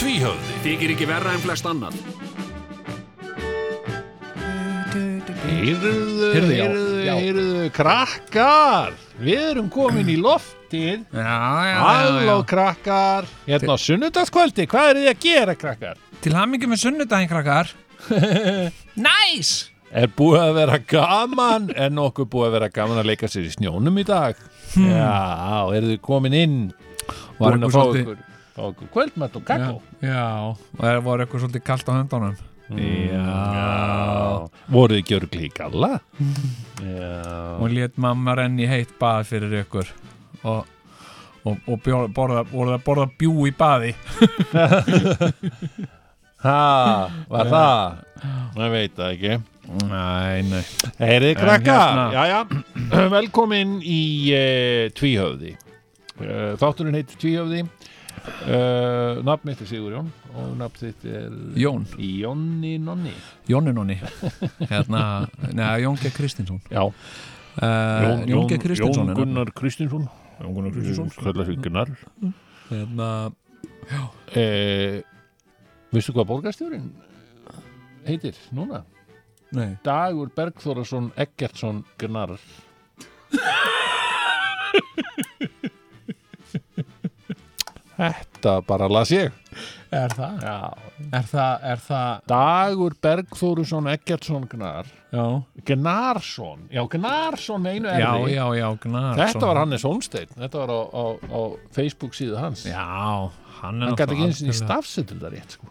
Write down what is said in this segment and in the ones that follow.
Tvíhöfði Þykir ekki verra en flest annað. Heyrðu, Heyrðu, já, heyrðu, já. heyrðu, krakkar Við erum komin í loftið Já, já, já, Halló já. krakkar Hérna á sunnudagskvöldi, hvað eru þið að gera krakkar? Til hamingi með sunnudaginn, krakkar. Næs! Er búið að vera gaman En okkur búið að vera gaman að leika sér í snjónum í dag Já, eru þið komin inn Var ykkur Búin Hmm. að fá svolítið- ykkur, fá ykkur kvöldmætt og kakó Já, og það voru eitthvað svolítið kalt á höndunum. Mm, Já Voruð þið gjörg líka alla? Já Og lét mamma renni í heitt bað fyrir ykkur. Og, og, og bjór, borða, borða, borða bjú í baði. Ha, var það? Ég veit það ekki Nei, nei. Heyriði En krakkar, hérna- jæja, velkomin í e, Tvíhöfði. E, þátturinn heitir Tvíhöfði, e, nafn mitt er Sigurjón og nafn þitt er Jón, Jónni Nonni. Jóninóni. Hérna, neða, Jón G. Kristinsson. Já, Uh, Jón, G. Kristinsson. Jón er nafnið. Gunnar Kristinsson. Jón Gunnar Kristinsson. Kallar sig Gunnar. Hérna, E, veistu hvað borgarstjórin heitir núna? nei. Dagur Bergþórasson Eggertsson Gunnar. Þetta bara las ég. Er það? Já. Er það, er það? Dagur Bergþórusson Eggertsson Gnar Já. Gnarsson, já Gnarsson með einu Já, erri. já, já, gnar. Þetta var Hannes Holmsteinn, þetta var á, á, á Facebook síðu hans Já, hann er Hann gæti ekki eins og í algjörlega- stafsett til það rétt sko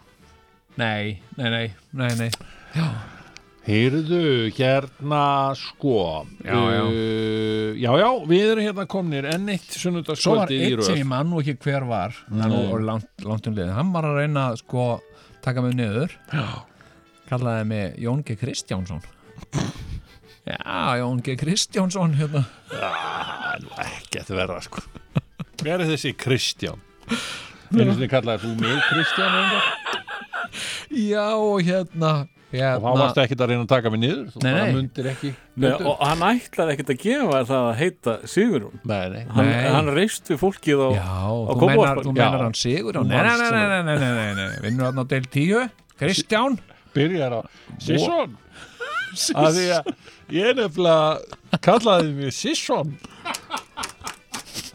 Nei, nei, nei, nei, nei. Heyrðu, hérna sko Já, já. Uh, já, já, við erum hérna komnir enn eitt Svo var sunnudagskvöldið í eitt röð sem ég mann og ekki hver var hann Nei. og langt, langt um liðið hann var að reyna að sko taka mig niður Já. kallaði mig Jón G. Kristjánsson Já, Jón G. Kristjánsson hérna. Já, nú ekkert verra sko Hver er þessi Kristján? Einu sinni kallaði þú mig Kristján einhver Já, og hérna, og þá varstu hérna ekkert að reyna að taka mig niður þú Nei, bara nei. mundir ekki Nei, og hann ætlaði ekkert að gefa þér það að heita Sigurún nei, nei. hann, Nei. hann reist við fólkið á Já, þú Kópavogsbæ- meinar, þú Já. meinar hann Sigur sko. Nei, nei, nei, nei, nei, nei, nei, nei. vinnur hann á del 10 Kristján byrjar á Sisson að því að ég nefnilega kallaði mig Sisson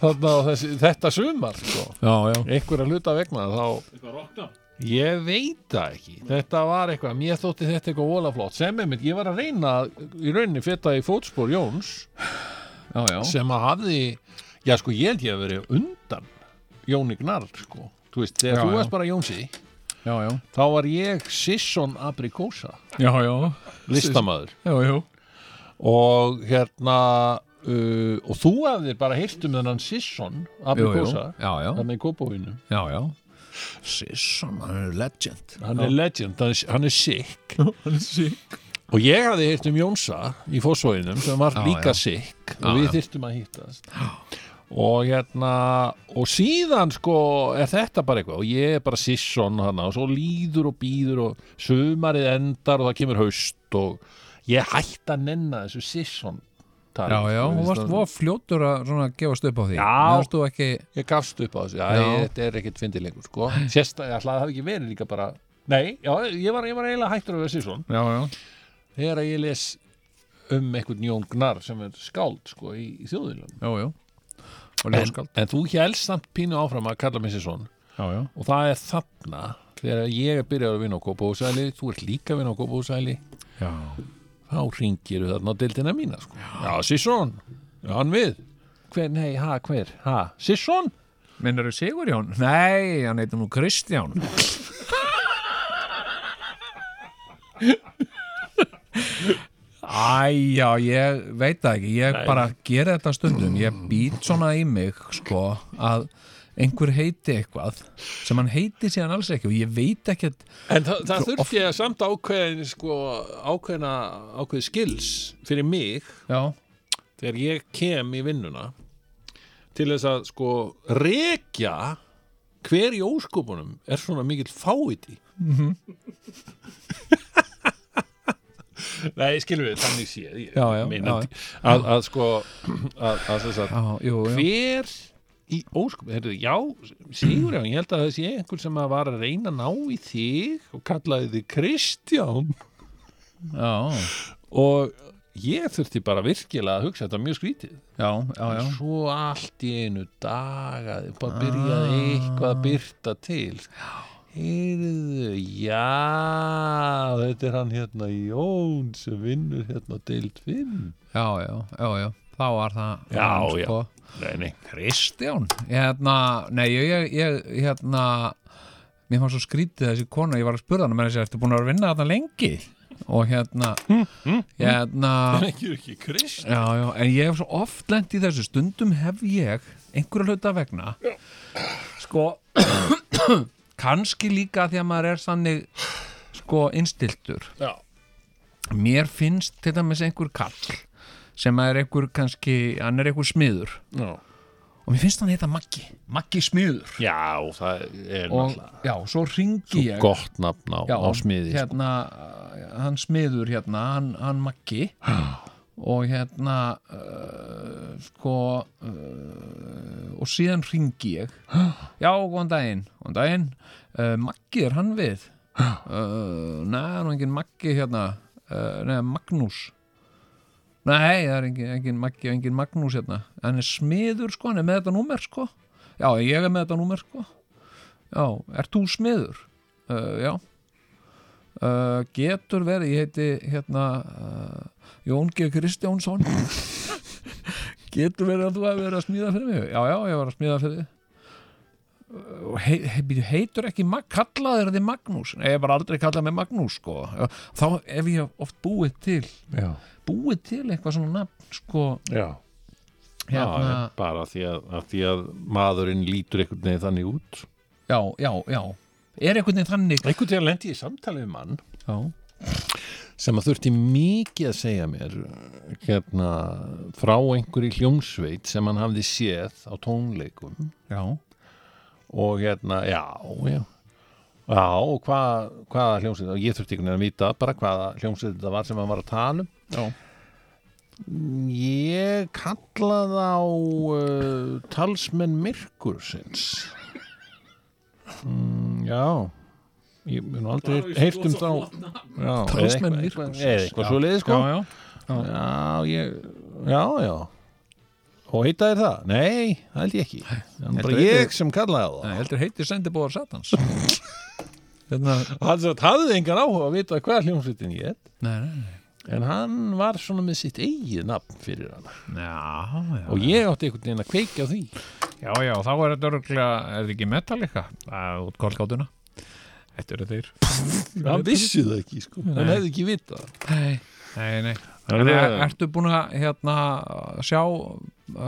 þarna á þessi, þetta sumar sko. Já, já einhverja hluta vegna þá ég veit það ekki þetta var eitthvað, mér þótti þetta eitthvað volaflott sem einmitt, ég var að reyna að- í rauninni fyrta í fótspor Jóns Já, já, sem að hafði já sko ég held ég að verið undan Jóni Gnarr sko þú veist, þegar Já, þú já. varst bara Jónsi já, já, þá var ég Sisson Abrikósa já, já, listamaður já, já. og hérna uh, og þú hafðir bara heyrt um þennan Sisson Jú, jú. Abrikósa já, já, hann er kópavínum já, já Sisson, hann er legend hann er legend, hann er, hann er sick Hann er sík og ég hafði heyrt um Jónsa í fósvóinum sem var Já, líka já. sick Já, og við já. þyrftum að hittast og hérna og síðan sko er þetta bara eitthvað og ég er bara sisson hana og svo líður og býður og sumarið endar og það kemur haust og ég hætti að nenna þessu sisson tali, sko, Já, já, Þú hún veist varst að- var fljótur að svona, gefast upp á því Já. Mér þú ekki, ég gafst upp á þessu, já, Já. Ég, þetta er ekkert fyndið lengur sko, sérstaklega ætlaði það hafi ekki verið líka bara, nei, já, ég var, ég var eiginlega hættur að vera sisson já, já þegar að ég les um einhvern Jón Gnar sem er skáld sko í, í þjóðunum Já, já Og en, ljóskald en þú hélst samt pínu áfram að kalla mig sér svon Já, já, og það er þarna þegar ég er byrjað að vinna á Kópavóðsæli þú ert líka að vinna á Kópavóðsæli já, þá ringir þarna á deildina mína sko. já, Sisson, já, hann við hver, nei, ha, hver, ha, Sisson Minnar þú Sigurjón? Nei, hann heitir nú Kristján Æ, já, ég veit það ekki Ég bara gera þetta stundum Ég být svona í mig, sko að einhver heiti eitthvað sem hann heiti síðan alls ekki og ég veit ekkert En það, það Svo oft- þurfti ég samt ákveðin sko, ákveðina, ákveði skils fyrir mig Já, þegar ég kem í vinnuna til þess að sko rekja hver í óskopunum er svona mikill fáiði mm Mhm. -hmm. Nei, skilum við þannig séð ég Já, já, meina já, að, að, að sko að, að, sem sagt, já, jú, já hver í óskum heyrðu, já, Sigurjón, ég held að það sé einhver sem að var að reyna að ná í þig og kallaði þig Kristján Já, og ég þurfti bara virkilega að hugsa þetta var mjög skrítið já, já, já. svo allt í einu dagaði bara byrjaði eitthvað að byrta til heyrðu, já þetta er hann hérna Jón sem vinnur hérna deild 5 já, já, já, já Þá var það Já, hann, já. sko. nei, nei, Kristján hérna, Nei, ég, ég, ég hérna Mér fannst svo skrítið þessi kona Ég var að spurða hann með þessi, ertu búin að vera að vinna þarna lengi Og hérna Hérna ekki ekki Krist já, já, En ég hef svo oft lent í þessu Stundum hef ég einhverja hluta vegna Sko kannski líka því að maður er þannig Sko innstiltur já, Mér finnst til dæmis einhver kall Sem að er einhver kannski Hann er einhver smiður já. og mér finnst hann heita Maggi Maggi Smiður já, það er og já, svo ringi ég gott nafn á, já, á smiði sko. hérna, uh, hann Smiður hérna, hann, hann Maggi og hérna uh, sko uh, og síðan ringi ég já, góðan daginn, góðan daginn uh, Maggi er hann við uh, neða, nú engin Maggi hérna uh, neða, Magnús Nei, það er engin, engin Maggi og engin Magnús hérna. Hann er smiður sko, hann er með þetta númer sko. Já, ég er með þetta númer sko. Já, ert þú smiður? Uh, já. Uh, getur verið, ég heiti hérna uh, Jón G. Kristjánsson. getur verið að þú hafi verið að smíða fyrir mig? Já, já, ég var að smíða fyrir þig. Og He, he, býtu, heitur ekki Mag- kallaðir þið Magnús Nei, ég hef bara aldrei kallað mig Magnús sko. þá ef ég oft búið til já, búið til eitthvað svona nafn sko já. hérna, en bara því að, að því að maðurinn lítur einhvern veginn þannig út já, já, já er einhvern veginn þannig einhvern veginn lendi ég í samtali við mann já, sem að þurfti mikið að segja mér hérna frá einhverju hljómsveit sem hann hafði séð á tónleikum já, og hérna, já, já Já, og hvað, hvaða hljómsveit, og ég þurfti einhvern veginn að vita bara hvaða hljómsveit þetta var sem hann var að tala um já, Ég kalla þá uh, talsmenn myrkursins. Mm, já, ég mun aldrei heyrt um þá. Já, eða Talsmenn eitthvað- myrkursins. Eða eitthvað svo leiði sko. já, Já, já, ég, já, já. Og heita þér það? Nei, það held ég ekki. Það er bara Heldur ég heitir- sem kallaði Nei, það. heldur heiti sendibóðar satans hérna, Hann sem sagt hafði engan áhuga að vita hvað hljómsveitin ég er. nei, nei, nei En hann var svona með sitt eigið nafn fyrir hana. já, já, Og ég átti einhvern veginn að kveika á því. já, já, þá er þetta örgulega er þetta ekki Metallica að út kólkátuna þetta eru þeir hann vissi það ekki sko hann hefði ekki vita nei, nei, nei er- En, er, ertu búin að hérna, sjá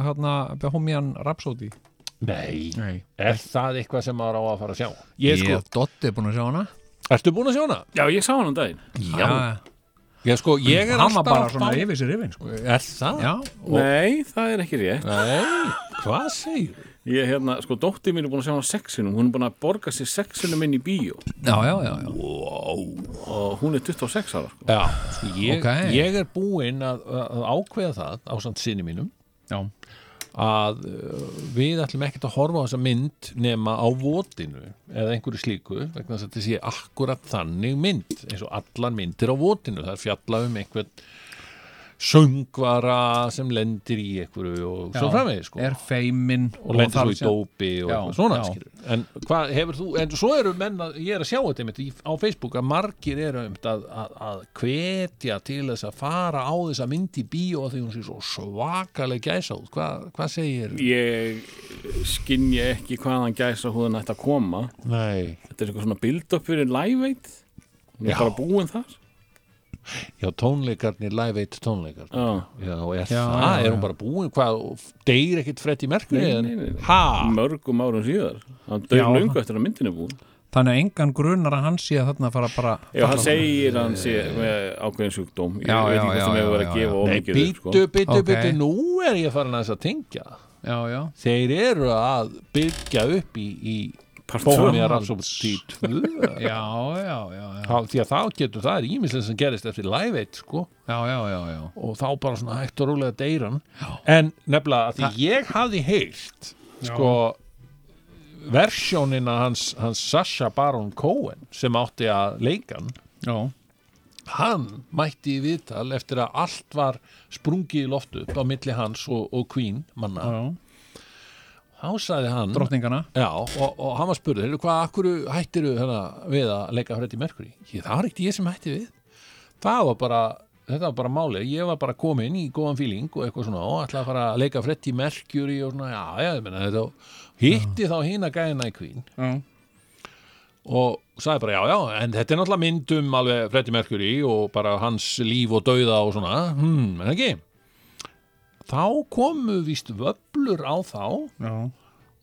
hérna, Bohemian Rhapsody nei, nei, er það eitthvað sem maður á að fara að sjá ég sko, ég Dotti er búin að sjá hana ertu búin að sjá hana? Já, ég sá hann um daginn já, ég sko, ég er hann var alltaf bara að svona spá- yfir sér yfir sko. er það? já, Nei, það er ekki rétt nei, hvað segir Ég, hérna, sko, dóttir mín er búin að sjá hann sexinum Hún er búin að borga sér sexinum inn í bíó já, já, já, já. Og hún er 26 ára, sko já, sko, ég, Ok. ég er búinn að, að ákveða það á samt sinni mínum Já. að uh, við ætlum ekkert að horfa á þessa mynd nema á votinu eða einhverju slíku vegna þess að þetta sé akkurat þannig mynd eins og allar myndir á votinu það er fjalla um einhvern söngvara sem lendir í einhverju og svo framvegis sko er feimin og lendir svo í þarf dópi og Já, eitthvað svona já. skilur en hvað hefur þú, en svo eru menn að, ég er að sjá þetta einmitt í- á Facebook að margir eru einmitt að, að, að hvetja til þess að fara á þessa mynd í bíó af því hún sé svo svakaleg gæsa út hvað, hvað segir Ég skinja ekki hvaðan gæsa húðan ætti að koma Nei Þetta er eitthvað svona build-up fyrir live-veit Hún er Já. bara búin þar Já, tónleikarnir, live 1 tónleikarnir Já. Já, er Já, það, já, er hún bara búin hvað, og deyr ekkit Freddy Mercury Nei, en- nei, nei, nei. Ha? mörgum árum síðar hann Já. dög lungu eftir að myndin er búin Þannig að engan grunar að hann sé að þarna fara bara Já, hann segir að hann sé með ákveðin sjúkdóm Ég Já, veit já, ekki hvort já, það já, hefur verið já, að gefa Nei, ómikið upp, sko. býttu, býttu, Ok. býttu Nú er ég farin að þess að tengja Já, já, Þeir eru að byggja upp í, í Part Bóhemia tvö. Rhapsody 2 já, já, já, já, Þá- Því að þá getur það er ímislega sem gerist eftir live 1 sko, já, já, já, já. og þá bara svona hægt og rólega deyran en nefnilega að því ég hafði heyrt sko versjónina hans, hans Sasha Baron Cohen sem átti að leikan já. hann mætti í viðtal eftir að allt var sprungið í loftu á milli hans og, og Queen manna já. þá sagði hann Drottningana Já, og, og hann var spurður, heyrðu hvað, akkur hættiru hérna, við að leika Freddy Mercury? Ég, það var ekkert ég sem hætti við. Það var bara, þetta var bara málið, ég var bara komin í góðan fíling og eitthvað svona, og ætlaði að fara að leika Freddy Mercury og svona, já, já, ég menna þetta, og hitti þá hina gæðina í Queen Já, og sagði bara, já, já, en þetta er náttúrulega myndum alveg Freddy Mercury og bara hans líf og dauða og svona, hmm, en ekki. Þá komu víst vöblur á þá já,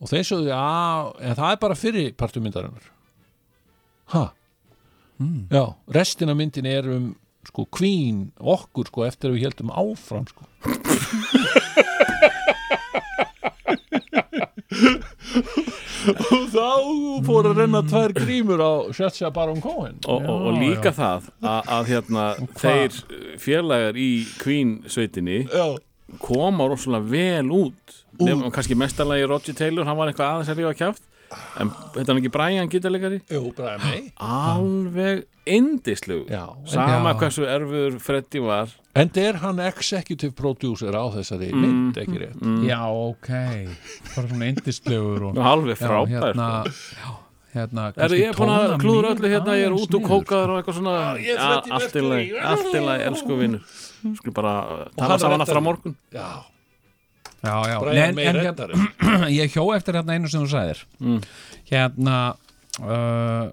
og þeir sögðu að en það er bara fyrir partur myndarinnar ha já, restina myndin er um sko Queen, okkur sko eftir að við heldum áfram sko og þá fór að renna tvær grímur á Sjötsja Baron Cohen og, og, og líka það að, að hérna, þeir eh, félagar í Queen sveitinni já, koma rosalega vel út Nefnum, kannski mestalagi Roger Taylor hann var eitthvað aðeins að rífa kjáft en þetta er ekki Brian gítalegari jú, bara mei alveg indislegu Já. sama Já. hversu erfur Freddy var en er hann executive producer á þessari mynd, ekki rétt já, ok Bara svona yndislegur og og alveg frábær sko. Já, hérna, já, hérna Er kannski ég er búin að tóna klúður mínútu öllu hérna, ég er aðeins út og niður. kókaður og eitthvað svona ég er Ja, Allt Freddy í Mercury. lagi, allt í lagi, elsku vinnur Skulum bara uh, hann tala saman reddar aftur á því. morgun já, Já, já, Brian en, May en reddar hérna, ég hjó eftir hérna einu sem þú sæðir Mm. Hérna uh,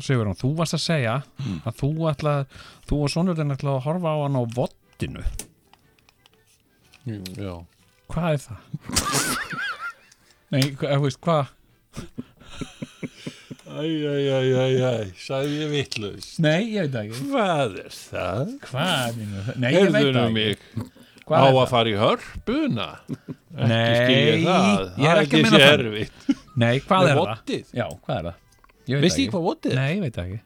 Sigurjón, þú varst að segja Mm. að þú ætlað þú og sonurinn ætlað að horfa á hann á vottinu já Hvað er það? Nei, hva- þú veist, hvað? Æ, æ, æ, æ, æ, sagði ég vitlaust. Nei, ég veit það ekki Hvað er það? Hvað? er nú- Nei, ég veit Erðunum það ekki mig á Hvað er að það? fara í hörpuna? Ekki Nei, skil ég það. ég er Það ekki að ekki meina sé það. erfitt. Nei, hvað Með er voddið? það? Já, hvað er það? Ég veit Veist það ég hvað votið er? Nei, ég veit það ekki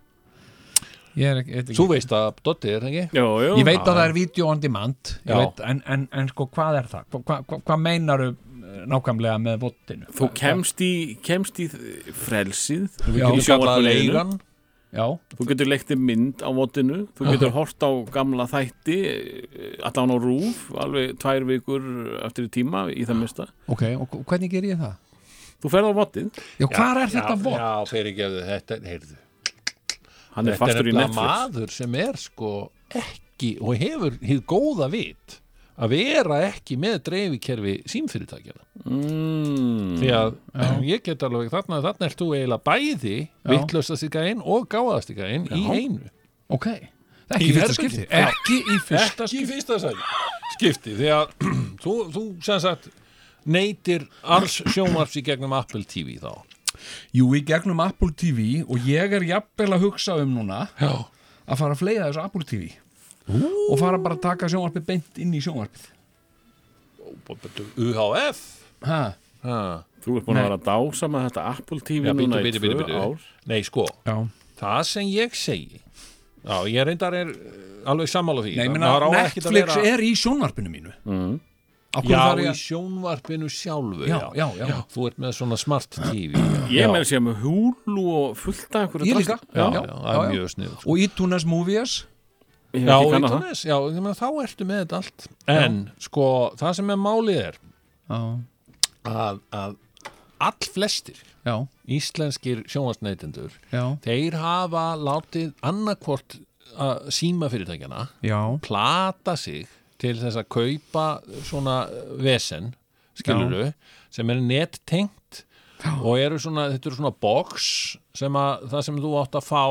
Ég, er, ekki- ég, veit Þú ekki. veist að Dotti er, ekki? Jó, jó ég veit að það er video on demand Ég Já. veit, en, en, en sko, hvað er það? Hva, hva, hva, hvað meinaru nákvæmlega með vottinu? Þú kemst í, kemst í frelsið Já. í Þú kalla sjónvarpinu. leigan. Já, Þú getur leikti mynd á votinu Þú getur hort á gamla þætti eh, Allan á rúf Alveg tvær vikur eftir í tíma Í það mesta ok, og hvernig ger ég það? Þú ferð á votið Já, hvað er þetta Já, vott? Já, fyrir gefðu þetta, heyrðu. Hann er Þetta er fastur í nefnilega Netflix maður sem er sko ekki og hefur hið góða vit að vera ekki með dreifikerfi símfyrirtækjana. mm. því að ég get alveg þarna, þarna ert þú eiginlega bæði vittlöstast í gæinn og gáðast í gæinn í einu Ok, ekki í fyrsta herbergi. skipti Ekki í fyrsta ekki í skipti fyrsta sæl skipti því að þú, þú sem sagt neytir alls sjónvarps í gegnum Apple TV þá Jú, í gegnum Apple TV og ég er jafnvel að hugsa um núna já, að fara að fleiða þessu Apple TV og fara bara að taka sjónvarpið beint inn í sjónvarpið UHF ha. ha. Þú ert búin að Nei. vera að dása með þetta Apple TV Já, núna í bíddu, bíddu, tvö bíddu, bíddu. ár nei sko, Já. það sem ég segi já, ég reyndar er eh, alveg sammála því Nei, Það- minna, maður á ekkert að Netflix vera- er í sjónvarpinu mínu mm. Já, í ég... sjónvarpinu sjálfu Já, já, já. Þú ert með svona smart TV já. Ég meira að segja með húlu og fullt af einhverju Ég drasli. líka já, já, það er mjög sko. snið Og iTunes Movies Ég hef Já, ekki kannað það. Ítunes, já, ég meina, þá ertu með þetta allt En, sko, það sem er málið er Já, að, að all flestir já, íslenskir sjónvarsneytendur já, þeir hafa látið annarkvort að síma fyrirtækjana já. plata sig til þess að kaupa svona vesen skiluru, sem er nettengt og eru svona, þetta eru svona box sem að það sem þú átt að fá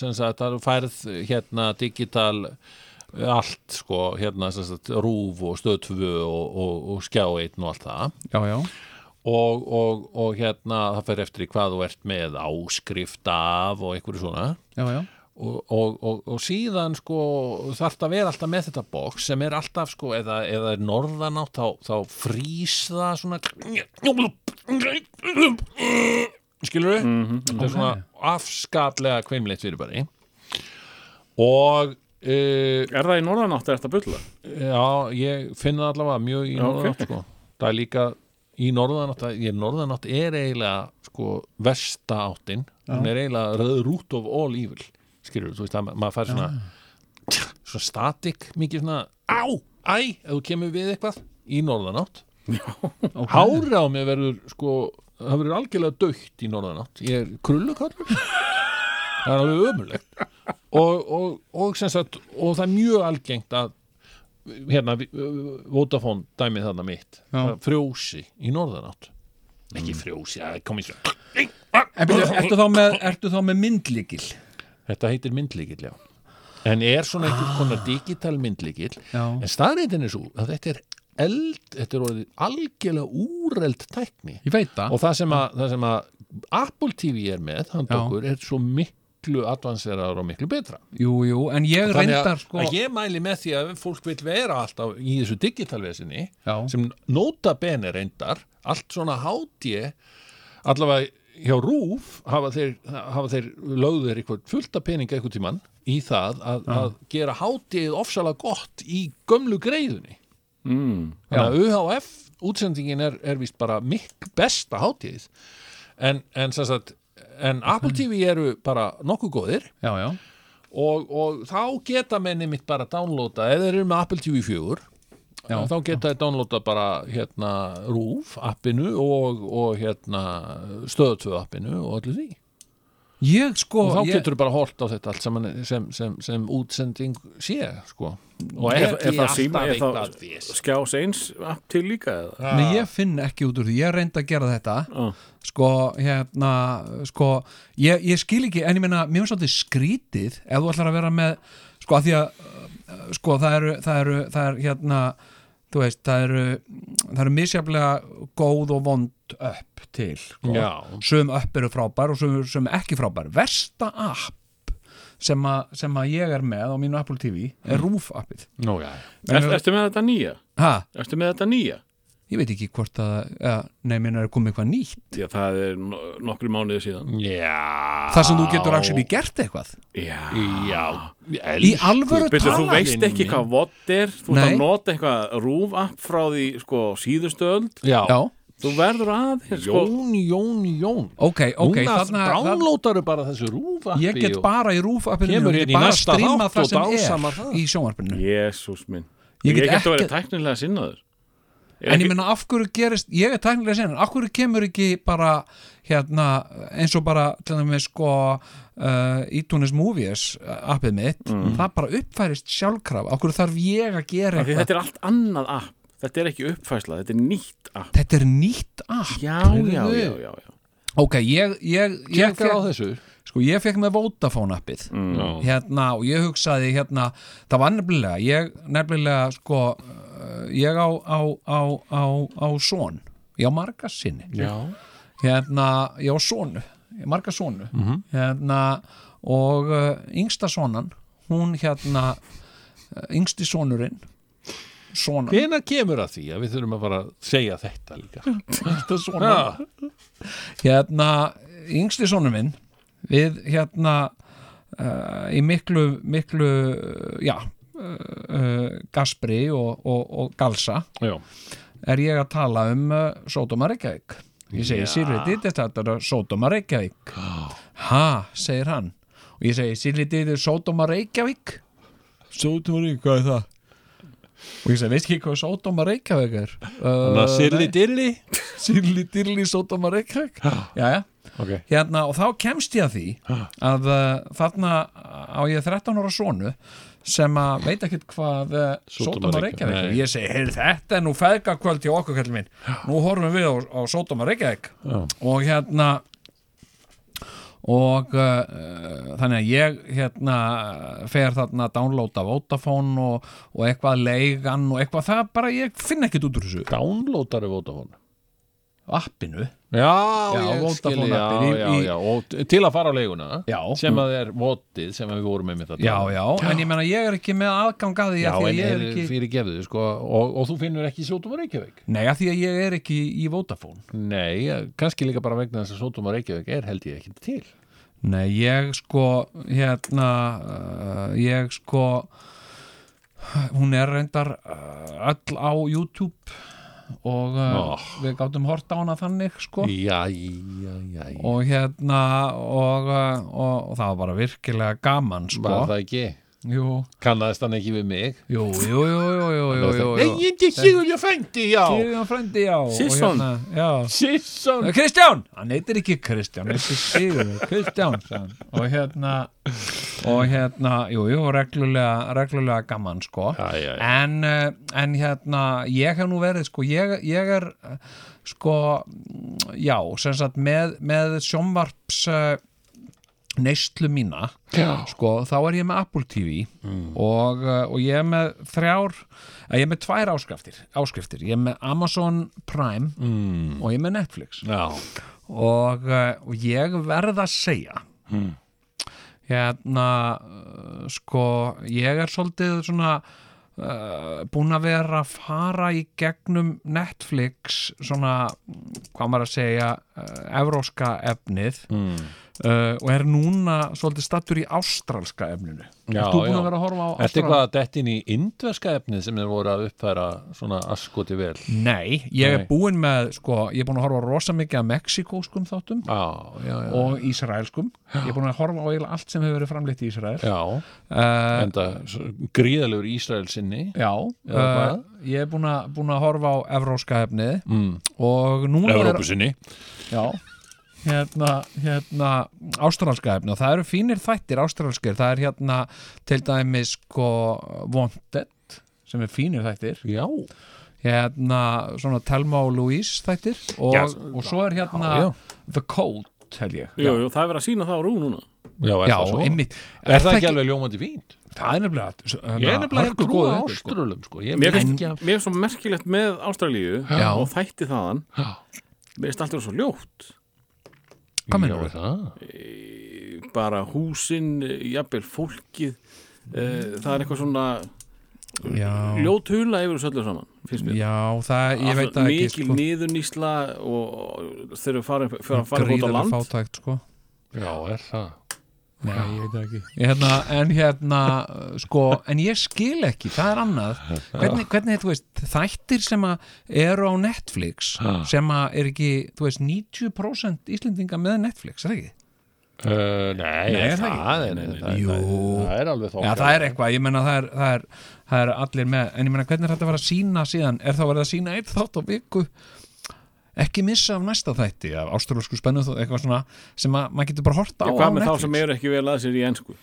sem sagt, það eru færð hérna digital eh, allt sko, hérna sem sagt, rúf og stöðtvö og, og, og skjá einn og allt það já, já, og, og, og hérna það fer eftir í hvað þú ert með áskrift af og einhverju svona já, já. og, og, og, og síðan sko þarf að vera alltaf með þetta box sem er alltaf sko, eða, eða er norðanátt þá, þá frýs það svona skilur við þetta er svona afskaplega kveimleitt fyrir bara og uh, Er það í norðanátt eða er þetta bulla? já, ég finn það allavega mjög í Já, ok. norðanátt sko. það er líka í norðanátt að- ég, norðanátt er eiginlega sko versta áttin hún er eiginlega the root of all evil skilur, þú veist að ma- maður fær svona svona statik, mikið svona á, æ, ef þú kemur við eitthvað í norðanátt okay. hára á mér verður sko það verður algjörlega dögt í norðanátt ég er krullukallur það er alveg ömulegt og, og, og, sem sagt, og það er mjög algengt að hérna, vi- ö, Vodafone dæmið þarna mitt Það frjósi í norðanátt Mm. ekki frjósi, það kom í svo En byrju, ertu þá með, ertu þá með myndlíkil? þetta heitir myndlíkil, já en er svona einhvern konar digital myndlíkil Já. en staðreyndin er svo að þetta er eld, þetta er orðið algjörlega úreld tækni Ég veit það. og það sem, að, það sem að Apple TV er með, hann Já. okkur er svo miklu advanseraður og miklu betra Jú, jú, en ég reyndar að, sko... að ég mæli með því að ef fólk vil vera alltaf í þessu digitalvesinni Já. sem nota bene reyndar allt svona hátje allavega hjá Rúf hafa þeir, hafa þeir lögður eitthvað fullta peninga eitthvað tímann í það að, að gera hátjeið ofsalega gott í gömlu greiðunni Mm. þannig að UHF útsendingin er, er vist bara mikk besta hátjeið en, en, sem sagt, en Apple TV eru bara nokkuð góðir Já, já, og, og þá geta menni mitt bara downloada, eða þeir eru með Apple TV 4 Já. þá geta þeir downloada bara hérna RÚF appinu og, og hérna stöðutvöð appinu og öllu því ég sko... og þá ég... getur bara hort á þetta allt saman sem, sem, sem útsending sé sko. og Er, ekki er það síma, er alltaf það eitthvað við skjás eins app til líka eða? Nei, ég finn ekki út úr því, ég reynda að gera þetta Já. sko, hérna sko, ég, ég skil ekki en ég meina, mér finnst svolítið skrítið ef þú ætlar að vera með, sko, að því að uh, sko, það eru, það eru, það eru hérna, þú veist, það eru það eru misjaflega góð og vond upp til sko. Já. sum upp eru frábær og sum, sum ekki frábær versta app sem, a, sem að ég er með á mínu Apple TV Mm. er Roof appið Nú, já. Er, ertu með þetta nýja? ha, Ertu með þetta nýja? ég veit ekki hvort að, ja, nei, minna er komið eitthvað nýtt Því að það er no nokkru mánuði síðan. já þar sem þú getur actually gert eitthvað Já. já, í elsku. alvöru Byrju, þú tala veist ekki hvað vott er, þú ert Nei. að nota eitthvað rúf app frá því sko, síðustu öld, já. já, þú verður aðeins sko, Jón, Jón, Jón ok, ok núna þarna, þarna, downloadaru bara þessu RÚF appi ég get og- bara í rúf Kemur appinu, ég hérna í get bara næsta stríma þátt það og sem dásamar er það. í sjónvarpinu Jésús minn Ég get Ég get ekki að vera ekkert- tæknilega sinnaður en Er ég ekki- meina af hverju gerist, ég er tæknilega sen af hverju kemur ekki bara hérna, eins og bara til dæmis sko uh, iTunes Movies uh, appið mitt, Mm. það bara uppfærist sjálfkraf, af hverju þarf ég að gera Af því eitthvað, Þetta er allt annað app Þetta er ekki uppfæsla, þetta er nýtt app þetta er nýtt app, Já, heyrðu. já, já, já, já. ok, ég ég, ég, Tékkar á fekk, þessu sko, ég fekk með Vodafone appið Mm. Já. hérna og ég hugsaði hérna það var nefnilega, ég nefnilega sko, uh, ég á á, á, á, á són ég á marga sinni Já. hérna, ég á sonu, ég á marga sonu hérna og uh, yngsta sonan hún hérna, uh, yngsti sonurinn sonan Hvena kemur að því að við þurfum að fara að segja þetta líka? þetta svona. hérna, yngsti sonur minn við hérna uh, í miklu, miklu uh, já uh, Gaspri og, og, og Galsa Já. er ég að tala um uh, Sódóma Reykjavík ég segi Sirri Dýtis þetta er Sódóma Reykjavík ha, segir hann og ég segi Sirri Dýtis Sódóma Reykjavík Sódóma Reykjavík, hvað er það? og ég segi, veist ekki hvað Sódóma Reykjavík er? Uh, Þannig að sirli nei. dilli. Sirli Dýrli Sódóma Reykjavík jæja Ok. hérna, og þá kemst ég að því að uh, þarna á ég 13 ára sonu sem að veit ekkert hvað eh, Sódóma Sódóma Reykjavík. Reykjavík er. Nei. ég segi, heyrðu þetta er nú feðgakvöld hjá okkur kallið minn, nú horfum við á, á Sódóma Reykjavík og hérna og uh, þannig að ég hérna fer þarna að downloada Vodafone og, og eitthvað leigan og eitthvað það bara ég finn ekkert út úr þessu Downloadar er Vodafone appinu Já, Já, ég Vodafone skil, já, appir í- já, í- já, og t- til að fara á leiguna eh? Já. sem að er votið sem að við vorum með mitt að um. já, já, en ég menna ég er ekki með aðgang að því já að því en að ég er ekki... ekki fyrir gefðu sko, og, og þú finnur ekki Sótum og Reykjavík nei, að því að ég er ekki í Vodafone Nei, eh, kannski líka bara vegna þess að Sótum og Reykjavík er held ég ekki til Nei, ég sko hérna uh, ég sko hún er reyndar uh, öll á YouTube og uh, Oh. við gáttum hort á hana þannig sko Já, já, já, já og hérna og, uh, og, og það var bara virkilega gaman sko Var það ekki? Jú, Kannaðist hann ekki við mig? jú, jú, jú, jú, jú, jú, jú, Nei, jú. ég er Sigurður frændi, já Sigurjón frændi, já og Sisson. hérna, já. Sisson Eh, Kristján, hann heitir ekki Kristján hann heitir Sigur, Kristján sagði hann. og hérna og hérna, jú, jú, reglulega reglulega gaman, sko Já, já, já. En, eh, en hérna, ég hef nú verið, sko, ég, ég er eh, sko, mm, já sem sagt, með, með sjónvarps eh, neyslu mína Já. Mm. sko, þá er ég með Apple TV og, eh, og ég er með þrjár, eh, ég er með tvær áskriftir, áskriftir. ég er með Amazon Prime mm. og ég er með Netflix Já, og, eh, og ég verð að segja Hmm. hérna eh, sko ég er svolítið svona uh, búin að vera að fara í gegnum Netflix svona, mm, hvað maður að segja uh, evróska efnið mm. Hmm. og er núna svolítið stattur í ástralska efninu Já, Ert þú búin já. að vera að horfa á Ertu eitthvað að detti inn í indverska efnið sem þeir voru að uppfæra svona askoti vel? Nei, ég er Nei. búin með sko, ég er búin að horfa á rosa mikið af mexikóskum þáttum Já, já, já og ísraelskum ég er búin að horfa á eiginlega allt sem hefur verið framleitt í Ísrael Já, uh, enda svo gríðalegur Ísrael sinni já, uh, Eða hvað? ég er búin að, búin að horfa á evróska efnið mm. og núna er sinni já, hérna, hérna ástralska efnið og það eru fínir þættir ástralskir, það er hérna til dæmis sko Wanted sem er fínir þættir Já, hérna svona Telma og Louise þættir og, Já, og svo er hérna já, já. The Cold held ég Jú, jú, það er verið að sína það á rú núna já, er Já, það svo? einmitt Er það ekki alveg ljómandi fínt? Það er nefnilega hérna, Ég er nefnilega hörku ekki góð góð þetta, sko. áströlum, sko Ég Mér er finnst, ekki að mér finnst svo merkilegt með Ástralíu Já. og þætti þaðan Mér finnst alltaf svo ljótt Hvað meinar Já, það? bara húsin, eh, jafnvel fólkið eh, það er eitthvað svona Já, ljót hula yfir þessu öllu saman finnst mér já, það, ég veit Alltaf það ekki mikil sko, niðurnýsla og þegar við farum fyrir að fara út á gríðarlega land fátækt sko. Já, er það? Nei, ég veit það ekki hérna, En hérna, uh, sko En ég skil ekki, það er annað Hvernig, hvernig þú veist, þættir sem að eru á Netflix sem að er ekki, þú veist, 90% Íslendinga með Netflix, er það ekki? Uh, nei, Nei, er það ekki? það, er, það, er, Jú. það er alveg þá Já, það er eitthvað, ég menna það er, það er, það er allir með, en ég menna hvernig er þetta að vera að sína síðan, er þá verið að sína eitt þátt á viku ekki missa af næsta þætti af ástralsku spennu þó eitthvað svona sem að maður getur bara horta á Já, á hvað með þá Netflix. sem eru ekki vel að sér í ennsku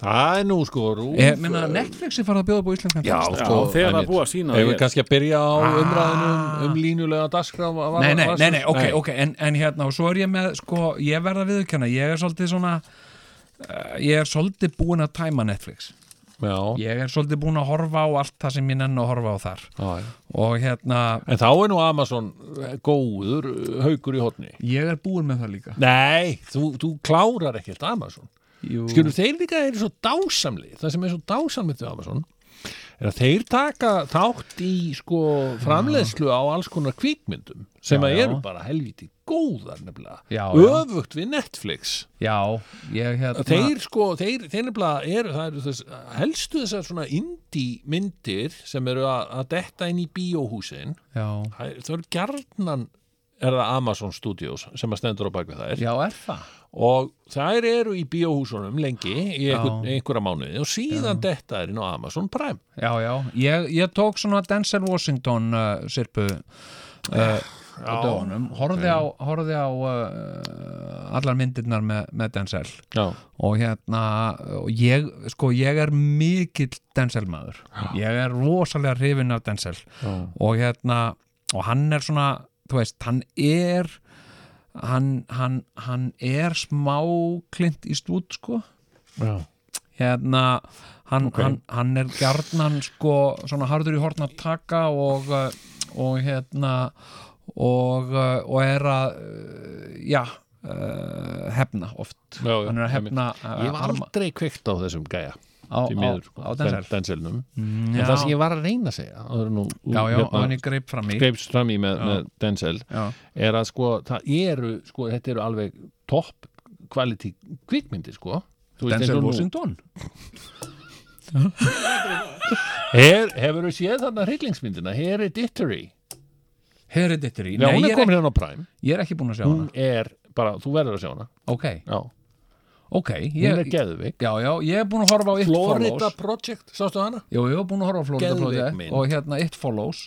Það er nú sko rúf Ég menna Netflix er farið að bjóða búið íslenskan Já, texta. Já, sko, þegar það einmitt. er búið að sína Ef það við hér. kannski að byrja á umræðinu um, um línulega dagskrá Ah. Nei, nei, nei, nei, ok, ok, en, en hérna og svo er ég með, sko, ég verða viðurkenna ég er svolítið svona uh, ég er svolítið búin að tæma Netflix Já, ég er svolítið búin að horfa á allt það sem ég nenni að horfa á þar já, já og hérna, En þá er nú Amazon eh, góður eh, haukur í hotni. ég er búin með það líka Nei, þú, þú klárar ekkert Amazon. Jú. Skilur, þeir líka eru svo dásamli. Það sem er svo dásamlið við Amazon er að þeir taka þátt í sko framleiðslu á alls konar kvíkmyndum sem að eru bara helviti góðar nefnilega. Já, já. Öfugt við Netflix. Já, ég hérna Þeir sko, þeir, þeir nefnilega eru, það eru þess, helstu þessar svona indie myndir sem eru að, að detta inn í bíóhúsin Já, það er- það eru gjarnan er það Amazon Studios sem að stendur á bakvið þær já er það og þær eru í bíóhúsunum lengi í einhver, einhverja mánuði og síðan detta er inn á Amazon Prime Já, já, ég, ég tók svona Denzel Washington uh, sirpu uh, á dögunum horfði á, horfði á uh, allar myndirnar með, með Denzel já, og hérna og ég, sko, ég er mikill Denzel maður ég er rosalega hrifinn af Denzel já, og hérna og hann er svona, þú veist, hann er hann, hann, hann er smá klint í stút sko já. hérna hann, Ok. hann, hann er gjarnan sko svona harður í horn að taka og, uh, og hérna og, uh, og er að uh, já uh, hefna oft Já, já, hann er að hefna eh, Ég hef aldrei kveikt á þessum gæja á, því miður, á, á Denzel Denselnum en já, það sem ég var að reyna að segja áður en nú, já, já, hérna, hann er greip fram í greipst fram í með, með Denzel Já. er að sko, það eru sko, þetta eru alveg topp quality kvikmyndir sko Þú veist, eins Denzel og nú- Washington Her, hefur þú séð þarna hryllingsmyndina Hereditary, Hereditary, já, nei, hún ég er er, komin hérna á Prime ekki- ég er ekki búin að sjá hún hana er bara, þú verður að sjá hana ok, já, ok hún er ég, geðvik já, já, ég er búin að horfa á It Follows Project, sástu hana? Jú, ég var búin að horfa á Florida Geðveik Project mynd. og hérna It Follows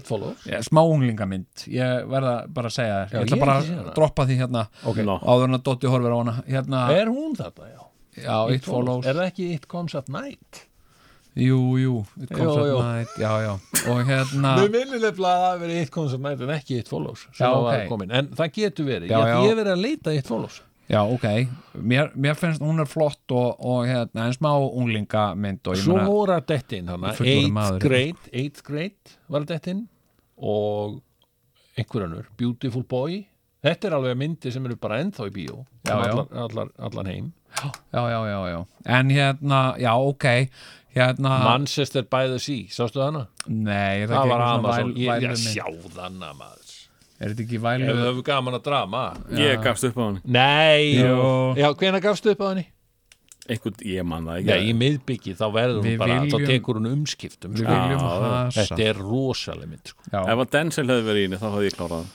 It Follows Já, smá unglingamynd, ég verða bara að segja þér ég Já, ætla ég bara ekki séð að hana. droppa því hérna Ok. Nó. áður en að Dotti horfir á hana hérna, er hún þetta, já já, It Follows er það ekki It Comes at Night? jú, jú, It Jú, Comes jú. at Night já, já, og hérna Við viljum nefnilega að það verið eitt comes at night en ekki eitt follows já, Já, okay. ok. komin, en það getur verið Já, já, já. ég hef verið að leita eitt follows já, ok, mér, mér finnst hún er flott og, og hérna, en smá unglingamynd og ég svo meina, voru að dettin hana Fullorðin eighth maður. grade, eighth grade var að dettin og einhver önnur, beautiful boy þetta er alveg myndi sem eru bara ennþá í bíó Já, um já. allar, allar, allan heim já, já, já, já en hérna, já, ok hérna, Manchester by the Sea, sástu það hana? nei, er það, ekki það var eitthvað svona Amazon, væl- ég, ég vælu mynd? sjá þanna maður er þetta ekki ef vælu þau hefur gaman að drama Ég gafst upp á hann Nei, Jú. já, hvenær gafstu upp á henni? Einhvern, ég man það Já, ekki í miðbyggi þá verður hún Við bara, viljum- þá tekur hún umskiptum við sko. viljum Já, hasa Þetta er rosaleg mynd sko. já, Ef að Denzel hefði verið í henni þá hefði ég klárað það.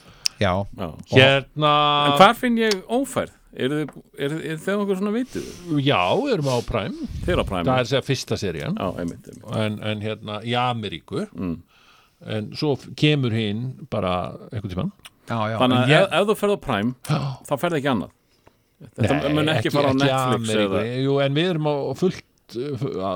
já, Já. Hérna, En hvar finn ég ófærð? Er þið, er, er þið okkur svona vitið? já, við erum á Prime Þeir á præmi Það er sér fyrsta serían Já, einmitt, einmitt. en, en hérna, í Ameríku En svo f- kemur hinn bara einhvern tímann já, já Þannig að ég- ef, ef þú ferð á Prime þá ferð ekki annað Þetta mun ekki, fara á Netflix Ameríku. eða, Jú, en við erum á fullt uh, fu- á,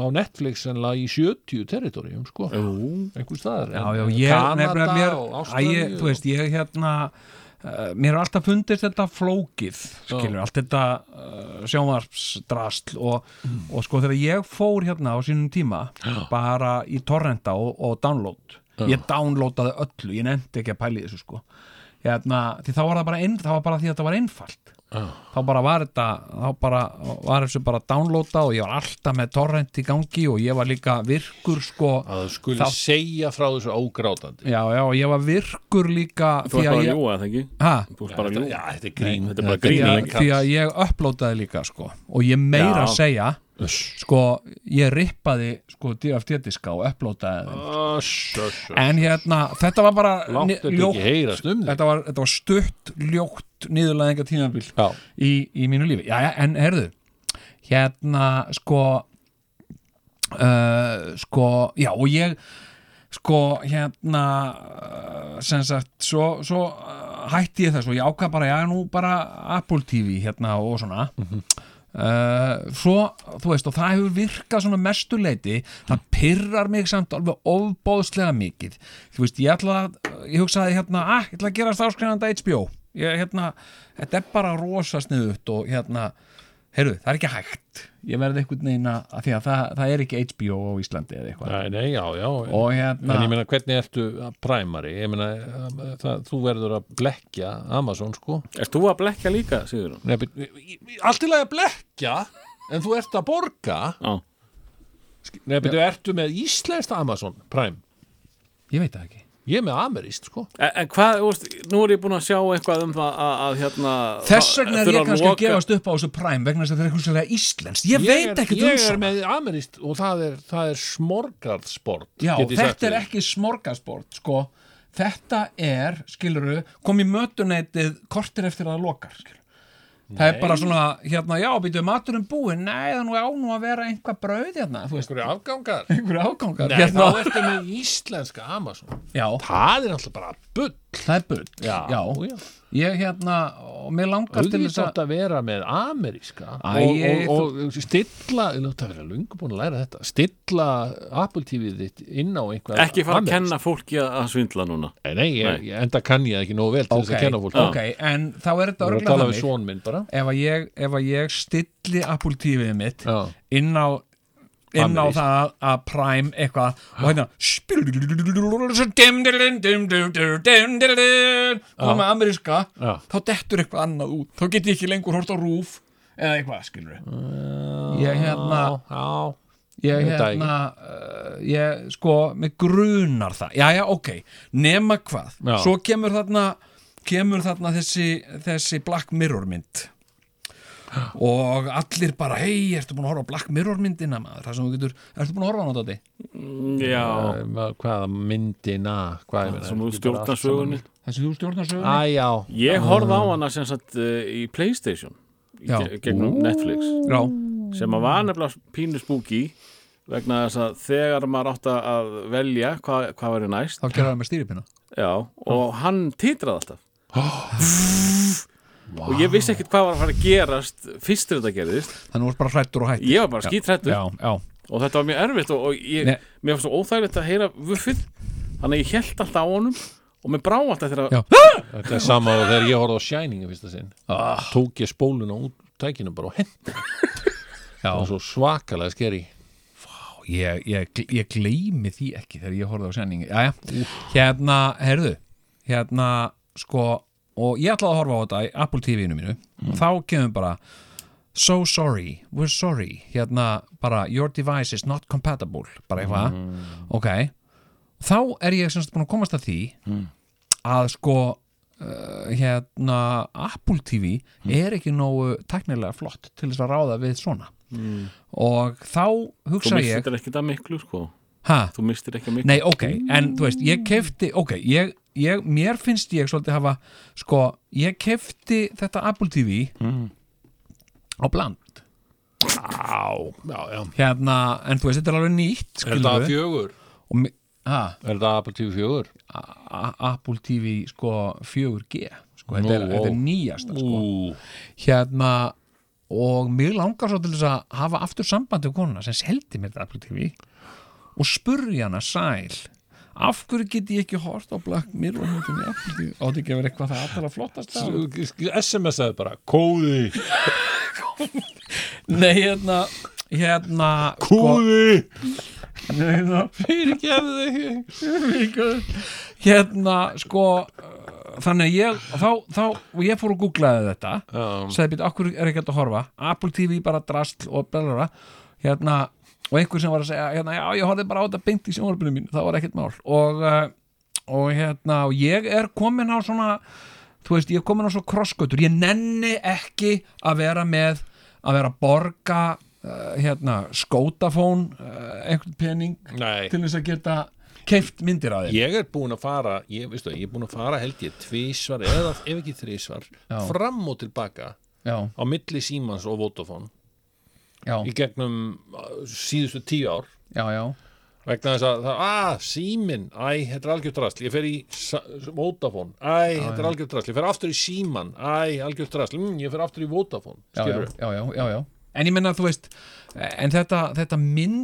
á Netflix enlega í 70 territorium sko. einhver staðar Já, já, En- en ég nefnilega Kanada mér, og að ég, Ástralíu þú veist, ég hérna uh, mér er alltaf fundist þetta flókið skilur, allt þetta uh, sjónvarpsdrasl og, Mm. og sko þegar ég fór hérna á sínum tíma bara í torrenta og, og download ég downloadaði öllu, ég nefndi ekki að pæli þessu sko hérna, því þá var það bara, inn, það var bara því að þetta var einfalt þá bara var þetta þá bara var þessu bara downloada og ég var alltaf með torrent í gangi og ég var líka virkur sko að þú skulle Þá- segja frá þessu ógrátandi Já, já, og ég var virkur líka því Þú að ert bara að ég, ljúga, eða ekki? ha, Þú ert bara að Já, ljúga þetta er grín Þetta er bara því, grín að, líka. því að ég upplótaði líka sko, og ég meira Já. að segja sko, ég rippaði sko, DFT-diska og upplótaði þeim Þetta en hérna, þetta var bara ni- Láttu þetta ekki heyrast um þig þetta var, þetta var stutt, ljótt niðurlæðinga tímabil Já. í, í mínu lífi, já, en herðu hérna, sko uh, sko, já, og ég sko, hérna uh, sem sagt, svo, svo uh, hætti ég þess og ég ákvað bara, já, nú bara Apple TV, hérna, og svona Mhm. Uh, svo, þú veist, og það hefur virkað svona mestuleiti, það pyrrar mig samt alveg ofbóðslega mikið þú veist, ég ætla að ég hugsaði hérna, ah, ég ætla að gerast áskrifandi HBO, ég hérna þetta er bara rosa sniðut og hérna heyrðu, það er ekki hægt ég verði einhvern veginn að, af því að það, það er ekki HBO á Íslandi eða eitthvað Nei, nei, já, já og En hérna, ég meina, hvernig ertu að primary? Ég meina, eh, það, þú verður að blekja Amazon, sko Erst þú að blekja líka, síður Nei, but- Allt í lagi að blekja En þú ert að borga Já, Nei, betur, ertu með íslenskt Amazon Prime ég veit það ekki Ég er með amerískt, sko En, en hvað, þú veist, nú er ég búinn að sjá eitthvað um það að, að hérna þess vegna er þurfa ég kannski að loka- gefast upp á þessu Prime vegna þess að það er einhverslega íslenskt, ég, veit ekki um Ég er, ég er svona með amerískt og það er, það er smorgarðsport Já, get ég sagt þetta er þér. ekki smorgasbord sko. þetta er, skiluru kom í mötuneytið kortir eftir að það lokar skilurðu. það er bara svona, hérna, já, býtu maturinn búinn, nei, það nú á nú að vera einhvað brauð hérna, þú veist, Einhverju afgangar? einhverju ágangar Nei, hérna, þá ertu með íslenska Amazon. já, Það er alltaf bara bull. það er bull já, já. ég hérna og mér langar til Auðvitað þess átt að að vera með ameríska Æ, og, ég- og, og stilla, ég láta að vera lungu búin að læra þetta, stilla Apple TV þitt inn á einhver Ekki fara að kenna fólki að að svindla núna Nei, nei, ég, Nei. ég, enda kann ég það ekki nógu vel til þess að kenna fólk. ok, en þá er þetta Ég er að örgulega tala við þannig svon minn bara. ef að ég, ef að ég stilli Apple TV-ið mitt Já. inn á inn á Amerískt. það að Prime eitthvað og hérna koma ameríska Já. þá dettur eitthvað annað út þá get ég ekki lengur hort á rúf eða eitthvað skilur ég hérna Já, ég Veit það hérna uh, ég sko, mig grunar það já já ok, nema hvað Já. svo kemur þarna kemur þarna þessi, þessi Black Mirror mynd og allir bara, hei, ertu búin að horfa á Black Mirror myndina maður, það sem þú getur ertu búin að horfa á náttúrulega Já, Um, að- hvaða myndina, hvað ég meina. sem þú ekki bara stjórnar allt sögunni þessi þú stjórnar sögunni saman. Æ, já. Ah. Ég horfði á hana sem sagt uh, í Playstation í Já. ge- gegnum Netflix já, sem að var nefnilega pínu spúki vegna þess að þegar maður átti að velja hvað, hvað verið næst þá gerða það með stýripinna já, og hann titraði alltaf og ég vissi ekkert hvað var að fara að gerast fyrst þegar þetta gerðist þannig voru bara hrættur og hættur ég var bara skítrættur já, já, og þetta var mjög erfitt og, og ég, Nei. mér var svo óþægilegt að heyra vuffið þannig að ég held alltaf á honum og mér brá alltaf þegar Já. Þetta er sama og þegar ég horfði á Shining í fyrsta sinn. Tók ég spóluna út tækinu bara og hent. já. Það var svo svakalega skeri. ég, ég, ég gleymi því ekki þegar ég horfði á sendingi Jæja, hérna, heyrðu hérna, sko og ég ætlaði að horfa á þetta í Apple TV-inu mínu og þá kemur bara so sorry, we're sorry hérna, bara, your device is not compatible bara eitthvað, ok þá er ég semst búin að komast að því að sko uh, hérna, Apple TV er ekki nógu teknilega flott til þess að ráða við svona og þá þú hugsa ég mistir ekki það miklu sko ha, þú mistir ekki miklu Nei, ok, en þú veist, ég kefti ok, ég, ég, mér finnst ég svolítið hafa, sko, ég kefti þetta Apple TV Mm. á bland Á, já, já. hérna, en þú veist, þetta er alveg nýtt Er skilur það fjögur? og mi- ha, Er það Apple TV fjögur? a- Apple TV sko 4G sko, þetta, er, Nú, þetta er ó. nýjasta sko. hérna og mér langar svo til þess að hafa aftur sambandi við konuna sem seldi mér þetta Apple TV og spurði hana sæl af hverju get ég ekki hort á Black Mirror myndinni í Apple TV átti ekki að vera eitthvað það alltaf flottast að SMS-aði bara, kóði, nei hérna hérna Sko. kóði, nei, hérna, fyrir gefðu þig. hérna sko uh, þannig að ég þá, þá og ég fór og googlaði þetta Um, sagði býtt, okkur er ekki hægt að horfa Apple TV bara drastl og blablabla hérna, og einhver sem var að segja hérna, já, ég horfði bara á þetta beint í sjónvarpinu mín það var ekkert mál og, uh, og hérna, og ég er komin á svona þú veist, ég er komin á svo krossgötur ég nenni ekki að vera með að vera að borga uh, hérna, skótafón uh, einhvern pening nei, til þess að geta keift myndir að þér ég er búin að fara, ég, veistu, ég er búin að fara held ég tvísvar eða ef ekki þrísvar, fram og tilbaka já, á milli Símans og Vodafone já, í gegnum uh, síðustu tíu ár já, já, vegna þess að það, að, símin æ, þetta er algjört drasl, ég fer í Sa- Vodafone, æ, þetta er algjört drasl ég fer aftur í síman, æ, algjört drasl mm, ég fer aftur í Vodafone, já, já, skilur já, já, já, já. En ég menna, þú veist, en þetta, þetta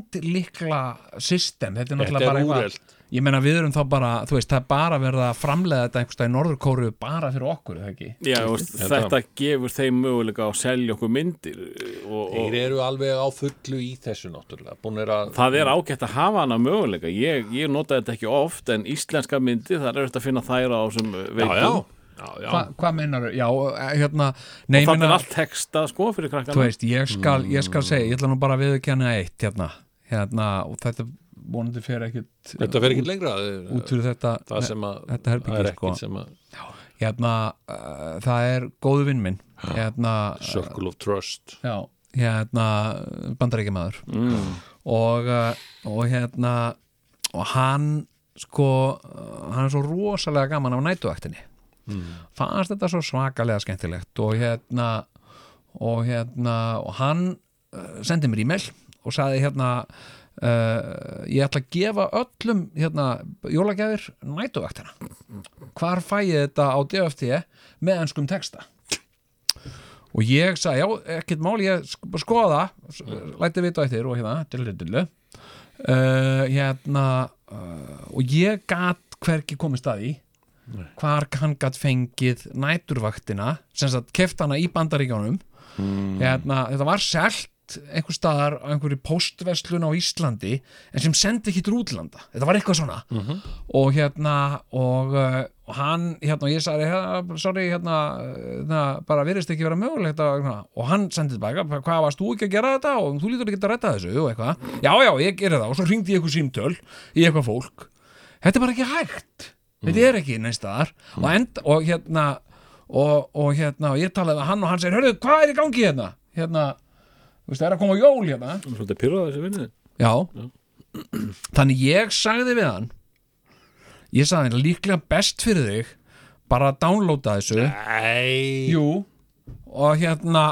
myndlikla system, þetta er náttúrulega Þetta er bara úrelt. Ég menna, við erum þá bara, þú veist, það er bara verið að framleiða þetta einhverstað í Norðurkóru bara fyrir okkur, er það ekki? Já, veist, Þetta- þetta gefur þeim möguleika að selja okkur myndir uh, og, og Þeir eru alveg á fullu í þessu náttúrulega, búin er að það er ágætt að hafa hana möguleika ég, ég nota þetta ekki oft en íslenska myndir þar er þetta að finna þær á uh, sem já, veitum já, og já, já. Hva, hvað meinar Já, eh, hérna, nei, ég það meina, er allt texta sko fyrir þú hérna. krakkana veist, ég skal, ég skal segja, ég ætla nú bara að viðurkenna eitt, hérna, hérna, og þetta vonandi fer ekkit þetta fer ekki lengra það er- út fyrir þetta, það sem að þetta það er herbyggi, ekki sko. sem að Hérna, uh, það er góðu vinn minn, hérna, Circle of Trust já, hérna, bandaríkjamaður. mm. og, uh, og hérna og hann sko, uh, hann er svo rosalega gaman af nætuaktinni mm. fannst þetta svo svakalega skemmtilegt og hérna og hérna og hann uh, sendi mér e-mail og sagði hérna uh, ég ætla að gefa öllum hérna jólagjafir nætuvaktina hvar fæ ég þetta á DFT með enskum texta og ég sagði já, ekkert mál ég sk- bara skoða, s- læti vita á eftir og hérna, dillu dillu uh, hérna uh, og ég gat hvergi komist að því hvar hann gat fengið næturvaktina sem sagt keft hana í bandaríkjánum hérna, þetta var selt einhver staðar á einhverju póstverslun á Íslandi en sem sendi ekki til útlanda þetta var eitthvað svona og hérna og, uh, og hann hérna og ég sagði "Hérna, sorry hérna, hérna bara virðist ekki vera mögulegt að, hérna. og hann sendi tilbaka hvað varst þú ekki að gera þetta og þú lítur ekki að retta þessu og eitthvað já já ég gerði það og svo hringdi ég eitthvað símtöl í eitthvað fólk þetta er bara ekki hægt þetta er ekki neins staðar og, end, og hérna og, og hérna og ég talaði við hann og hann segir hörðu hvað er í gangi hérna hérna þú veist það er að koma jól hérna Hún er svolítið pyrrað þessi vinnu já þannig ég sagði við hann ég sagði hann líklega best fyrir þig bara að downloada þessu Æ, jú og hérna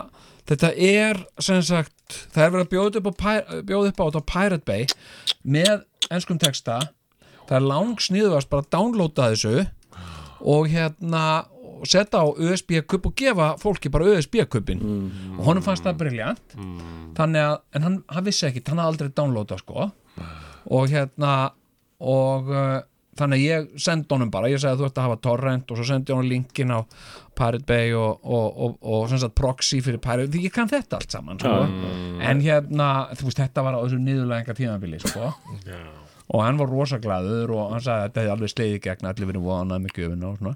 þetta er sem sagt það er verið að bjóða upp á, Pir- bjóða upp á, þetta á Pirate Bay með enskum texta það er langsniðvast bara að downloada þessu og hérna og setja á USB-kupp og gefa fólki bara USB-kuppin og honum fannst það briljant þannig að, en hann, hann vissi ekki hann hafði aldrei downloada sko og hérna og uh, þannig að ég sendi honum bara ég segi að þú ert að hafa torrent og svo sendi ég honum linkin á Pirate Bay og, og, og, og, sem sagt proxy fyrir Pirate Bay ég kann þetta allt saman sko. en hérna, þú veist, þetta var á þessu niðurlega tímabili sko og hann var rosa glaður og hann sagði að þetta hefði alveg slegið í gegn allir verið vonað með gjöfina og svona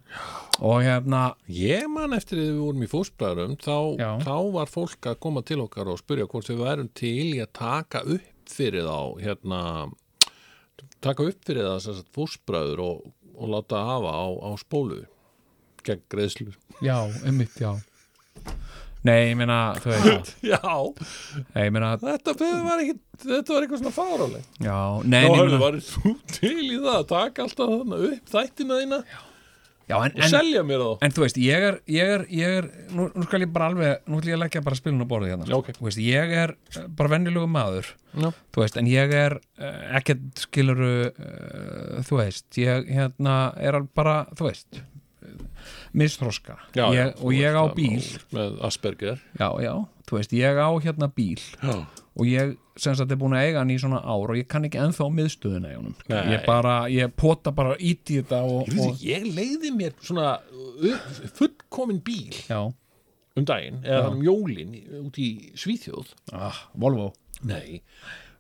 og hérna, Ég man eftir þegar við vorum í fósbræðurum Já. þá, þá var fólk að koma til okkar og spyrja hvort við værum til í að taka upp fyrir þá hérna, taka upp fyrir það sem sagt, fósbræður og, og láta hafa á, á spólu gegn greiðslu já, einmitt, já nei, ég meina, þú veist Já, nei, ég meina, þetta var, ekki, þetta var eitthvað svona fáráleg já, nei, Þá ég hefur meina værið þú til í það að taka alltaf þarna upp þættina þína já, en, og en, selja mér þá en þú veist, ég er, ég er, ég er nú, nú skal ég bara alveg, nú ætlum ég að leggja bara spilin á borðið hérna, Já, ok. þú veist, ég er eh, bara venjulegu maður Já. þú veist, en ég er eh, ekkert skiluru uh, þú veist, ég hérna er al- bara, þú veist misþroska Já, já, ég, þú og ég á veist, bíl Með Asperger já, já, þú veist, ég á hérna bíl Já, og ég sem sagt er búin að eiga hann í svona ár og ég kann ekki ennþá á miðstöðuna í honum Nei. ég bara, ég pota bara ít í þetta og, Ég, og veit, ég leiði mér svona uh, fullkomin bíl já, um daginn eða hann um jólin út í Svíþjóð ah, Volvo Nei,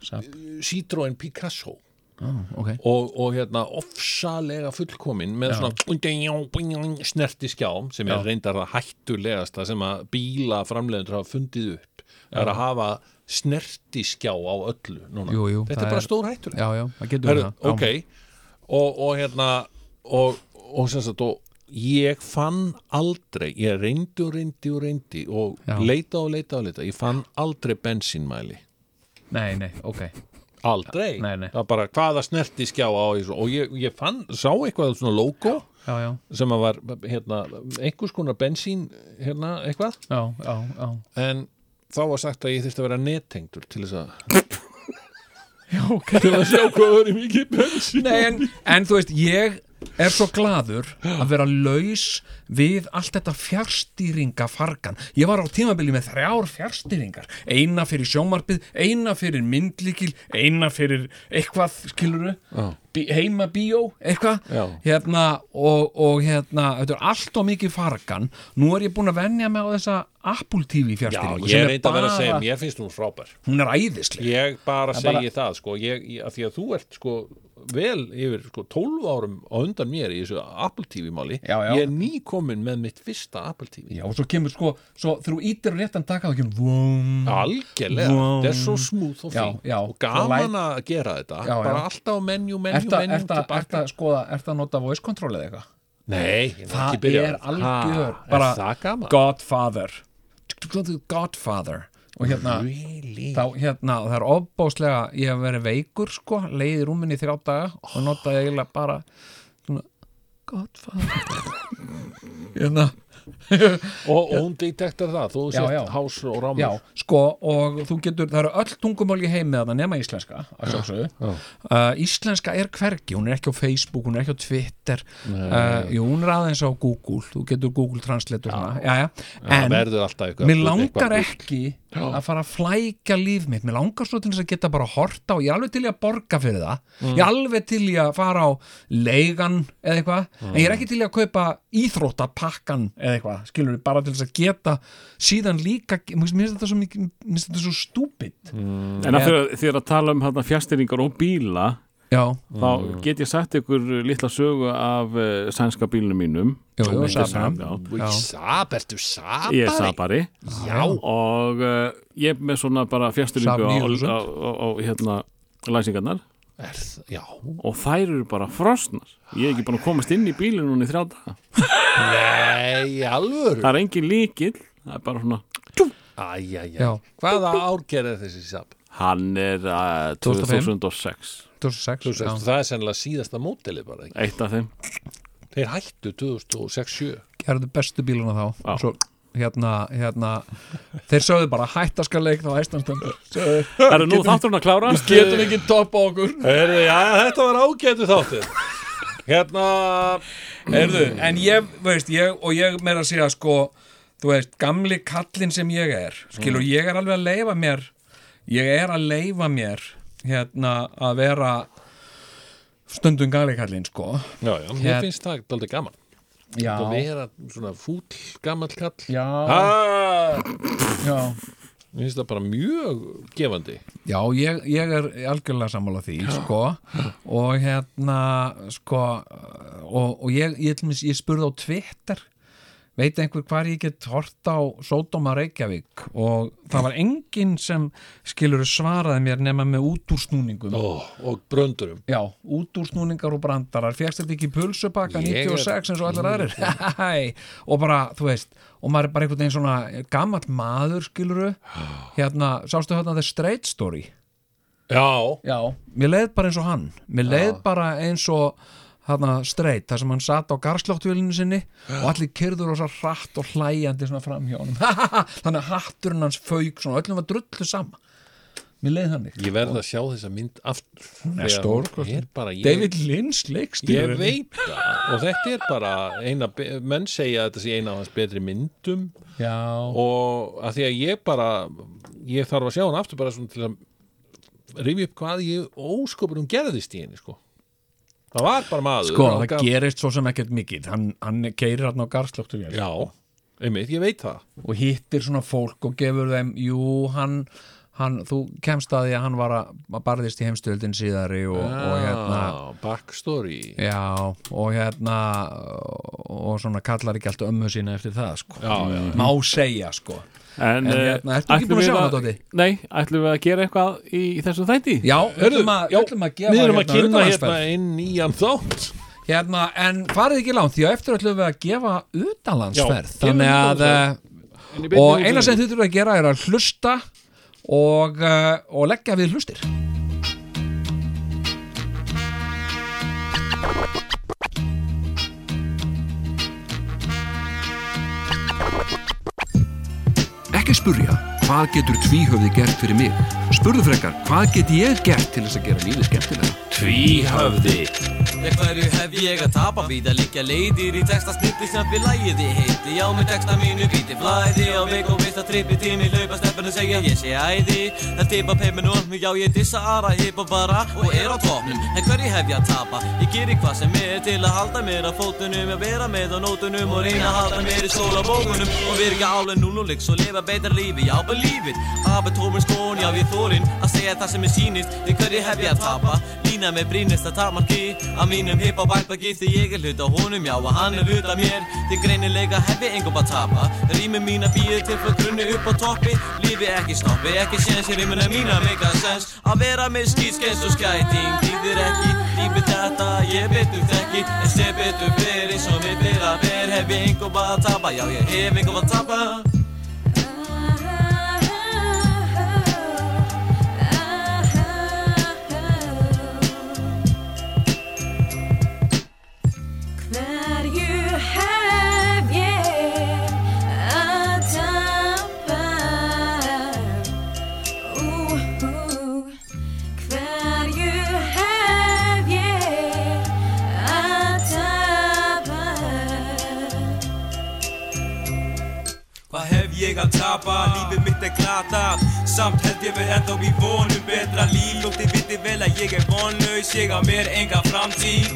Saab. Citroen Picasso ah, ok, og, og hérna ofsalega fullkomin með svona snerti skjám sem er Já. reyndar að hættulegasta sem að bíla framleiðendur hafa fundið upp er að hafa snerti skjá á öllu núna. Jú, jú, Þetta það er bara er- stór hættuleg já, já, það getur Herru, verið það ok og, og hérna og, og sem sagt og ég fann aldrei ég reyndi og reyndi og reyndi og Já. leita og leita og leita ég fann aldrei bensínmæli já, nei, nei, ok aldrei, Nei, nei. það var bara hvaða snerti skjá á þessu og ég, ég fann, sá eitthvað svona logo já, já, sem að var hérna, einhvers konar bensín hérna eitthvað já, já, já en þá var sagt að ég þyrfti að vera nettengdur til þess að Já, okay. til að sjá hvað það er mikið bensín Nei, en, en þú veist, ég er svo gladur að vera laus við allt þetta fjárstýringa fargan. Ég var á tímabili með þrjár fjárstýringar. Eina fyrir sjómarpið, eina fyrir myndlíkil, eina fyrir eitthvað, skiluru, bí, heima bíó, eitthvað. Já. Hérna, og, og hérna, þetta er allt og mikið fargan. Nú er ég búin að venja mig á þessa Apple TV Já, fjárstýringu. ég reyndi að vera að segja, ég finnst hún frábær Hún er æðisleg. Ég bara Það segi bara- það sko, ég, ég, að því að þú ert sko vel yfir sko 12 árum á undan mér í þessu Apple TV máli Já, já. ég er nýkomin með mitt fyrsta Apple TV Já, og svo kemur sko, svo þrjú ítir og réttan taka þá kemur vum, algjörlega, Mm. Vá. þetta er svo smooth og Já, fín já. og gaman að gera þetta Já, já. bara alltaf á menju, menju, Ertu menju tilbaka að skoða, ertu að nota voice control eða eitthvað? Nei, ég er Það ekki byrjað er algjör ha, bara- Er það gaman? Godfather Godfather og hérna, Really? þá, hérna og það er ofbáslega, ég hef verið veikur sko, leiði rúminni í þrjá daga og notaði eiginlega bara svona Godfather hérna og, og hún detektar það, þú Já, já. sért hás og rámur Já, sko, og þú getur, það eru öll tungumál í heimi að það nema íslenska, að sjálfsögðu. Uh, íslenska er hvergi, hún er ekki á Facebook, hún er ekki á Twitter, uh, jú, hún er aðeins á Google, þú getur Google Translate og svona, já, já, það en verður alltaf eitthvað mér langar eitthvað- ekki að fara að flækja líf mitt, mér langar svo til þess að geta bara að horta og ég er alveg til í að borga fyrir það, ég er alveg til í að fara á leigan eða eitthvað, en ég er ekki til í að kaupa íþróttapakkan eða eitthvað, skilur við, bara til þess að geta síðan líka, mér finnst þetta svo mikið, mér finnst þetta svo stúpid, Mm. En að þegar, þegar að tala um hérna, fjastýringar og bíla já, Mm. þá get ég sagt ykkur litla sögu af uh, sænska bílunum mínum Jú, jú, Meinti Sabra. Sam, já. já, Sab, ertu sabari? Ég er sabari Já, og uh, ég er með svona bara Saab fjastýringu á, 9000. á, á, á hérna, læsingarnar er, já og þær eru bara frosnar ég er ekki búin að komast inn í bílinn núna í þrjá daga Nei, í alvöru það er engin líkil, það er bara svona Æjæjæ, Já. hvaða ár gerir þessi Sab? hann er uh, 2005. 2006 Þú 2006, veist, já, það er sennilega síðasta móteli bara ekki? eitt af þeim Þeir hættu 2006-7 gerðu bestu bíluna þá, Já. svo, hérna, hérna, þeir sögðu bara hættaskaleik þá æstanstum, það eru nú þáttur hann að klárast getum ekki topp á okkur. Herðu, já, þetta var ágætu þáttir Hérna Erðu, en ég, veist, ég, og ég meira að segja sko, þú veist, gamli kallinn sem ég er, skilur, ég er alveg að leifa mér, ég er að leifa mér, hérna, að vera stundum gamli kallinn, sko. Já, já, mér Hér- finnst það aldrei gaman Já, að vera svona fúll, gamall kall já, Ah, já. Mér finnst það bara mjög gefandi Já, ég, ég er algjörlega sammála því, sko, og hérna, sko, og, og ég, ég, ég, ég spurði á Twitter, veit einhver hvar ég get hort á Sódóma Reykjavík og það var enginn sem skilur svaraði mér nema með útúrsnúningum. Ó, og bröndurum Já, útúrsnúningar og brandarar, fjækst þetta ekki í pulsupakka Ég er- 96 eins og allir aðrir, hæ, og bara, þú veist, og maður er bara einhvern veginn svona gamall maður, skiluru, hérna, sástu hérna The Straight Story? Já, Já. Mér leið bara eins og hann Mér leið bara eins og hana, streit, þar sem hann satt á garsláttvélinu sinni og allir kyrður og svo hratt og hlæjandi svona fram hjá honum þannig að hatturinn hans fauk svona, öllum var drullu sama Mér leið þannig ég verð að sjá þessa mynd aftur Hún er stórkostleg. Ég er sko. bara, ég David Lynch leikst Ég veit það og þetta er bara eina, be- menn segja að þetta sé eina af hans betri myndum Já, og að því að ég bara ég þarf að sjá hann aftur bara svona til að rifja upp hvað ég óskopur um gerðist í henni sko það var bara maður sko, og það gaf- gerist svo sem ekkert mikið hann, hann keirir hann á garsláttvélinu já, einmitt, ég veit það og hittir svona fólk og gefur þeim jú, hann, hann þú kemst að því að hann var að, að barðist í heimstöldin síðari og, og hérna ah, backstory Já, og hérna og svona kallar ekki allt ömmu sína eftir það, sko Já, já. má segja, sko en, En eh, hérna, ertu ekki ætlum búin að við sjá hana, Doddi? nei, ætlum við að gera eitthvað í, í þessu þætti Já, öllum að, já, öllum að gefa við erum að kynna hérna utanlandsferð. inn nýjan þátt hérna, en farið ekki langt því að eftir ætlum við að gefa utanlandsferð Já, þannig gefum að, eh, og um eina sem þið þurfum að gera er að hlusta og, eh, og leggja við hlustir Ekki spurja, hvað getur tvíhöfði gert fyrir mig? Spurðu frekar, hvað get ég gert til þess að gera lífið skemmtilega? Hverju hef ég að tapa víða líkja leiðir í texta snilli sem fyrir lægiði heiti Já, með texta mínu víti flæði á mig og vist að trippi tími laupa stefnum segja ég sé æði Það tipa peiminum, já ég dissa aðra hipa bara og er á topnum En hverju hef ég að tapa? Ég geri hvað sem er til að halda mér á fótunum Ég vera með á nótunum og reyna að halda mér í skólabókunum Og virka álega núnulegs og lifa betra lífi, já believe it Abba tómur skón, já ég þórin að segja það sem er sýnist Því hverju hef ég að tapa? Lína með brínasta tarmarki Að mínum hip á bælbaki Því ég er hluta honum, já og hann er hluta mér Því greinilega hef ég engum að tapa Rými mína býðu til frá grunni upp á toppi Lífi ekki stoppi, ekki séns Í rýmuna mína meika sens Að vera með skýtskens og skæting Þýðir ekki, lífi þetta Ég betur þekki, en sé betur fyrir Svo mér byrja ver, hef ég engum að tapa Já, ég hef engum að tapa Hverju ég að tapa Lífið mitt er glatað Samt held ég við ennþá í vonum betra líf Lótti viti vel að ég er vonlaus Ég á mér enga framtíð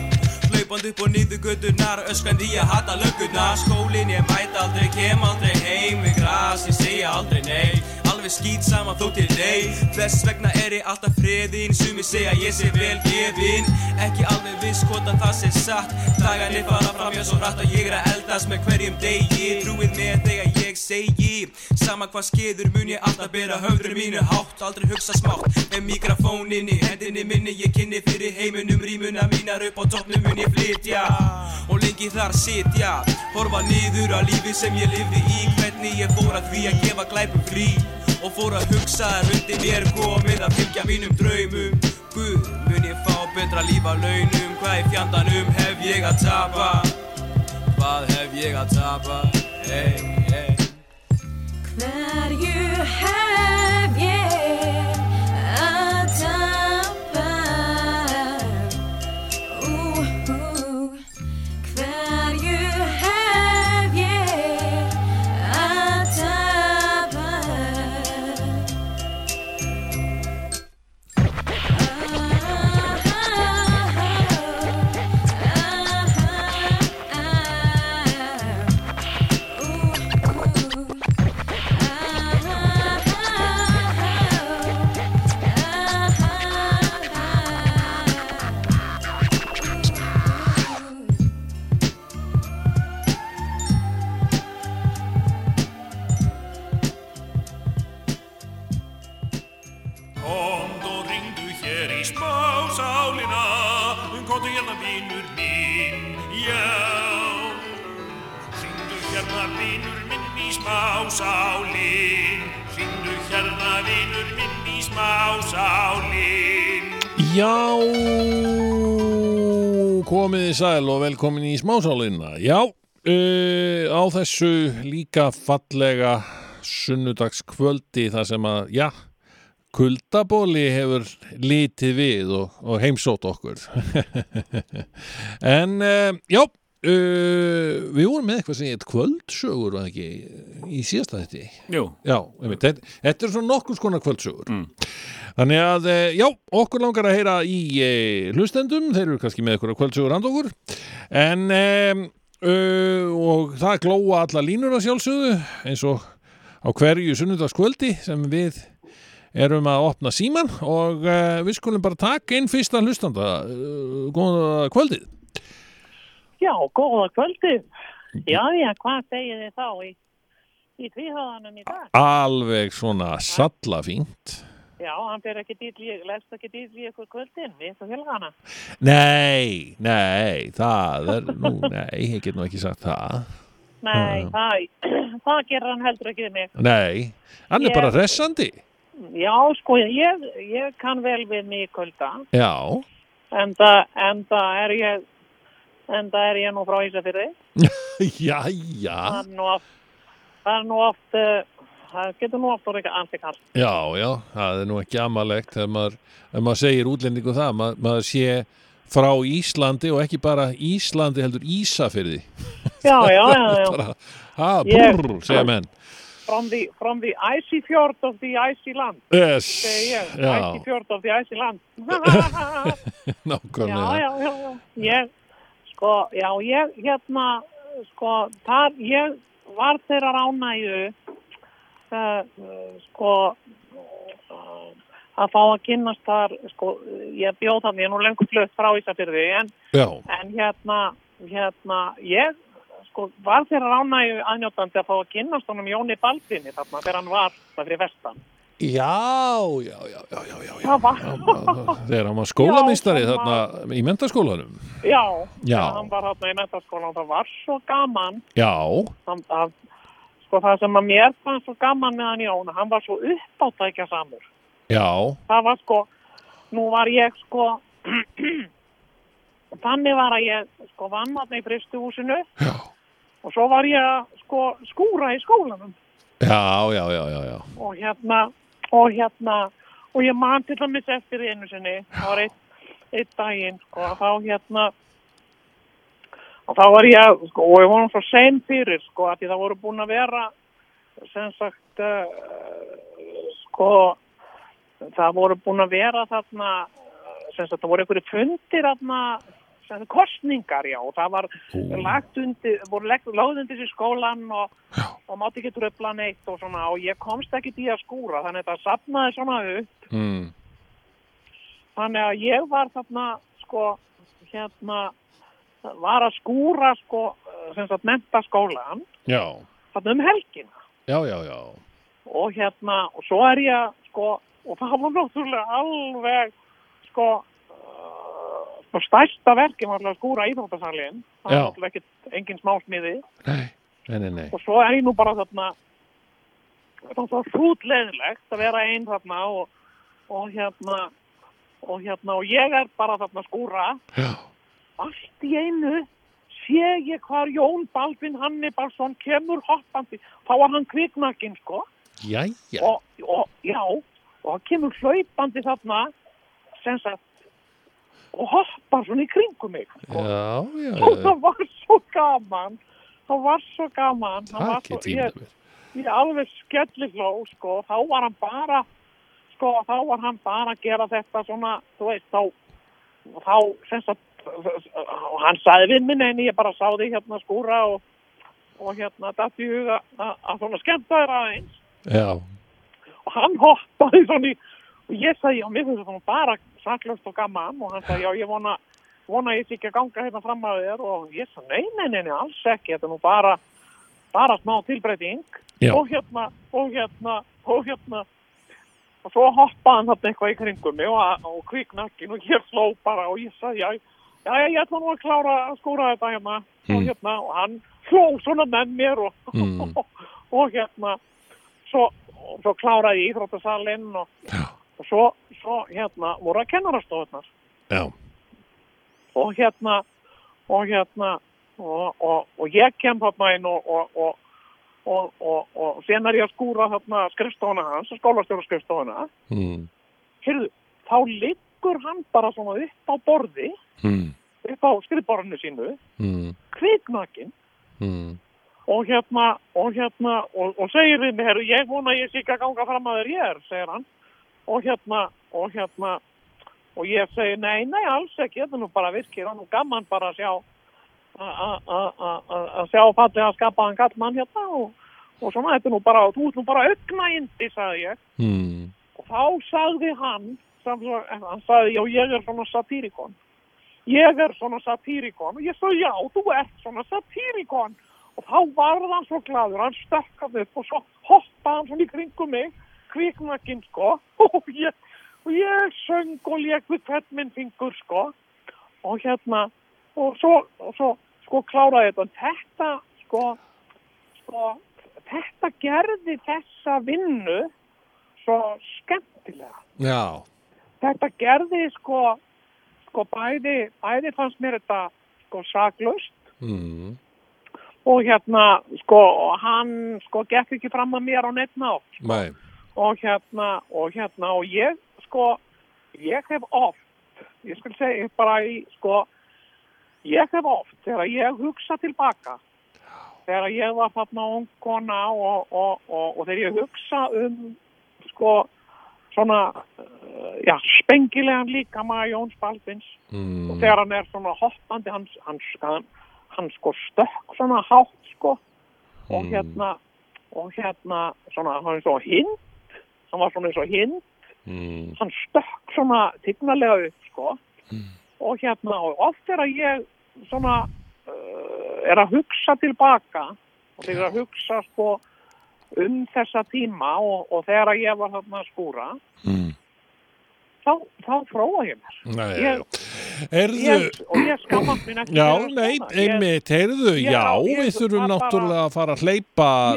Hlaupand upp og niður gödurnar Öskrandi ég hata löggurnar Skólin ég mæt aldrei, kem aldrei heim Við gras, ég segja aldrei nei Alveg skýt saman þó til deg Þess vegna er ég alltaf friðin Sumi segja ég sé vel gefin Ekki alveg viss hvort að það sé satt Dagarnir fara fram hjá svo hratt Og ég er að eldast með hverjum degi Trúið með þegar ég segi Sama hvað skeður mun ég alltaf bera höfður mínu hátt Aldrei hugsa smátt Með mikrofóninni, hendinni minni Ég kynni fyrir heiminum Rímuna mínar upp á toppnum mun ég flytja Og lengi þar sitja Horfa niður á lífi sem ég lifði í Hvernig ég fór að því að gefa glæpum frí og fór að hugsa að hundi mér komið að fylgja mínum draumum Guð, mun ég fá betra líf að launum Hvað í fjandanum hef ég að tapa? Hvað hef ég að tapa? Hey, hey Hverju hef ég að tapa? Ú, ú. Hverju hef ég að tapa? Ú, ú. Ah, oh. Ah, Komd og ringdu hér í spásálina Komdu hérna vinur minn, já Ringdu hérna vinur minn í spásálin Ringdu hérna vinur minn í spásálin Já, komið í sæl og velkomin í smásálinna. Já, uh, á þessu líka fallega sunnudagskvöldi þar sem að, já, kuldabóli hefur litið við og, og heimsótt okkur. en, uh, já, uh, við vorum með eitthvað sem ég heit kvöldsögur, var það ekki, í síðasta þetta Jú, Já, einmitt, þetta, þetta er svona nokkur skona kvöldsögur Þannig að, eh, já, okkur langar að heyra í e, hlustendum, þeir eru kannski með eitthvað kvöldsögur and okkur En, e, uh, og það glóa alla línur að sjálfsögðu eins og á hverju sunnudagskvöldi sem við erum að opna síman og uh, við skulum bara taka inn fyrsta hlustanda uh, góða kvöldið Já, góða kvöldið. Já, já, hvað segir þið þá í, í tvíhöðanum í dag? Alveg svona sallafínt Já, hann fer ekki dýrl í, leggst ekki dýrl í ykkur kvöldin, við og fjölgana. Nei, nei, það er, nú, nei, ég get nú ekki sagt það. Nei, það, það gerir hann heldur ekki við mig. Nei, hann er Ég- bara hressandi. Já, sko, ég, ég kann vel við mig í kvölda, Já, en það, en það er ég, en það er ég nú frá Ísafyrði. já, já, Það er nú oft, það er nú oft, uh, það getur nú oft orðið ekki ansikall. já, já, það er nú ekki amalegt þegar maður, ef maður segir útlendingu það, maður, maður sé frá Íslandi og ekki bara Íslandi heldur Ísafyrði. Já, já, já, já. Bara, ha, Ég- brr, segja menn. From the, from the icy fjord of the icy land. Yes, segi ég, já, ætti fjórd af því ætti land. já, nákvæmlega. já, já, já, ég, sko, já, ég, hérna, sko, þar, ég var þeirra ránægju, uh, uh, sko, uh, að fá að kynnast þar, sko, ég bjóð þannig, ég er nú lengur flutt frá Ísafjörði, en, Já, en hérna, hérna, ég, sko, var þeirra ránægju aðnjóttandi að fá að kynnast honum Jóni Baldvinni þarna, þegar hann var, það fyrir vestan. já, já, já, já, já, já. Það var, Þegar hann var skólamistari þarna í mentaskólanum. Já, Já. þegar hann var hérna í mentaskóla og það var svo gaman Já, hann, að, sko það sem að mér fannst svo gaman með hann Jón, hann var svo uppáttækja samur já, það var sko, nú var ég sko þannig var að ég sko vann hann í fristuhúsinu já, og svo var ég að sko skúra í skólanum já, já, já, já, já. og hérna og hérna og ég man til dæmis eftir einu sinni það var eitt, eitt daginn sko að þá hérna og þá var ég sko og ég vorum svo sein fyrir sko að því það voru búin að vera sem sagt uh, sko það voru búin að vera þarna sem sagt það voru einhverju fundir þarna sem sagt, kostningar já og það var lagt undir voru lagt, lagð undir sér skólan og, og mátti ekki tröfla neitt og svona og ég komst ekki í að skúra þannig að það sapnaði svona upp mm. þannig að ég var þarna sko hérna var að skúra sko sem sagt menta skólan Já, þarna um helgina já, já, já og hérna, og svo er ég sko, og það var náttúrulega alveg sko uh, sko stærsta verki var alveg að skúra íþróttasalinn Já. það var náttúrulega ekkit engin smásmiði Nei, nei, nei, nei. og svo er ég nú bara þarna það var hrútleðilegt að vera einn þarna og, og hérna og hérna, og ég er bara þarna að skúra Já, allt í einu sé ég hvar Jón Baldvin Hannibalsson kemur hoppandi þá var hann kviknakinn sko jæja og, og já, og hann kemur hlaupandi þarna sem sagt og hoppar svona í kringum mig sko. Já, já, og já það var svo gaman það var svo gaman Það var Takk svo, ég ég, tímaður ég alveg skellifló sko, þá var hann bara sko, þá var hann bara að gera þetta svona, þú veist, þá þá sem sagt og hann sagði við minni en ég bara sá því hérna skúra og, og hérna datt í huga að, að svona skemmta þér aðeins Já, og hann hoppaði svona í og ég sagði, já, mér finnst það bara saklust og gaman og hann sagði, já, ég vona vona ég sé ekki að ganga hérna fram að þér og ég sagði, nei, nei, nei, nei, alls ekki þetta er nú bara, bara smá tilbreyting Já. og hérna og hérna, og hérna og svo hoppaði hann þarna eitthvað í kringum mig og, og kviknakkin og ég sló bara og ég sagði, já, já, já, ég ætla nú að klára að skóra þetta hérna og hérna, og hann hló svona með mér og, Mm. og, hérna svo, og svo kláraði ég íþróttasalinn og, Já. og svo, svo hérna voru að kennarastofunar já, og hérna og hérna og, og, og ég kem þarna inn og, og, og og, og, og sen er ég að skúra þarna skrifstofuna hans, skólastjóra skrifstofuna mm. heyrðu, þá liggur hann bara svona upp á borði Mm. upp á skrifborðinu sínu Mm. kviknakin Mm. og hérna, og hérna, og, og segir við mig, herru, ég vona ég sé ekki að ganga fram að þér ég er, segir hann, og hérna, og hérna, og ég segi, nei, nei, alls ekki, þetta er nú bara virkir, og nú gaman bara að sjá, a- a- a- a- a- að sjá fallið að skapa hann kallmann hérna, og, og svona, þetta er nú bara, þú ert nú bara augnægindi, sagði ég, Mm. og þá sagði hann, sem, svo- hann sagði, já, ég er svona satírikon, ég er svona satírikon, og ég sagði, já, þú ert svona satírikon, og þá varð hann svo gladur, hann stökkað upp og svo hoppaði hann svona í kringum mig, kviknakinn sko, og ég, og ég söng og lék við hvert minn fingur sko, og hérna, og svo, og svo sko kláraði þetta, en þetta sko, sko, þetta gerði þessa vinnu svo skemmtilega Já, þetta gerði sko, sko bæði, bæði fannst mér þetta sko saklaust mm. og hérna sko og hann sko gekk ekki fram að mér á neitt nátt Nei. og hérna og hérna og ég sko ég hef oft ég skal segja bara í sko ég hef oft þegar ég hugsa tilbaka þegar ég var þarna ung kona og, og, og, og þegar ég hugsa um sko svona uh, já, spengilegan líkama Jóns Baldvins og Mm. þegar hann er svona hoppandi hann, hann, hann, hann sko stökk svona hátt sko og hérna og hérna svona hann er svo hinn hann var svona eins og hinn Mm. hann stökk svona tignalega upp sko og hérna og oft er að ég svona uh, er að hugsa tilbaka og þegar að hugsa sko um þessa tíma og, og þegar að ég var þarna að skúra Mm. þá, þá fróa ég mér Nei, Ég- Heyrðu, ég, og ég skammast mín ekki já, fyrir að nei, svona. Ég- einmitt, heyrðu, ég- já, ég- við þurfum það bara- náttúrulega að fara að hleypa Ég hérna. þróa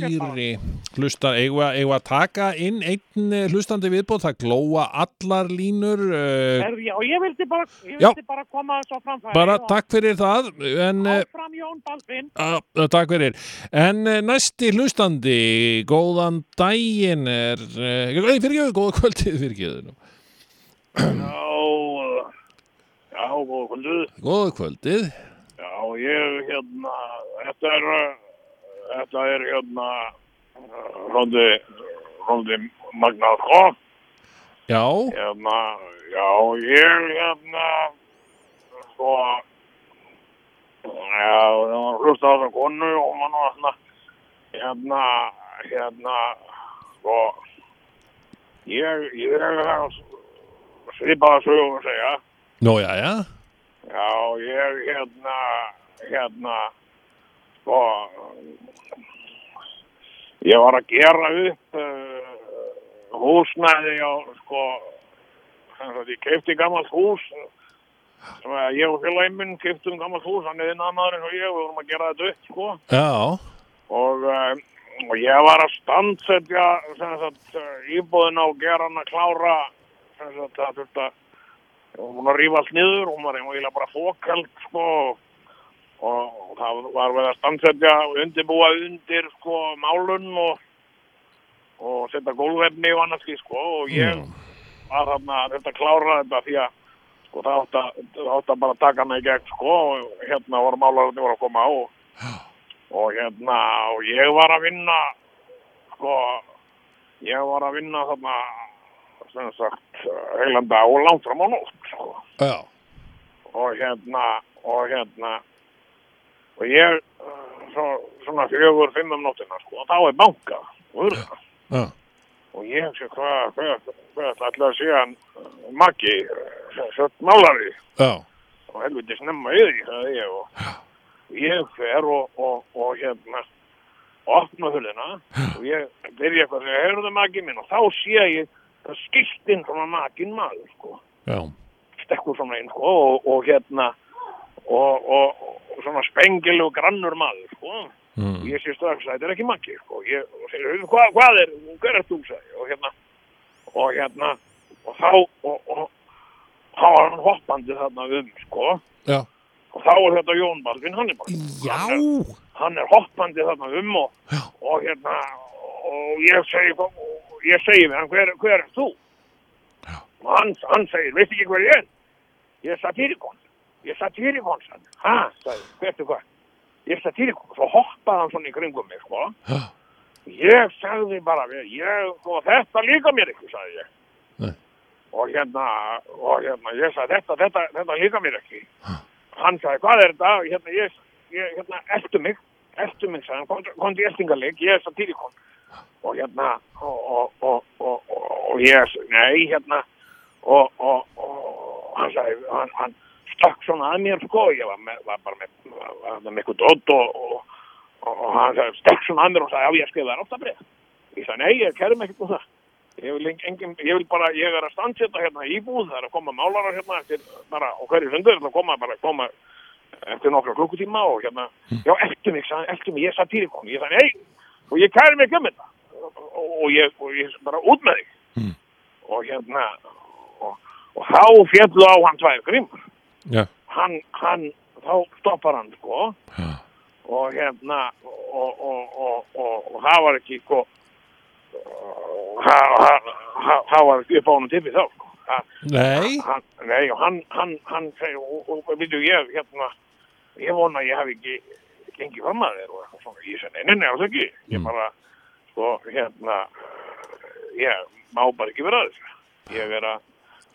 mér bara. fleiri hlustar, eigum við- eigum við að taka inn einn eh, hlustandi viðbóð, það glóa allar línur, uh, Herðu, Já, ég vildi bara, ég Já. vildi bara koma þessu á framfæri. bara og takk fyrir það, en... eh, Áfram Jón Baldvin. Já, já, takk fyrir. En eh, næsti hlustandi, góðan daginn er... eh, Nei, fyrirgeðu, góða kvöldið, fyrirgeðu. nú. Já, já, góða kvöldið. Góða kvöldið. Já, ég, hérna, þetta er, uh, þetta er, hérna, Róði, Róði Magnað Kokk, Já, hérna, já, ég, hérna, sko, já, það var hlusta á þessa konu og mann og hérna, hérna, hérna, sko, ég, ég er að svipaða sögum að segja, nú já, já já, ég, hérna, hérna, sko, ég var að gera upp uh, húsnæði á, sko, sem sagt, ég keipti gammalt hús, sem að ég og félaginn minn keiptum gammalt hús, hann er innanmaður eins og ég, við vorum að gera þetta upp, sko, Já, og, uh, og ég var að standsetja, sem sagt, eh, íbúðina og gera hann að klára, sem sagt, það þurfti að, ég var búin að rífa allt niður, hún var eiginlega bara fókald, sko, og, og það var verið að standsetja og undirbúa undir, sko, málun og, og setja gólvefni og annars, því, sko, og ég, var þarna að reynda að klára þetta því að sko, það átti að, það átti að bara taka hana í gegn sko, og hérna voru málararnir voru að koma á og, og hérna og ég var að vinna sko ég var að vinna þarna sem sagt heilanda og langt fram á nótt sko já, og hérna og hérna og ég uh, svo, svona fjögur, fimm um nóttina sko og þá er banka og urða já og ég hugsa hvað hva, hva ætla að sé hann Maggi, sött málari Já, og helviti snemma í því sagði ég og ég fer og, og, og hérna opna hulina og ég byrja eitthvað þegar heyrðu Maggi minn og þá sé ég það skiltinn svona Maggin maður sko já, stekkur svona inn sko og, og hérna og, og, og svona spengil og grannur maður sko Mm. ég sé strax að þetta er ekki makki sko ég, og þeir eru hva, hvað er, hver er þú sagði ég, og hérna og hérna og þá og, og, þá var hann hoppandi þarna um sko já og þá er þetta Jón Baldvin Hannibal hann er, Já, hann er hoppandi þarna um og, og hérna og ég segi og ég segi við hann hver, hver er þú og hann, hann segir, veistu ekki hver ég er? Ég er satirikon. Ég er satirikon, sann. Ha, sagði, veistu hvað? Ég er satirikon. Svo hoppaði hann svona í kringum mig, sko. Já. Ég sagði bara, við, ég, og þetta líka mér ekki, sagði ég. Nei. Og hérna, og hérna, ég sagði, þetta, þetta, þetta líka mér ekki. Hann sagði, hvað er þetta? Og Hérna, ég, ég hérna, eldu mig, eldu mig, sagði hann, kom, kom til eltingarleik, ég er satirikon. Og hérna, og, og, og, og, og, og ég, nei, hérna, og, og, og hann sagði, hann, hann stakk svona að mér sko, ég var, með, var bara með, var, var með miklu dótt og, og, og, og hann sagði, stakk svona að mér og sagði, já ég skrifaði rátt að breyð. Ég sagði, nei, ég kærum ekkert um það. Ég vil, eng- engin, ég vil bara, ég er að standsetta hérna íbúð, það er að koma málarar hérna eftir, bara, og hverju sundur er að koma, bara koma eftir nokkra klukkutíma og hérna, já, eftir mig, sagði, eftir mig, ég sagði týrikon, ég sagði, nei, og ég kærum ekki um þetta. Og, og, og, ég, og ég bara út með þig. Og hérna, og, og þá fjallu á hann tvær grímur Já. hann, hann, þá stoppar hann sko og hérna og, og, og, og, og það var ekki sko og það- það- það- það var ekki upp á hann tippi þá sko Það- Nei, hann, nei, og hann, hann, hann segir, og, og, og veitu, ég, hérna, ég vona að ég hef ekki gengið fram að þér og eitthvað svona, ég segi, nei, nei, nei, alls ekki, ég bara, sko, hérna, ég má bara ekki vera að þessu, ég er að,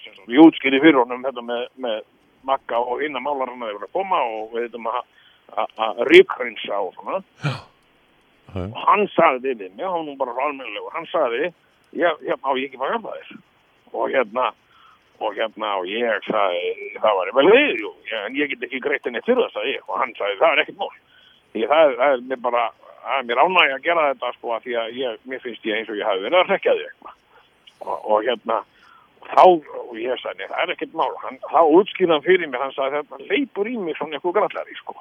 sem sagt, ég útskýri fyrir honum þetta með, með makka og innan málar hann að þeir voru að koma og við þetta maður að ríkrinsa og svona, og hann sagði við mig, hann var bara almennilegur, hann sagði, ég, ég má ég ekki bara hjálpa þér, og hérna, og hérna og ég sagði það var vel við, jú, ég- en ég get ekki greitt henni fyrir það, sagði ég, og hann sagði það er ekkert mál því það, er- það er mér bara það er mér ánæg að gera þetta sko af því að ég, mér finnst ég eins og ég hafi verið að rekja því eitthvað og, og hérna og þá, og ég sagði, nei, það er ekkert mál hann, þá útskýrði hann fyrir mér, hann sagði þetta leipur í mig svona eitthvað grallari sko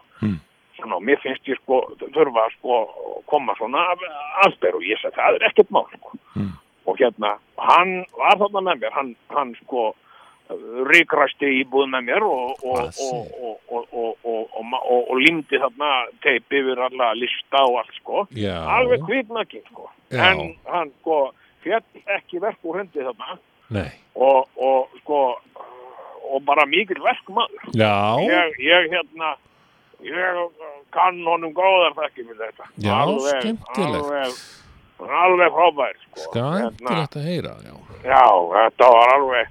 svona, og mér finnst ég sko þurfa sko koma svona aðsperr og ég sagði, það er ekkert mál sko og hérna, hann var þarna með mér, hann, hann sko ríkrasti íbúð með mér og, og, og, og, og, og, og, og, ma- og, og límdi þarna teipi yfir alla lista og allt sko Já. alveg hvitnaki sko Já. en hann sko fjall ekki verk úr hendi þarna nei og, og sko og bara mikill verkmaður Já, ég, ég hérna ég kann honum góðar þekki fyrir þetta Já, skemmtilegt. alveg, Hún er alveg frábær, sko. Hérna, Skandilegt að heyra, já. Já, þetta var alveg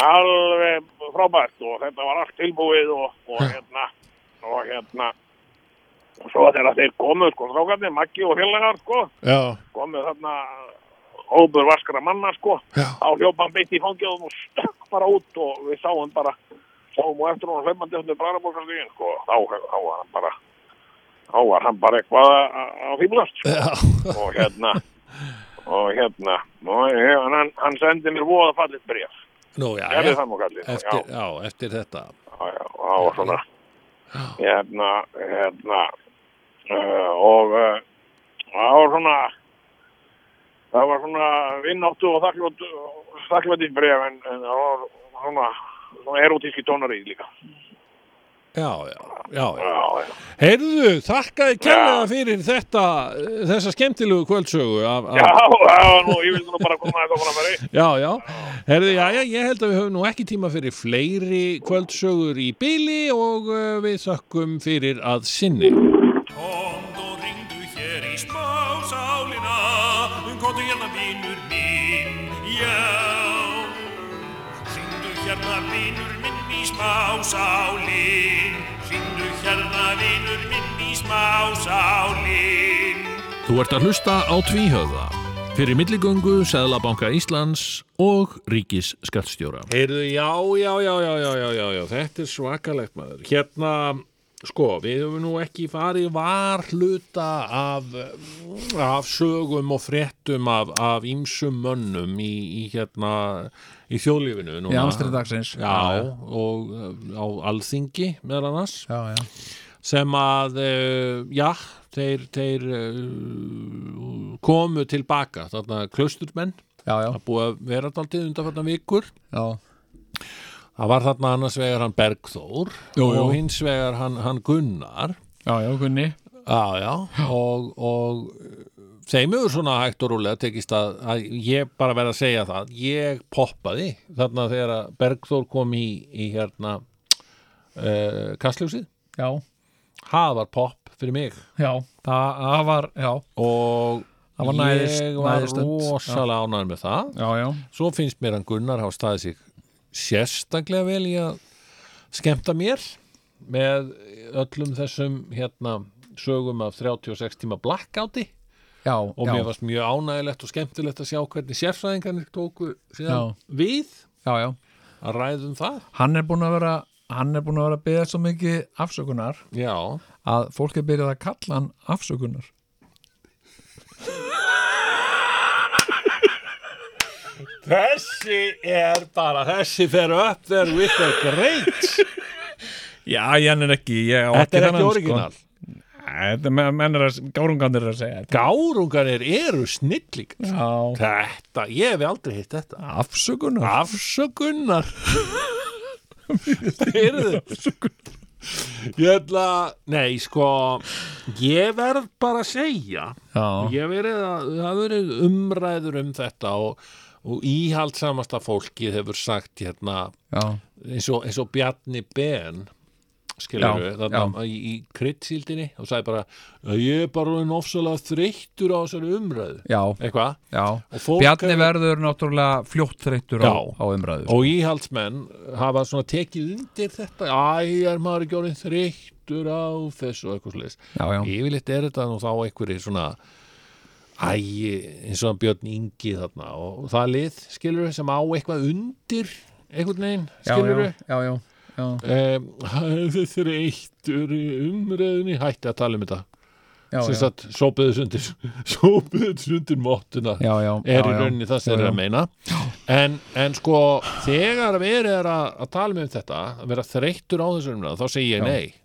alveg frábært og þetta var allt tilbúið og, og hérna og hérna og svo þegar þeir komu sko strákarnir, Maggi og félagar sko Já, komu þarna óbur vaskra manna sko Já. á hljópan beitt í fangjóðum og stökk bara út og við sáum bara sáum og eftir hún hlaupandi eftir Brarabókarstíðin sko þá, þá var hann bara þá var hann bara eitthvað að- að að fýblast sko já, og hérna og hérna og ég- hann, hann- hann sendi mér voða fallit bréf nú, já, gerði já. það nú kallið já, Eftir, já, eftir þetta. já, já, og það var svona hérna, hérna uh, og uh, það var svona það var svona vinnáttu og þakklætt þakklætti bréf en, en það var svona, svona erotíski tónari líka Já, já, já, já. já, já, Heyrðu, þakkaði kærlega Já. fyrir þetta, eh, þessa skemmtilegu kvöldsögu. Af, já, af, það var nú, ég vildi nú bara koma þetta fram að því já, já. Heyrðu, já, já, ég held að við höfum nú ekki tíma fyrir fleiri kvöldsögur í byli og uh, við þökkum fyrir að sinni. Komd og ringdu hér í smásálina Komdu hérna vinur minn, já Ringdu hérna vinur minn í smásálin Ringdu hérna vinur minn í smásálin Þú ert að hlusta á tvíhöða fyrir milligöngu Seðlabanka Íslands og Ríkis skattstjóra. Heyrðu, já, já, já, já, já, já, já, já, þetta er svakalegt maður. Hérna, sko, við höfum nú ekki farið var hluta af, eh, af sögum og fréttum af, af ýmsum mönnum í, í hérna, í þjóðlífinu. núna. Í amstri dagsins. Já, og eh, á Alþingi meðal annars Já, já. sem að, eh, já, þeir, þeir eh, komu tilbaka, þarna klausturmenn, Já, já. það er búið að vera daldið undanfarnar vikur Já, Það var þarna annars vegar hann Bergþór Jú, jú. og hins vegar hann, hann Gunnar já, já, Gunni. Já, já, og, og uh, þeim hefur svona hægt og rúlega tekist að, að ég bara verð að segja það ég poppaði þarna þegar að Bergþór kom í, í hérna uh, kastljósið Já, það var popp fyrir mig já. Það, það var, já. og Það var næðist- ég var næðist öll. rosalega ánægð með það Já, já. svo finnst mér hann Gunnar hafa staðið sig sérstaklega vel í að skemmta mér með öllum þessum hérna sögum af 36 tíma blackouti Já, og já. mér varst mjög ánægilegt og skemmtilegt að sjá hvernig sérfræðingarnir tóku síðan við Já, já. að ræðum það Hann er búin að vera, hann er búin að vera að beða svo mikið afsökunar já, að fólk er byrjað að kalla hann afsökunar. þessi er bara þessi fer upp there with a great Já, ég hann er ekki, sko. ég á þetta er ekki orginal Þetta er mennir að, gárungandir að segja. gárungarnir eru snillíkar Já. þetta, ég hef aldrei hitt þetta Afsökunar? Afsökunnar Heyrðu Ég ætla Nei, sko Ég verð bara að segja Já. Ég hef verið að Það hafa verið umræður um þetta og, og íhaldsamasta fólkið hefur sagt hérna Já, eins og, eins og Bjarni Ben skilur Já, við, þarna í, í kryddsíldinni og sagði bara "Að ég er bara orðinn ofsalega þreyttur á þessari umræðu já, eitthvað já. Og fólk Bjarni hefur- verður náttúrulega fljótt þreyttur á, Já. á umræðu. Og íhaldsmenn hafa svona tekið undir þetta Æ, er maður ekki orðin þreyttur á þessu og eitthvað sliðis Já, já. Yfirleitt er þetta nú þá einhverjir svona Æ, eins og hann Björn Ingi þarna og það lið, skilur sem á eitthvað undir einhvern veginn, skilur já, já, já, já, um, Þreyttur í umræðunni hætti að tala um þetta já, sem já, sagt, sópiðu sundir sópiðu sundir móttuna já, já, er já, í já. rauninni það sem Já, þeir eru já. að meina en, en sko þegar verið er að, að tala með um þetta að vera þreyttur á þessu umræðu þá segi ég nei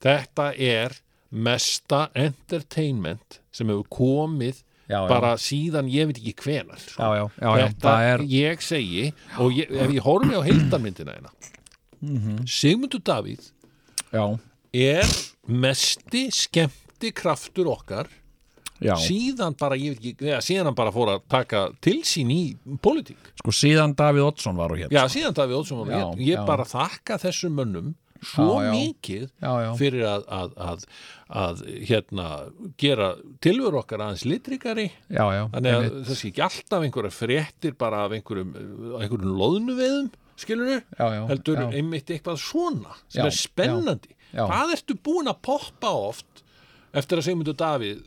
þetta er mesta entertainment sem hefur komið Já, já. bara síðan ég veit ekki hvenar sko. Já, já, já, já, þetta það er ég segi og ég, ef ég horfi á heildarmyndina hérna Mhm. Sigmundur Davíð Já, er mesti skemmti kraftur okkar já, síðan bara, ég veit ekki, eða, síðan hann bara fór að taka til sín í pólitík sko síðan Davíð Oddsson var og hér Já, síðan Davíð Ótsson var Já, ég, ég já. bara þakka þessum mönnum svo Já, já. mikið Já, já. fyrir að, að, að, að hérna, gera tilveru okkar aðeins litrikari já, já, þannig að einmitt. það sé ekki alltaf einhverja fréttir bara af einhverjum, af einhverjum loðnuveðum skilur Já, já, heldur já. einmitt eitthvað svona sem Já, er spennandi já, já. hvað ertu búin að poppa oft eftir að Sigmundur Davíð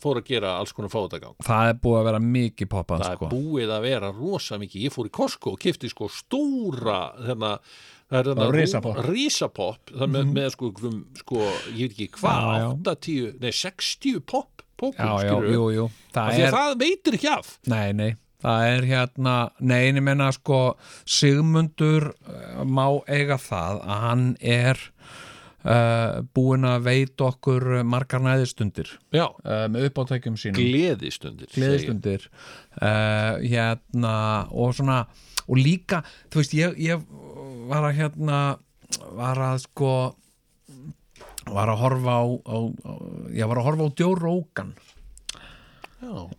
fór að gera alls konar fátagang það er búið að vera mikið poppað það sko. er búið að vera rosa mikið ég fór í Costco og kifti sko stóra þarna, það er þarna Já, risapopp. rú- risapopp, það með, með sko, einhverjum, sko ég veit ekki hvað, Mhm. Já, já. 80 nei 60 popp já, poppum já, skilur jú, jú af það er, því að það veitir ekki af nei, nei það er hérna, nei, ég menna sko Sigmundur uh, má eiga það að hann er uh, búin að veita okkur uh, margar næðistundir já, uh, með uppátækjum sínum gleðistundir segi ég. gleðistundir uh, hérna og svona og líka, þú veist, ég, ég var að hérna var að sko var að horfa á, á, á ég var að horfa á Joe Rogan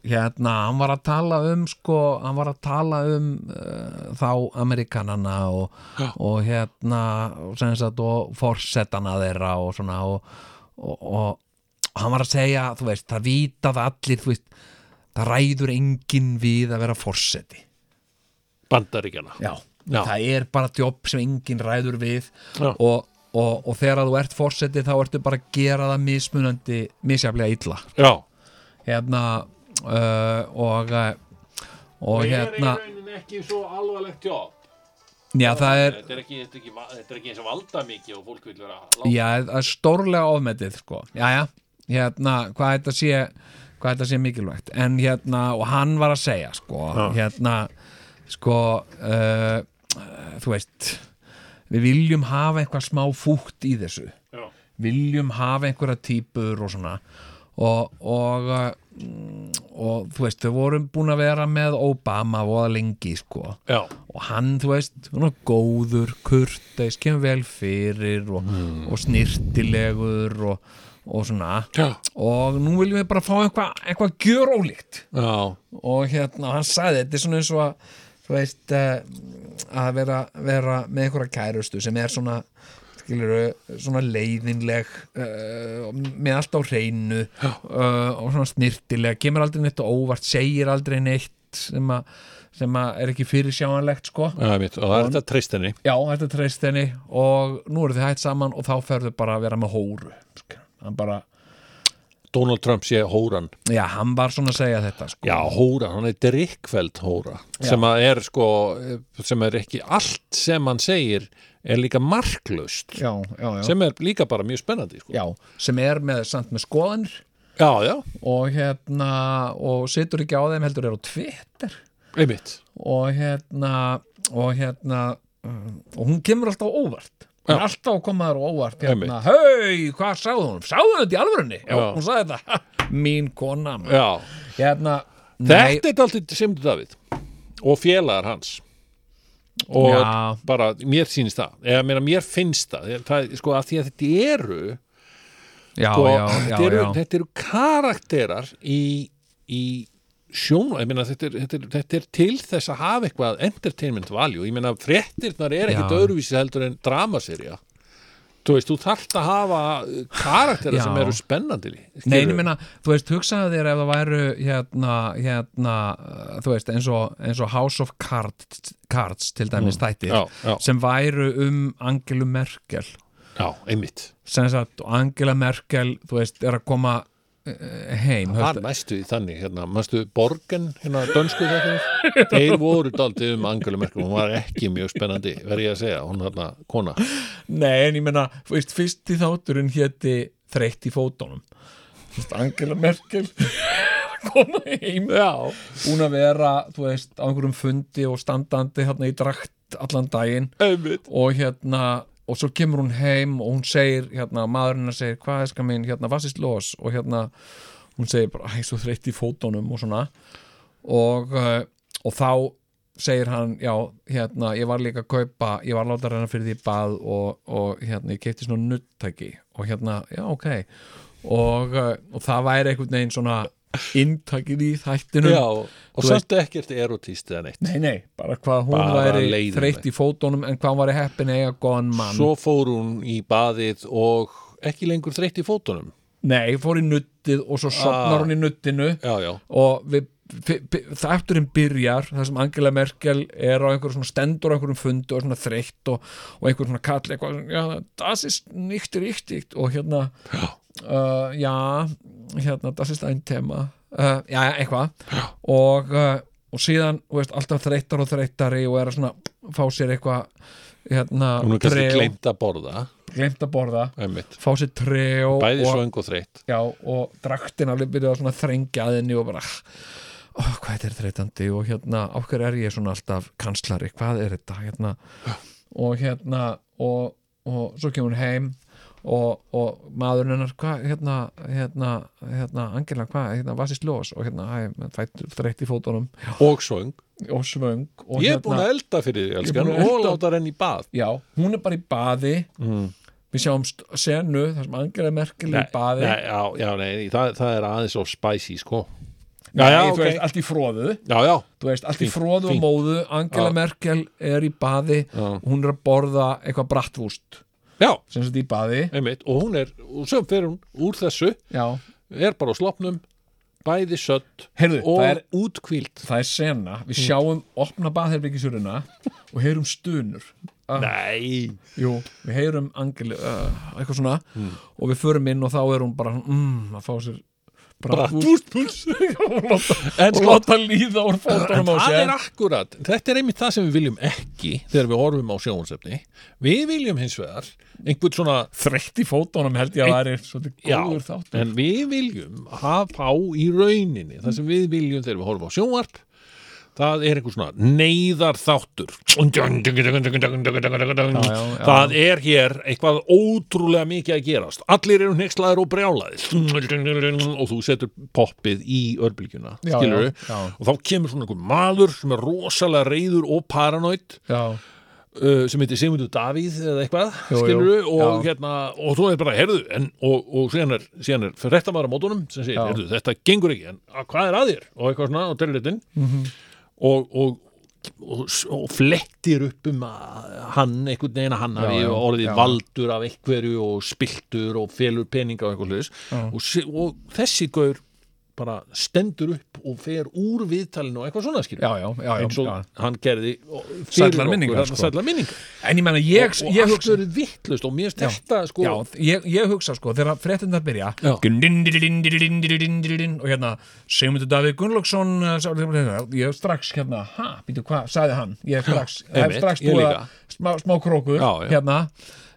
hérna, hann var að tala um sko, hann var að tala um uh, þá Amerikanana og, og hérna og sem sagt og forsetana þeirra og svona og, og, og hann var að segja, þú veist, það vita það allir, þú veist, það ræður enginn við að vera forseti bandaríkjana Já, Já. það er bara jobb sem enginn ræður við Já. og, og, og þegar þú ert forseti þá ertu bara að gera það mismunandi misjaflega illa já, hérna uh, og eh, og hérna rauninni ekki svo alvarlegt jobb já, það er, er ekki, þetta er ekki, þetta er ekki eins og valda mikið og fólk vil vera já, það er stórlega ofmetið sko, jæja hérna, hvað þetta sé hvað þetta sé mikilvægt, en hérna og hann var að segja sko, hérna sko uh, þú veist við viljum hafa eitthvað smá fúkt í þessu Já. viljum hafa einhverja típur og svona og, og, uh, og þú veist, þau vorum búin að vera með Obama voða lengi sko já, og hann, þú veist, hann var góður kurteis, kemur vel fyrir og, og snirtilegur og, og svona já, og nú viljum við bara fá eitthvað eitthva gjörólíkt já, og hérna, hann sagði, þetta er svona eins og að þú veist eh, að vera, vera með einhverja kærustu sem er svona skilur, svona leiðinleg uh, með allt á hreinu uh, og svona snirtileg kemur aldrei neitt á óvart, segir aldrei neitt sem að, sem að er ekki fyrirsjáanlegt sko mitt, og það er þetta treyst henni Já, þetta treyst henni og nú eru þið hægt saman og þá ferðu bara að vera með hóru skilur. hann bara, Donald Trump sé hóran já, hann var svona að segja þetta sko. Já, hóra, hann er drikkfeld hóra sem að er sko sem er ekki allt sem hann segir er líka marklaust já, já, já. sem er líka bara mjög spennandi sko. já, sem er með, samt með skoðanir já, já, og hérna og situr ekki á þeim heldur er á Twitter einmitt og hérna og hérna mm, og hún kemur alltaf á óvart hún er alltaf að koma þér á óvart hérna, hei, hvað sagði hún? Sagði hún þetta í alvörunni? Já, Já. hún sagði þetta, "Ha, mín kona maður." já. hérna, nei, Þetta er alltaf Simdur David og félagar hans og Já. bara, mér sýnist það eða mér, mér finnst það, það er, sko, af því að þetta eru, já, sko, já, já, þetta, eru já. þetta eru karakterar í, í sjónu, ég meina þetta er, þetta, er, þetta er til þess að hafa eitthvað entertainment value, ég meina fréttirnar er ekkit Já. öðruvísi heldur en dramaserja þú veist, þú þarft að hafa uh, karakterar Já. sem eru spennandi skilurðu? Nei, ég meina, þú veist, hugsaðu þér ef það væru hérna, hérna uh, þú veist, eins og, eins og House of Cards, Cards til dæmis þættir Mm. já, já. sem væru um Angelu Merkel já, einmitt, sem sagt, og Angela Merkel þú veist, er að koma uh, heim var næstu í þannig hérna, mannstu Borgen, hérna dönsku þetta þeir voru daldið um Angela Merkel, hún var ekki mjög spennandi verð ég að segja, hún hérna kona Nei, en ég meina, þú veist, fyrsti þátturinn héti Þreytt í fótunum Þú veist, Angela Merkel koma heim Já. búin að vera, þú veist, á einhverjum fundi og standandi hérna í drakt allan daginn einmitt, og hérna og svo kemur hún heim og hún segir hérna, maðurinn hennar segir, hvað er skar minn hérna, vassist los og hérna, hún segir bara, hæ, svo þreytt í fótunum og svona og, eh, og þá segir hann, já, hérna ég var líka að kaupa, ég var að láta hennar fyrir því í bað og, og hérna, ég keipti svona nuttæki og hérna, já, ok og, eh, og það væri einhvern veginn svona inntakið í þættinum Já, og Þú samt ekkert erotíst eða neitt Nei, nei, bara hvað hún Bara væri leiðinleg. þreytt í fótunum en hvað hún væri heppin að eiga góðan mann Svo fór hún í baðið og ekki lengur þreytt í fótunum Nei, fór í nuttið og svo sopnar Ah. hún í nuttinu Já, já, og við fi- bi- þátturinn byrjar þar sem Angela Merkel er á einhverjum svona stendur á einhverjum fundi og er svona þreytt og, og einhverjum svona kall eitthvað svona, já, das ist nicht richtig og hérna uh, já, hérna, das ist ein tema uh, já, já, eitthvað og, uh, og síðan, þú veist, alltaf þreyttar og þreyttari og er að svona fá sér eitthvað hérna, hún er kannski treo, gleymt að borða glemt að borða einmitt. fá sér treo Bæði og, svöng og þreytt Já, og draktin alveg byrjaði að svona þrengja að henni og bara ó, hvað þetta er þreytandi og hérna á hverju er ég svona alltaf kanslari, hvað er þetta hérna og hérna og, og svo kemur hún heim og, og maðurinn hennar hvað, hérna, hérna, hérna Angela, hvað, hérna, vasist ljós og hérna, hæ, fættur þreytt í fótunum og svöng. og svöng og hérna- Ég er búin að elda fyrir því, elskan, búin að og elda. láta henni í bað. já, hún er bara í baði Mm. við sjáum st- senu, þar sem Angela er merkileg í baði Nei, já, já, nei, það, það er aðeins of spicy, sko. Nei, já, þú ok. veist, allt í fróðu Já, já, þú veist, allt í Fínt, fróðu og fínt. móðu Angela Já. Merkel er í baði Já. hún er að borða eitthvað brattvúst já, sem sett í baði einmitt, og hún er, og sem fer hún úr þessu, já, er bara á slopnum, bæði sött heyrðu, og það er, útkvíld. það er sena við sjáum opna baðherbyggisjöruna og heyrum stunur Ah. Nei, Jú, við heyrum Angela uh, eitthvað svona og við förum inn og þá er hún bara mm, að fá sér brattvúst en og sko, láta líða úr fótunum á það sér er akkurat, þetta er einmitt það sem við viljum ekki þegar við horfum á sjónsefni. Við viljum hins vegar einhvern svona þreytt í fótunum held ég að það er svolítið Já, góður þáttur en við viljum hafa á í rauninni það sem við viljum þegar við horfum á sjónvarp það er einhver svona neyðar þáttur já, já. það er hér eitthvað ótrúlega mikið að gerast allir eru hneykslaðir og brjálaðir og þú setur poppið í örbylgjuna, Já, skilur já, já. og þá kemur svona einhver maður sem er rosalega reyður og paranoid já, uh, sem heitir Sigmundur Davíð eða eitthvað, Jú, jú, skilur já. og hérna, og þú er bara, heyrðu en, og, og síðan er, síðan er fréttamaður á mótunum sem segir, Já. heyrðu, þetta gengur ekki en að, hvað er að þér, og eitthvað svona, og tölulitin mm Mhm. -hmm. og, og Og, og flettir upp um að hann, einhvern veginn að hann hafi já, orðið já. valdur af einhverju og spiltur og felur peninga og einhver hlutis og, se- og þessi gaur bara stendur upp og fer úr viðtalinu og eitthvað svona skilur já, já, já, já, eins og já. hann gerði og- fyrir Sællar okkur, minningar, þarna sko. sællar minningar en ég menna, ég, og ég allt hugsa verið vittlust og mér finnst þetta sko Já, ég, ég hugsa sko, þegar fréttindar byrja Já. og hérna Sigmundur Davíð Gunnlaugsson eh, sá- ég hef strax hérna, ha, býtu hvað, sagði hann ég hef strax, hef einmitt, strax ég búið líka. að smá, smá krókur Já, já. hérna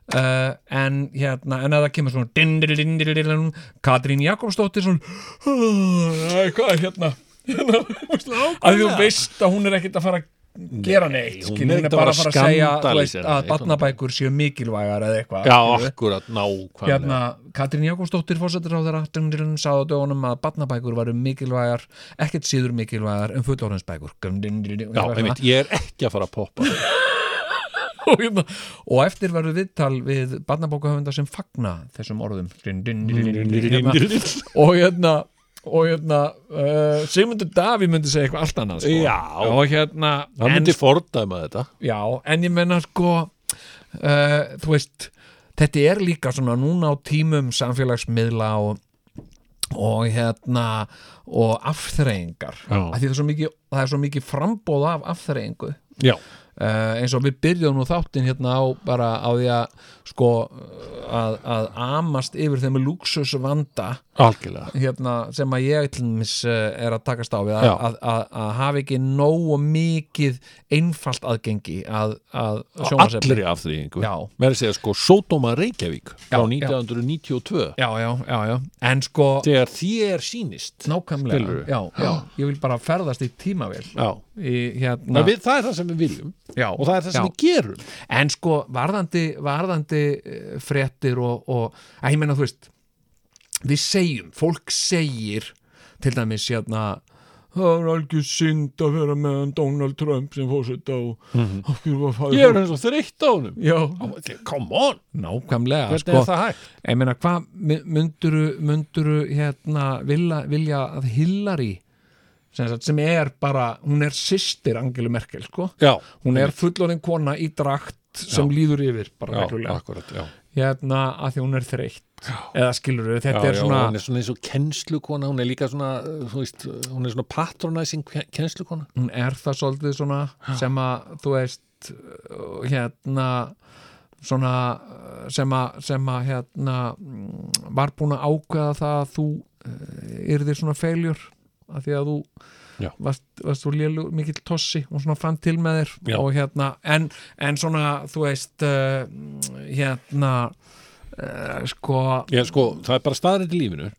Uh, en hérna, en að það kemur svona din, din, din, din, din, Katrín Jakobsdóttir svona "Æ, hvað er hérna hérna, að þú veist að hún er ekkert að fara að gera neitt hún skilur, hún er ekkert er að bara að fara fara að að segja þú veist, skandalisera að neitt, hún- barnabækur séu mikilvægar eða eitthvað já skilur. akkurat, nákvæmlega Hérna, Katrín Jakobsdóttir fórsættiráðara sagði á dögunum að barnabækur varu mikilvægar, ekkert síður mikilvægar en fullorðinsbækur Hérna. já, einmitt, ég er ekki að fara að poppa og, hérna, og eftir verður viðtal við barnabókahöfunda sem fagna þessum orðum hérna, sko. og hérna og hérna uh, Sigmundur Daví myndi segja eitthvað allt annað sko. Já. og hérna hann en, myndi fordæma þetta já, en ég menna sko uh, þú veist þetta er líka svona núna á tímum samfélagsmiðla og og hérna og afþreyingar Já. Af því það er svo mikið, það er svo mikið frambóð af afþreyingu já, uh, eins og við byrjuðum nú þáttinn hérna á bara á því að sko að, að amast yfir þeim luxusvanda algjörlega hérna, sem að ég til dæmis eh, er að takast á við að, Já. að, að, að hafa ekki nógu mikið einfalt aðgengi að, að sjónvarpsefni. allri af því einhver Já. mér er að segja sko, Sódóma Reykjavík frá Já, já. 1992 já, já, já, já, en sko þegar þér sýnist nákvæmlega, Skilurðu? já, já, ég vil bara ferðast í tímavél já í, hérna, En Við, það er það sem við viljum já, og það er það sem já. við gerum En sko, varðandi, varðandi eh, fréttir og, og að ég meina, þú veist, við segjum, fólk segir, til dæmis, hérna, "Ó, það er algjör synd að vera með hann Donald Trump sem fórseta og af hverju var það Mhm. Ég er eins og þreytt á honum já, Come on, nákvæmlega hvernig sko, er það hægt? Ég meina, hvað mynduru, mynduru hérna, vilja, vilja að Hillary sem, sagt, sem er bara, hún er sýstir Angelu Merkel, sko Já, hún er fullorinn kona í drakt sem líður yfir, bara Mhm. já reglulega akkurat, já hérna að því hún er þreytt eða skilur við, þetta Já, er já, svona hún er svona eins og kennslukona, hún er líka svona, þú veist, hún er svona patronizing ken- kennslukona. hún er það svolítið svona sem að þú veist uh, hérna svona uh, sem að, sem að hérna mm, var búin að ákveða það að þú uh, yrðir svona feiljur af því að þú Já. varst, varst þú lélu mikill tossi og svona fann til með þér Já. og hérna en, en svona þú veist uh, mm, hérna uh, sko Já, sko, það er bara staðrætt í lífinu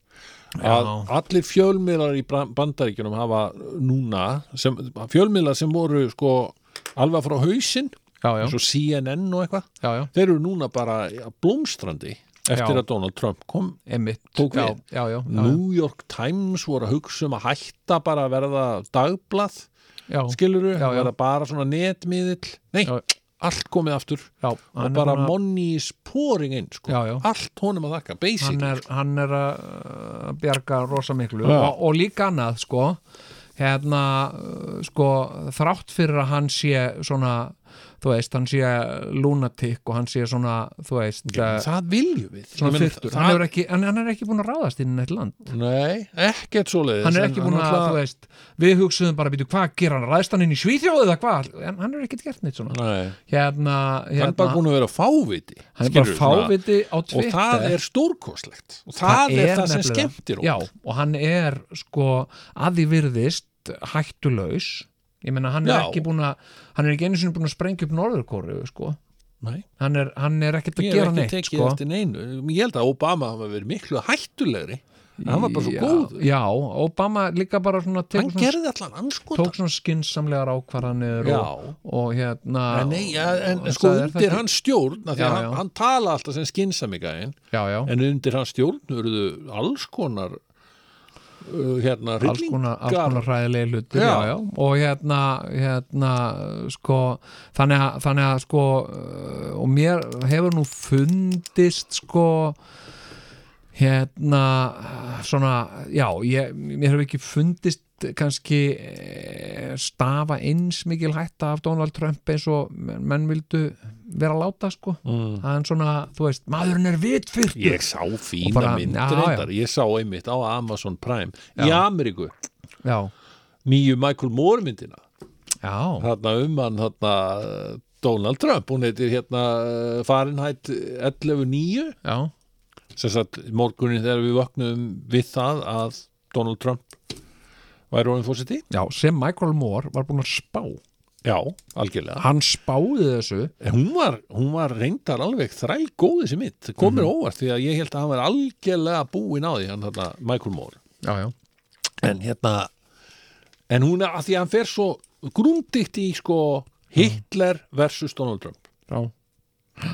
að allir fjölmiðlar í Bra- bandaríkjunum hafa núna sem, fjölmiðlar sem voru sko alveg frá hausinn já, já, eins og CNN og eitthvað já, já, þeir eru núna bara á blómstrandi Já. eftir að Donald Trump kom einmitt Tók já, við. já, já, já, New York Times voru að hugsa um að hætta bara að verða dagblað já, skiluru, Já, já. verða bara svona netmiðill nei, Já. allt komið aftur já, og hann er bara búinn að- money is pouring in sko. Já, já. allt honum að þakka, sko. basic hann er, hann er að uh, bjarga rosa miklu Já. og, og líka annað sko hérna uh, sko þrátt fyrir að hann sé svona þú veist, hann sé lunatic og hann sé svona, þú veist uh, það viljum við Ég svona meina, fyrtur, hann, það, hefur ekki, hann, hann er ekki búin að ráðast inn í eitt land nei, ekkert svoleiðis hann er en ekki búin að, náttúrulega- þú veist við hugsuðum bara, býtu, hvað gerir hann, ræðist hann inn í Svíþjóð eða hvað, en hann er ekkert gert neitt svona nei, hérna, hérna hann er bara búin að vera fáviti hann er bara skilurðu, svona. fáviti á og Twitter það er stórkoslegt og það, er, það sem nefnilega- skemmtir Já, og hann er sko að því virðist hættulaus ég meina hann er Já. ekki búin að hann er ekki einu sinni búin að sprengja upp norðurkóru sko. Nei. hann er, hann er ekkert að ég hef gera ekki neitt tekið sko. eftir neinu ég held að Obama hafa verið miklu hættulegri en hann var bara svo já, góður Já, Obama líka bara svona hann tekur svona, gerði allan anskotan tók svona skinsamlegar ákvarðanir Já. og, og hérna En, nei, ja, en og- sko það er undir þetta- hans stjórn af því Já, að hann, já. hann tala alltaf sem skinsamigæðin Já, já, en undir hans stjórn eruðu alls konar uh, hérna alls konar, alls konar hryllingar hræðilegi hlutir Já. já. Já, og hérna, hérna sko, þannig að, þannig að sko, uh, og mér hefur nú fundist sko hérna svona, já, ég, mér hefur ekki fundist kannski eh, stafa eins mikil hætta af Donald Trump eins og menn menn vildu vera að láta sko mm. hann svona, þú veist, maðurinn er vitfyrtur ég sá fína bara- mynd já, já. reyndar ég sá einmitt á Amazon Prime í Já. Ameríku já, nýju Michael Moore myndina já, þarna um hann þarna uh, Donald Trump, hún heitir hérna eh, Fahrenheit 11.9 já, sem sagt morgunin þegar við vaknum við það að Donald Trump væri orðin fórseti já sem Michael Moore var búin að spá já, algjörlega hann spáði þessu En hún var, hún var reyndar alveg þræl góð þessi mynd, það komir óvart því að ég held að hann var algjörlega búinn á því hann þarna Michael Moore já, já. en hérna en hún er að því að hann fer svo grúndikt í sko Hitler versus Donald Trump Já.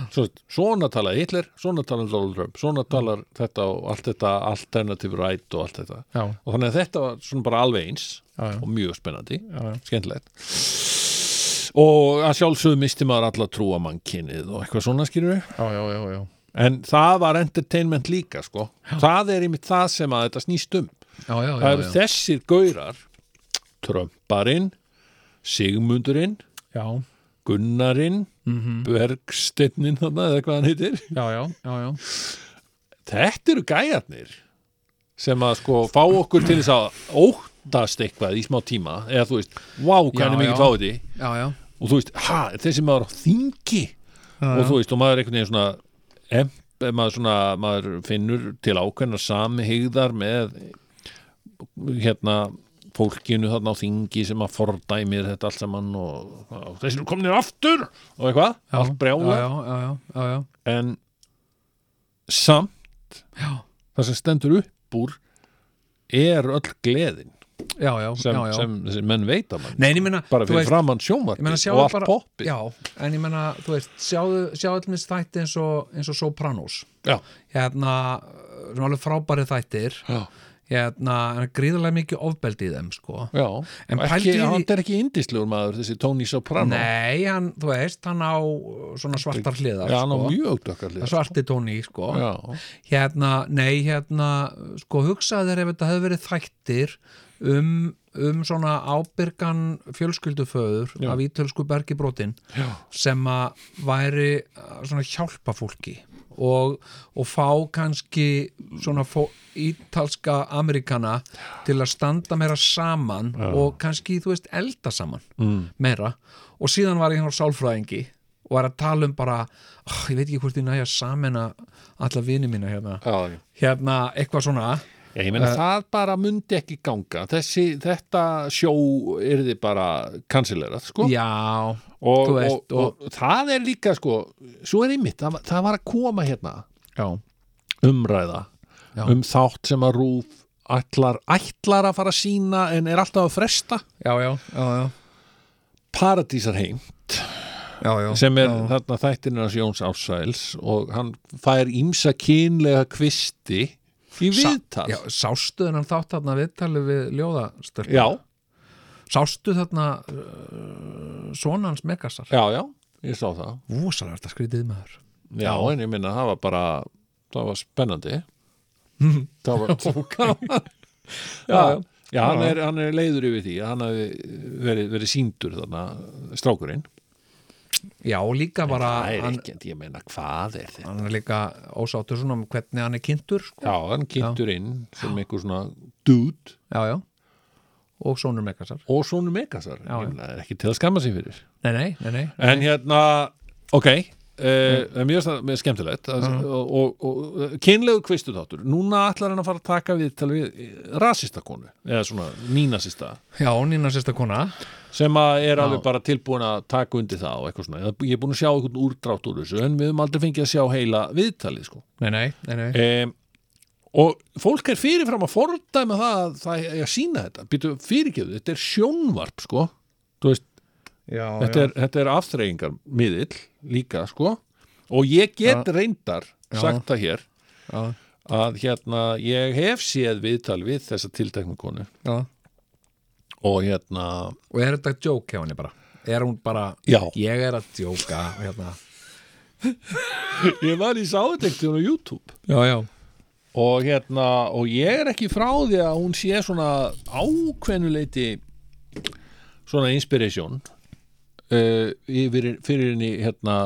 Svo, svona talar Hitler, svona talar Donald Trump svona talar þetta og allt þetta alternative right og allt þetta Já. og þannig að þetta var svona bara alveg eins Já, já. og mjög spennandi, já. skemmtilegt og að sjálfsögðu misti maður alla trúa mannkinnið og eitthvað svona skýrur Já, já, já, já. en það var entertainment líka sko. það er einmitt það sem að þetta snýst um Já, já, það já, eru já. þessir gaurar Trömparinn Sigmundurinn, Já, Gunnarinn Mhm. Bergsteinninn þarna eða hvað hann heitir já, já, já, já. þetta eru gæjarnir sem að sko fá okkur til þess að óttast eitthvað í smá tíma eða þú veist, wow, Já, hvernig mikið já. fáið því Já, já. og þú veist, ha, er þessi maður á þingi og þú veist, og maður einhvern veginn svona em, maður svona, maður finnur til ákveðna samhigðar með hérna fólkinu þarna á þingi sem að fordæmir þetta allt saman og, og þessi eru kominir aftur og eitthvað, allt brjála Já, já, já, já, já, já. en samt það sem stendur upp úr er öll gleðin Já, já, sem, já, já. sem, sem menn veit að mann Nei, en ég meina, bara þú fyrir veist- framann Ég meina, sjónvarpi sjáðu og allt bara, poppi Já, en ég meina, þú veist, sjáðu, sjáðu allir þætti eins og, eins og Sopranos. Já. Hérna, uh, svona alveg frábæri þættir. Já. hérna, en gríðarlega mikið ofbeldi í þeim sko. Já, En en pældu í ekki, því- hann er ekki indislegur maður þessi Tony Soprano Nei, hann, þú veist, hann á uh, svona svartar hliðar Já, hann á sko. mjög dökkarlega svarti tóni, sko Já, hérna, nei, hérna sko hugsaði þér ef þetta hefði verið þættir um, um svona ábyrgan fjölskylduföður Já. af ítölsku bergi brotin Já. sem að væri uh, svona hjálpa fólki og, og fá kannski svona fó, ítalska amerikana til að standa meira saman og kannski, þú veist, elda saman mm. meira og síðan var ég hann á sálfræðingi og er að tala um bara oh, ég veit ekki hvort ég næja samena alla vini mína hérna já, já. hérna eitthvað svona Já, ég Eh. meina það bara myndi ekki ganga þessi, þetta sjó yrði bara kansilerað sko já, og, þú veist, og, og, það er líka sko svo er einmitt, það, var- það var að koma hérna já, umræða um þátt sem að Rúf ætlar, ætlar að fara að sína en er alltaf að fresta já, já, já, já. Paradísar heim Já, já, sem er þarna þættinir hans Jóns Ársæls og hann fær ímsa kynlega kvisti í viðtal já, sástu þennan þátt þarna viðtalið við ljóðastölk já, sástu þarna uh, sonans megasar já, já, ég sá það vúsalega þetta skrítið maður Já, en ég minna, það var bara það var spennandi það var gaman já, já, já hann, er, hann er leiður yfir því að hann hafi verið, verið síndur þannig strákurinn já, líka bara það er hann, ekkert, ég meina, hvað er þetta hann er líka ósáttur svona um hvernig hann er kynntur sko. Já, hann kynntur inn sem einhver svona dude já, já og sonur megasar og svona megasar Já, já. Ég meina, það er ekki til að skamma sig fyrir nei, nei, nei, nei, En hérna, ok uh, mm. Mjög sta- mjög skemmtilegt uh og, og, og kynlegu kvistu þáttur Núna ætlar hann að fara að taka við, tala við rasistakonu, eða svona nínasista já, nýna sérsta kona sem að er alveg bara tilbúin að taka undir það og eitthvað svona, Eða ég er búin að sjá eitthvað úrdrátt úr þessu en við höfum aldrei fengið að sjá heila viðtalið sko nei, nei, nei, nei. um, og fólk er fyrirfram að fordæma það að það er að sína þetta býtu fyrirgeðu, þetta er sjónvarp sko, þú veist Já, þetta er, þetta er afþreyingar miðill líka sko og ég get reyndar sagt það hér Já. að hérna ég hef séð viðtal við þessa tilteknu konu já. og hérna og er þetta djók hjá henni bara er hún bara, já, ég er að djóka hérna. ég var í sáðetektíðun á YouTube já, já, og hérna og ég er ekki frá því að hún sé svona ákveðnuleiti svona inspiration uh, yfir, fyrir henni hérna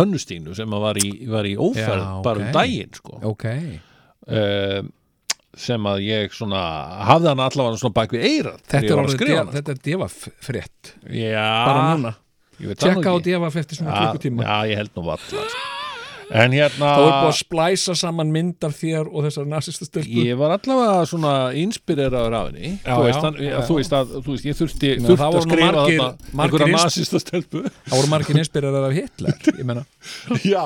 hönnustínu sem að var í, var í óferð Já, bara ok. um daginn sko ok Eh, sem að ég svona hafði hann allavega svona bak við eirað þetta er, að orðið skrifa sko. deva- hann þetta er divafrétt já, bara núna, ég veit það nú tjekka á ekki. Ah, divaf eftir svona klukkutíma já, já, ég held nú valla en hérna þá er búið að splæsa saman myndar þér og þessar nasista stelpu ég var allavega svona inspireraður af henni Já, þú, veist, já, hann, já. þú veist að þú veist, ég þurfti, Nei, þurfti það að voru nú skrifa margir- þarna margir einhverja ins- nasista stelpu þá voru margir inspirerað af Hitler ég meina, já,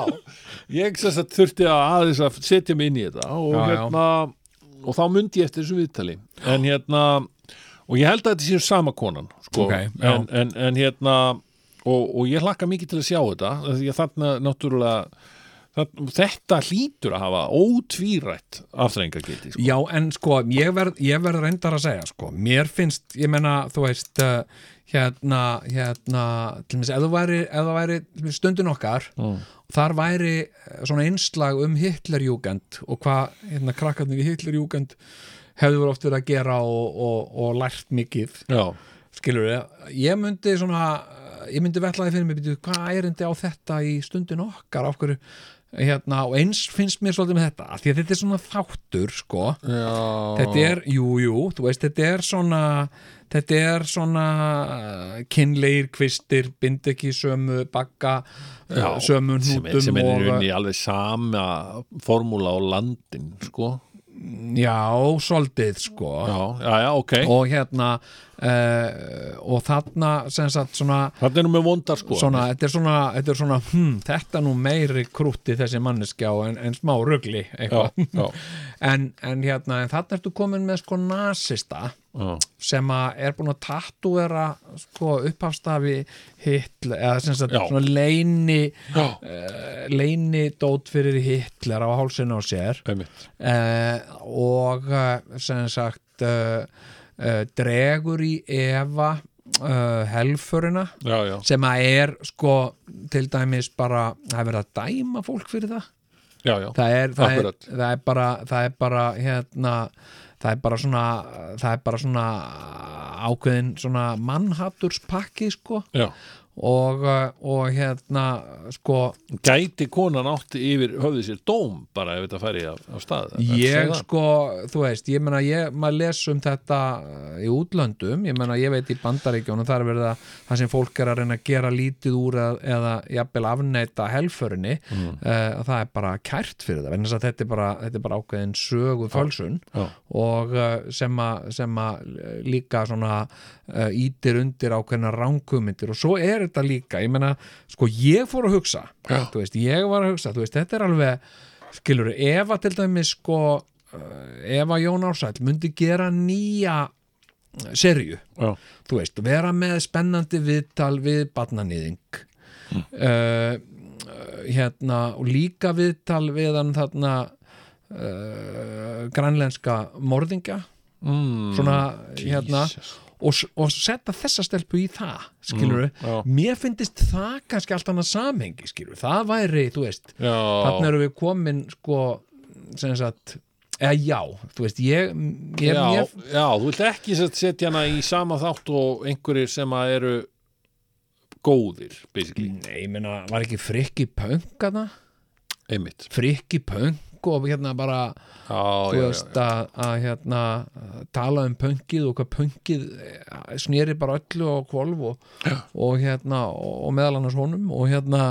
ég sess að þurfti að aðeins að setja mig inn í þetta og Já, já. hérna og þá myndi ég eftir þessu viðtali en hérna, og ég held að þetta séu sama konan sko, Ok, já. en, en, en hérna og, og ég hlakka mikið til að sjá þetta af því að þarna náttúrulega þarna, þetta hlýtur að hafa ótvírætt afþrengageti sko. já en sko ég verð, ég verð reyndar að segja sko mér finnst, ég meina, þú veist uh, hérna, hérna til mér, ef þú væri, ef þú væri til dæmis stundin okkar og þar væri eh, svona einslag um Hitlerjúkend og hvað hérna krakkarnir í Hitlerjúkend hefðu verið oft verið að gera og, og, og lært mikið já, skilur við, ég myndi svona ég myndi vetlaði fyrir mig, býtu, hvað er endi á þetta í stundin okkar, af hverju hérna, og eins finnst mér svolítið með þetta af því að þetta er svona þáttur, sko já, þetta er, jú, jú, þú veist þetta er svona, þetta er svona uh, kynleir kvistir, bind ekki sömu bagga, uh, sömu sem, hnútum sem er í og- uh, rauninni alveg sama formúla á landin sko. já, svolítið, sko já, já, já, ok og hérna uh, og þarna, sem sagt, svona Þarna erum við vondar sko svona, þetta er svona, þetta er svona hmm, þetta nú meiri krúti þessi manneskja og en, en smá rugli já, eitthvað já, en, en hérna, en þarna ertu komin með sko nasista Já. sem að er búin að tattúera sko, upphafstafi Hitler eða sem sagt Já. svona leini Já. uh, leini dót fyrir Hitler á hálsinn á sér einmitt uh, og eh, sem sagt uh, uh, dregur í Eva uh, helförina já, já, sem að er sko til dæmis bara, það er verið að dæma fólk fyrir það já, já. það er, það er, Akkurat. það er bara það er bara hérna það er bara svona það er bara svona ákveðin svona mannhatturspakki sko já. og, uh, og hérna sko gæti konan átt yfir höfði sér dóm bara ef þetta færi af, af stað ég Ertu að segja það? sko, þú veist ég meina, ég, maður les um þetta uh, í útlöndum, ég meina, ég veit í bandaríkjónum það er verið að það sem fólk er að reyna að gera lítið úr eða, eða jafnvel afneita helförinni mm. það er bara kært fyrir það vegna þess að þetta er bara, þetta er bara ákveðin sögu fölsun já. og uh, sem að, sem að uh, líka svona uh, ítir undir ákveðna ránkumindir og svo er þetta líka, ég meina sko, ég fór að hugsa, þú veist ég var að hugsa, þú veist, þetta er alveg skilur, ef að til dæmis sko eh, ef að Jón Ársæll myndi gera nýja serju, Já. þú veist vera með spennandi viðtal við barnanýðing mm. hérna og líka viðtal við hann þarna uh, grænlenska morðingja mm, svona hérna Jesus. og, s- og setja þessa stelpu í það skilur, Mm, já. mér finnist það kannski allt annað samhengi, skilur, það væri þú veist, já, þarna erum við komin sko, sem sagt eða já, þú veist, ég, ég, já, ég já, þú vilt ekki set- setja hana í sama þátt og einhverjir sem að eru góðir, basically, Nei, ég meina, var ekki frikki pönk að það? einmitt Frikki pönk og hérna bara já, þú já, já, veist að, að hérna að tala um pönkið og hvað pönkið eh, sneri bara öllu á kvolf og, og hérna og, og meðal annars honum og hérna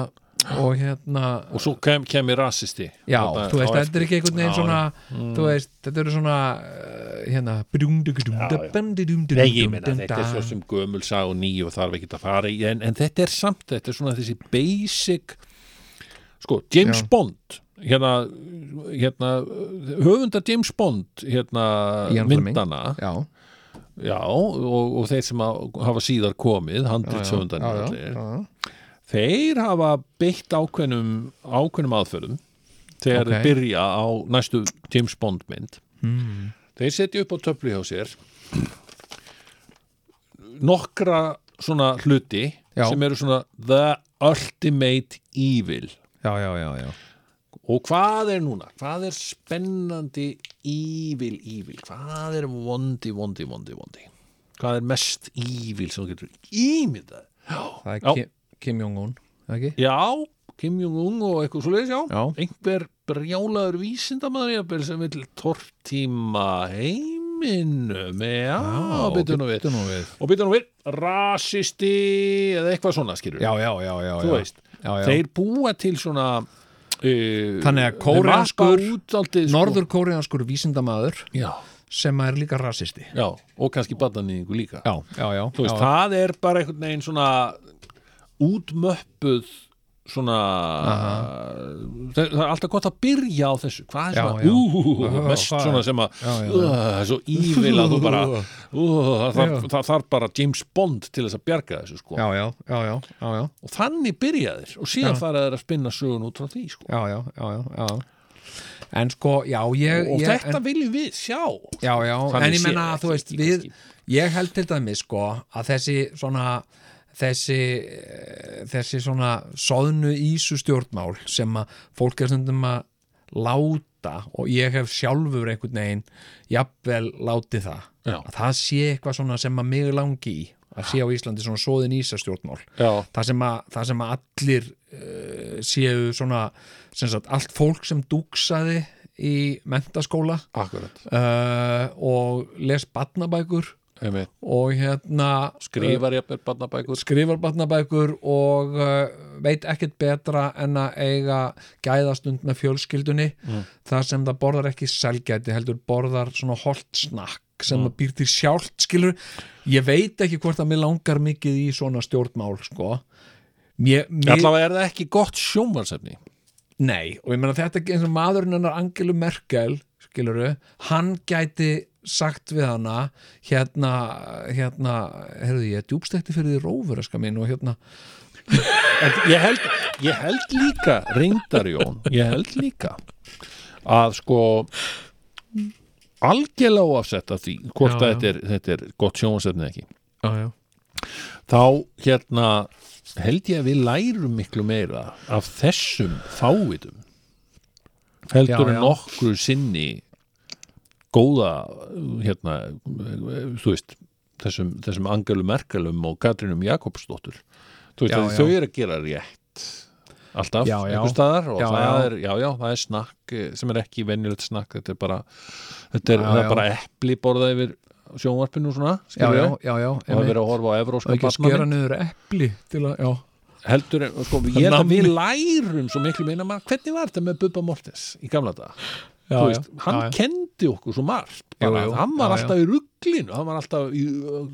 og hérna og svo kem, kemur rasisti Já, Þarna þú veist, á þetta er ekki einhvern veginn Já, svona, þú veist, þetta eru svona, eh, hérna, Nei, ég meina, þetta er svo brjúndugudumdabendidumdumdumdum. sem gömul sá og ný og þarf ekki að fara í en, en þetta er samt, þetta er svona þessi basic sko, James Já. Bond hérna, hérna höfunda James Fond hérna Ian Fleming. myndana Já, já, og, og þeir sem að, hafa síðar komið, handritsöfundan já, já, já, þeir hafa beitt ákveðnum ákveðnum aðferðum þegar Ok. Hmm. þeir byrja á næstu James Bond mynd þeir setja upp á töflu hjá sér nokkra svona hluti Já. sem eru svona the ultimate evil já, já, já, já. og hvað er núna? hvað er spennandi evil, evil hvað er vondi, vondi, vondi, vondi hvað er mest evil sem þú getur ímyndað Það er Já. Kim, Kim Jong-un, það ekki? Já, Kim Jong-un og eitthvað svo leiðis, já. Já. Einhver brjálaður vísindamaður jafnvel sem vil tortíma heiminum, já, já byttu nú við. Býttu nú við. Og byttu nú við, rasisti eða eitthvað svona, skilur. Já, já, já, já. Þú já. veist, Já, já. þeir búa til svona... Uh, Þannig að kóreanskur- útaldið, norðurkóreanskur vísindamaður Já, sem er líka rasisti. já, og kannski badannýðingu líka. Já, já, já. Þú veist, já, það er bara einhvern veginn svona útmöppuð svona það, það er alltaf gott að byrja á þessu hvað er Já, svona, já. úúúú, hvað mest er- svona sem að Já, já, já. uh, það er svo ívil að þú bara uh, það, þarf- það þarf bara James Bond til þess að bjarga þessu sko Já, já, já, já, já, já, og þannig byrja þeir og síðan fara þeir að spinna sögun út frá því sko já, já, já, já, já. En sko, já, ég... og ég, þetta en, viljum við sjá Já, já, Þannig en ég séð, menna, ekki- þú veist, ekki við... kannski. Ég held til dæmis, sko, að þessi svona þessi, eh, þessi svona soðnu ísu stjórnmál sem að fólk er stundum að láta og ég hef sjálfur einhvern veginn jafnvel látið það Já. að það sé eitthvað svona sem að mig langi í að sé á Íslandi svona soðin ísa stjórnmál Já. það sem að, það sem að allir uh, séu svona sem sagt, allt fólk sem dúksaði í mentaskóla akkurat, uh, og les batnabækur einmitt, og hérna skrifar jafnir barnabækur skrifar batnabækur og uh, veit ekkert betra en að eiga gæðastund með fjölskyldunni þar sem það borðar ekki selgæti heldur borðar svona holtsnakk sem mm. býr til sjálft skilur ég veit ekki hvort að mér langar mikið í svona stjórnmál sko mér, mér, allavega er það ekki gott sjónvarsefni nei og ég meina þetta eins og maðurinn hennar Angelu Merkel skiluru, hann gæti sagt við hana hérna, hérna herðu ég, djúbstekti fyrir því rófuraska minn og hérna, En ég held, ég held líka reyndar Jón, ég held líka að sko algjörlega óafsett af því hvort Já, já. að þetta er, þetta er gott sjónsefni ekki já, já. þá hérna held ég að við lærum miklu meira af þessum fávitum Já, heldur en já. nokkru sinni góða hérna, þú veist þessum, þessum Angelu Merkelum og Katrinum Jakobsdóttur þú veist Já, að já. þau eru að gera rétt alltaf, Já, já. einhver staðar og Já, það já. er, já, já, það er snakk eh, sem er ekki venjulegt snakk, þetta er bara þetta er, Já, það er já. bara epli borðað yfir sjónvarpinu og svona, já, skilur já, ég já, já og það er einmitt. verið að horfa á og evróska ekki að skera niður epli til að, já, heldur en, sko, ég held að Nammi. við lærum svo miklu meina maður, hvernig var þetta með Bubba Mortis í gamla dag, já, þú já, veist, hann já, já. kendi okkur svo margt, bara, Jú, jú, hann var já, alltaf í rugglinu, hann var alltaf í,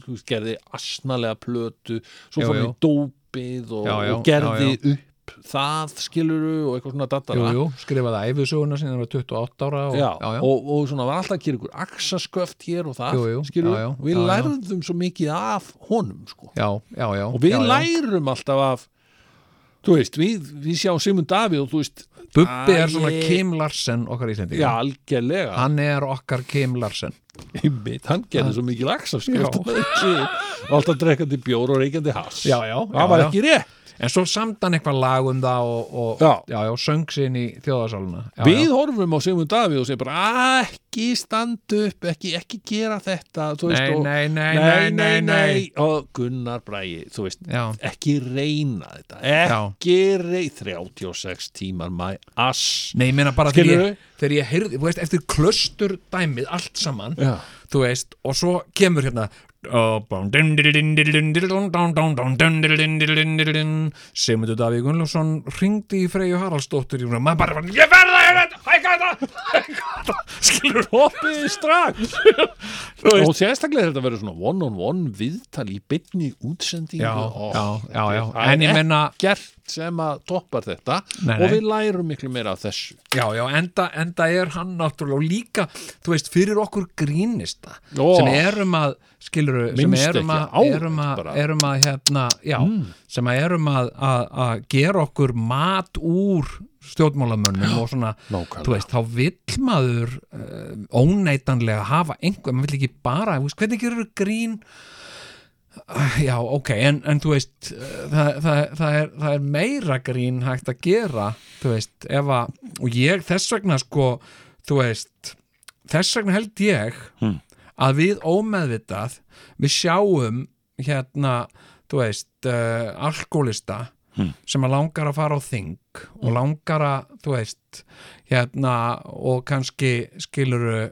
þú veist, gerði asnalega plötu, svo Jú, fór hann jú. í dópið og, Já, já, og gerði já, upp það skiluru og eitthvað svona jú, dattara jú, skrifaði æfisöguna sinni hann var 28 ára og, Já, já, já, Og, og svona var alltaf að gera ykkur aksasköft hér og það, Jú, jú, skilur já, já, við já, já. lærðum svo mikið af honum sko. já, já, já og við já, já. lærum alltaf af þú veist, við, við sjáum Simon Davíð og þú veist, Bubbi Æ. er svona Kim Larsen okkar Íslendinga já, algjörlega hann er okkar Kim Larsen Einmitt, hann gerði svo mikið lagsafskrift Já. og alltaf drekkandi bjór og reykjandi hass Já, já, já, það var já. ekki rétt en svo samt hann eitthvað lag um það og, og Já. já, já, söng sinn í þjóðarsáluna já, við horfum á Sigmund Davíð og segjum bara "Ah, ekki standa upp, ekki, ekki gera þetta þú veist, Nei, og, nei, nei, nei, nei, nei. og Gunnar Bræi, þú veist já, ekki reyna þetta ekki reyna 36 tímar my ass Nei, ég meina bara þegar Skilurðu? ég, þegar ég heyrði, þú veist, eftir klöstur dæmið allt saman, Já. þú veist, og svo kemur hérna Sigmundur Davíð Gunnljófsson ringdi í Freyju Haraldsdóttur og maður bara, bara, ég verða að hérna, hækka þetta hækka þetta, skilur hoppið strax og sérstaklega þetta verður svona one on one viðtal í bytni útsendingu Já, Ó, já, já, já, það en er ég menna gert sem að toppar þetta Nei, og nei. við lærum miklu meira af þessu Já, já, enda, enda er hann náttúrulega og líka, þú veist, fyrir okkur grínista Ó. sem erum að skilur, sem Minnstu erum ekki á að erum þetta að, bara. erum að hérna, já, sem að erum að, að, að gera okkur mat úr stjórnmálamönnum og svona, nákvæmlega. þú veist, þá vill maður uh, óneitanlega hafa einhver, maður vill ekki bara, þú veist, hvernig gerur grín Ah, Já, ok, en, en þú veist eh, það, það, það, er, það er meira grín hægt að gera þú veist, ef að og ég þess vegna sko þú veist, þess vegna held ég að við ómeðvitað við sjáum hérna, þú veist uh, alkoholista Hmm. sem að langar að fara á þing og langar að, þú veist hérna, og kannski skiluru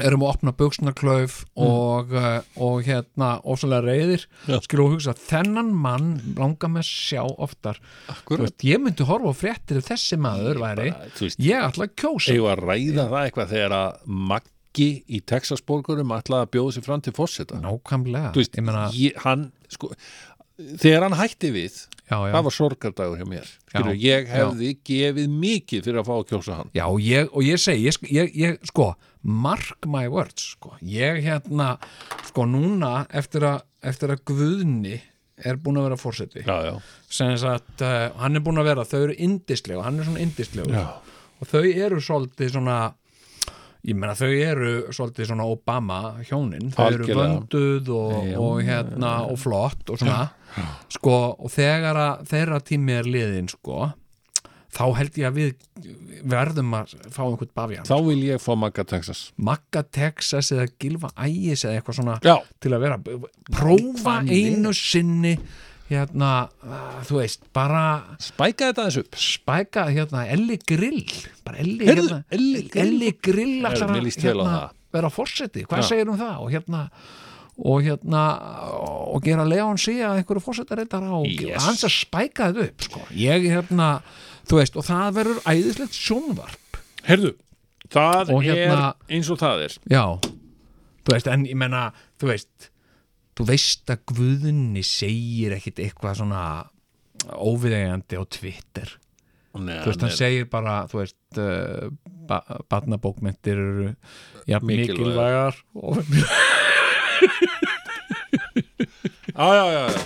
erum að opna buksnaklauf og, uh, og hérna ósælega reyðir, Hmm. Já. skilur og hugsa þennan mann langar með sjá oftar Þú veist, ég myndi horfa á fréttir ef þessi maður væri þú veist, ég ætla að kjósa eigum að ræða það eitthvað þegar að Maggi í Texasborgurum ætlaði að bjóða sér fram til fórseta nákvæmlega Þú veist, ég meina, ég, hann, sko, þegar hann hætti við já, já. það var sorgardagur hjá mér Skilur, ég hefði gefið mikið fyrir að fá að kjósa hann Já, ég, og ég segi, ég, sk- ég, ég, sko, mark my words, sko, ég hérna, sko, núna eftir að, eftir að Guðni er búin að vera fórseti, já, já, sem að uh, hann er búin að vera, þau eru indislegu, hann er svona indislegu Já. og þau eru svolítið svona, ég meina þau eru svolítið svona Obama hjónin, þau eru Algjörlega. vönduð og, og hérna og flott og svona, sko, og þegar að þeirra tími er liðin, sko, þá held ég að við verðum að fá einhvern bafjan þá vil ég fá Magga Texas Magga Texas eða Gilva Ægis eða eitthvað svona já, til að vera prófa einu sinni hérna, uh, þú veist, bara spæka þetta aðeins upp spæka hérna Elli Grill bara Elli, Heyrðu, hérna, Elli Grill. Elli Grill ætlar mér að líst vel á hérna, það. vera fórseti, hvað Já. segir um það og hérna og hérna og gera Leon síða einhverju fórsetareitar á Yes. og hans að spæka þetta upp sko. ég hérna, þú veist, og það verður æðislegt sjónvarp Herðu, það Og hérna- er eins og það er já, þú veist, en ég menna þú veist, þú veist að Guðni segir ekkit eitthvað svona óviðeigandi á Twitter Nei, þú veist, hann segir bara, þú veist uh, ba barnabókmyndir eru ja, Mikilvægar. mikilvægar, mikilvægar. Já, já, já, já.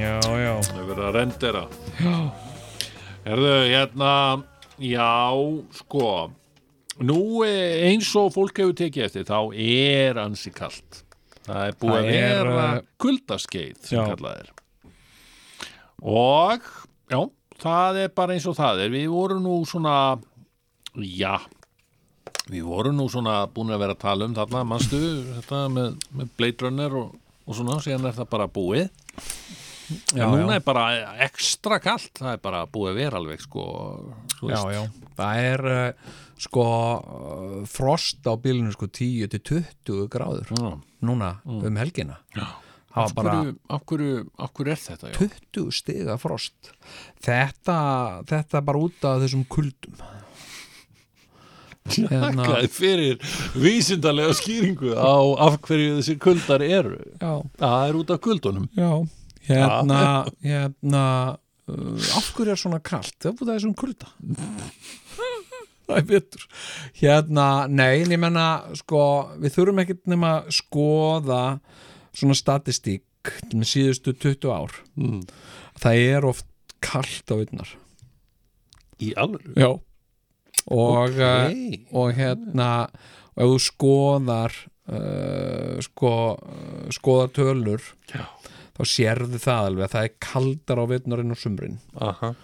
já, já Það er verið að rendera Já Herðu, hérna Já, sko Nú eh, eins og fólk hefur tekið eftir þá er ansi kalt Það er búið Það að er, vera e, eh, kuldaskeið sem já. kallað er Og Já, það er bara eins og það er Við vorum nú svona Já Við vorum nú svona búin að vera að tala um þarna, manstu þetta með, með Blade Runner og, og svona, síðan er það bara búið já, en núna er bara ekstra kalt, það er bara búið að vera alveg sko, þú já, veist. já, það er uh, sko uh, frost á bílunum sko 10 til 20 gráður Já. Mm. núna um helgina já. það af var bara hverju, af, hverju, af hverju er þetta? Já? 20 stiga frost þetta, þetta bara út af þessum kuldum hérna, Þakkaði fyrir vísindalega skýringu á af hverju þessi kuldar eru já, það er út af kuldunum já hérna, hérna uh, af hverju er svona kalt það er út af þessum kulda það er betur hérna, nei, en ég menna sko, við þurfum ekkert nema að skoða svona statistík með síðustu 20 ár Mm. það er oft kalt á vinnar í alveg Já Og, Ókei. uh, og hérna og ef þú skoðar uh, sko, uh, skoðar tölur Já. þá sérðu það alveg að það er kaldar á vitnarinn og sumrin Aha.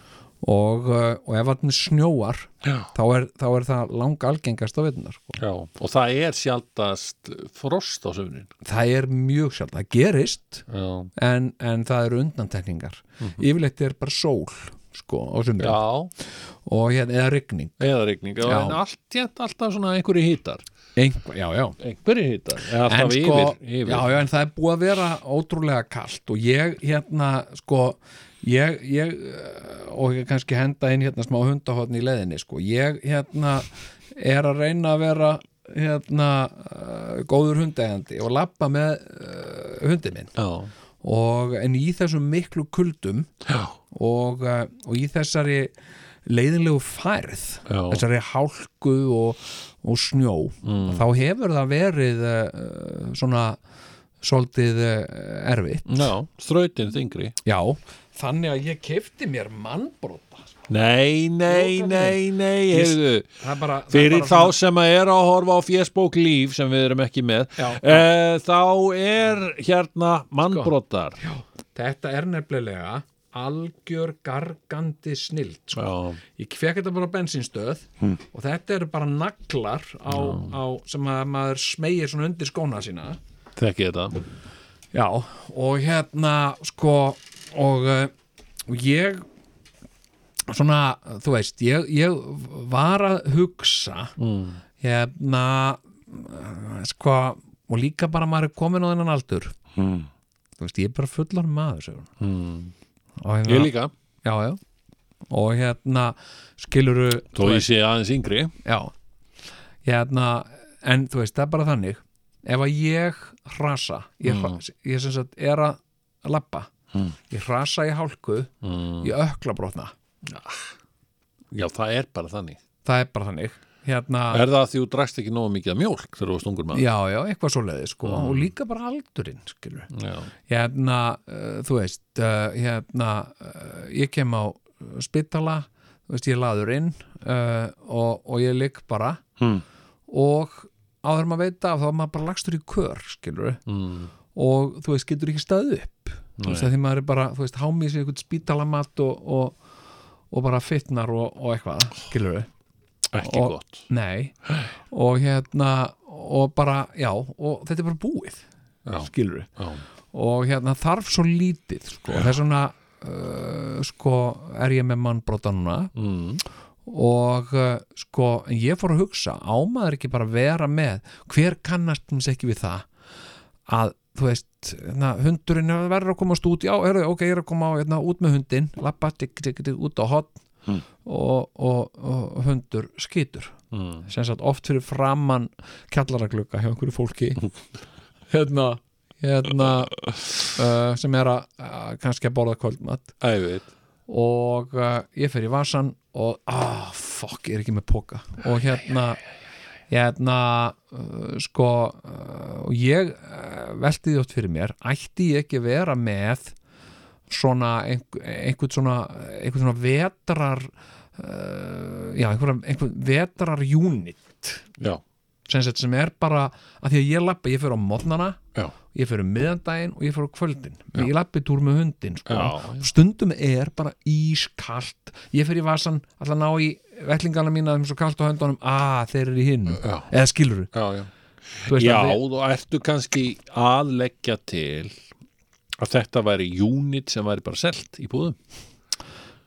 og, uh, og ef hann snjóar þá er, þá er það lang algengast á vitnar sko. Já. og það er sjaldast frost á söfnin það er mjög sjálf, það gerist já. en, en það eru undantekningar yfirleitt er bara sól sko, á sumrin já, og hérna, eða rigning eða regning já. Já. en allt, jænt, alltaf svona einhverju hýtar Einhver, já, já einhverju hýtar, eða en alltaf sko, yfir, yfir. Já, já, en það er búið að vera ótrúlega kalt og ég hérna, sko ég, ég eh, og ég kannski henda inn hérna smá hundahotn í leðinni, sko ég hérna er að reyna að vera hérna uh, góður hundegandi og lappa með uh, hundi minn Já. og, en í þessum miklu kuldum Já. og, eh, og í þessari leiðinlegu færð Já. þessari hálku og, og snjó Mm. þá hefur það verið uh, svona svolítið uh, erfitt já, þrautin þingri já, þannig að ég kefti mér mannbróta Nei, nei, nei, nei, heyrðu það er bara, það er Fyrir bara þá sem að er að horfa á Fésbók líf sem við erum ekki með Já. e, þá er hérna mannbrottar Já, þetta er nefnilega algjör gargandi snilt sko. ég fekk þetta bara á bensinstöð Hmm. og þetta eru bara naglar á, á, sem að maður smegir svona undir skóna sína þekki þetta Já, og hérna sko og, eh, og ég svona, þú veist ég, ég var að hugsa mm. hérna eh, sko, og líka bara maður er komin á þennan aldur mm. þú veist, ég er bara fullar maður segur hún mm. og Ég hérna, líka, já, já og hérna, skiluru þó ég sé aðeins yngri já, hérna en þú veist, það er bara þannig ef að ég hrasa ég, mm. ég sem sagt er að labba ég hrasa í hálku mm. ég ökla brotna Já, það er bara þannig það er bara þannig hérna, Er það að því þú drakst ekki nógu mikið af mjólk þegar þú varst ungur maður? já, já, eitthvað svo leiði sko og líka bara aldurinn, skilur Já, hérna, uh, þú veist uh, hérna, uh, ég kem á uh, spitala, þú veist, ég er laður inn uh, og, og ég ligg bara Hmm. og áður en maður veit af þá er maður bara lagstur í kör, skilur mm. og þú veist, getur ekki staðið upp þú veist, að því maður er bara, þú veist, hámið sér einhvern spítalamat og, og, og bara fitnar og, og eitthvað, skilur við ekki Og- gott nei, og hérna og bara, já, og þetta er bara búið Já. skilur við Já. og hérna þarf svo lítið sko, það er svona uh, sko, er ég með mannbrota núna mm. og uh, sko, en ég fór að hugsa á maður ekki bara að vera með hver kannast mér ekki við það að þú veist, na, hundurinn er- verður að komast út, já, heru, ok, ég er að koma á, hérna, út með hundin, lappa, tikk, tikk, tikk, út á hotn og, og, og hundur skýtur Mm. sem sagt oft fyrir framann kjallaraglugga hjá einhverju fólki hérna, hérna uh, sem er að uh, kannski að borða kvöldmatt Æfitt og uh, ég fer í vasan og ah, fuck, ég er ekki með póka og hérna hérna, uh, sko uh, og ég uh, velti því átt fyrir mér ætti ég ekki að vera með svona einhver, einhvern svona einhvern svona vetrar uh, já, einhvern, einhvern vetrar unit Já, sem, sagt, sem er bara, að því að ég lappa ég fer á mótnana já, ég fyrir miðandaginn og ég fyrir kvöldin ég lappi túr með hundin sko. Já, já. stundum er bara ískalt ég fyrir vasan, alltaf ná í vettlingana mína þeim er svo kalt á höndunum, að ah, þeir eru í hinn Já. eða skilur já, já Þú veist Já, að við- þá ertu kannski að leggja til að þetta væri unit sem væri bara selt í búðum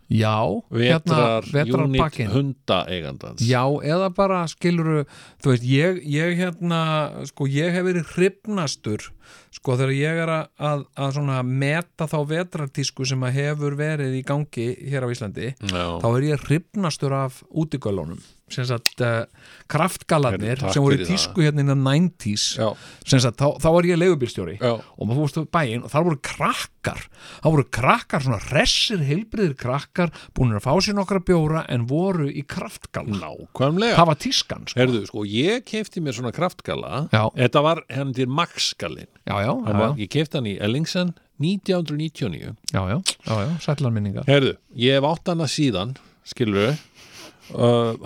Hérna, Já, Vetrar, vetrar unit pakkinn. hunda eigandans Já, eða bara skiluru þú veist, ég, ég hérna sko, ég hef verið hrifnastur sko, þegar ég er að, að, að svona meta þá vetrartísku sem að hefur verið í gangi hér á Íslandi Já. þá er ég hrifnastur af útigölunum sem sagt, uh, Heyrðu, kraftgalarnir takk sem voru fyrir í það. tísku hérna innan 90s Já. sem sagt, þá, þá var ég leigubílstjóri Já. og maður fórst á bæinn og þar voru krakkar þá voru krakkar, svona hressir heilbriðir krakkar, búinir að fá sér nokkra bjóra en voru í kraftgala Nákvæmlega það var tískan sko. Herðu, sko, ég kefti mér svona kraftgala Já. Þetta var henni til Maxgalinn já, já, já, Hann var- já, Ég kefti hann í Ellingsen 1999 já, já, já, já sætlar minningar Herðu, ég hef átt hana síðan skilur uh,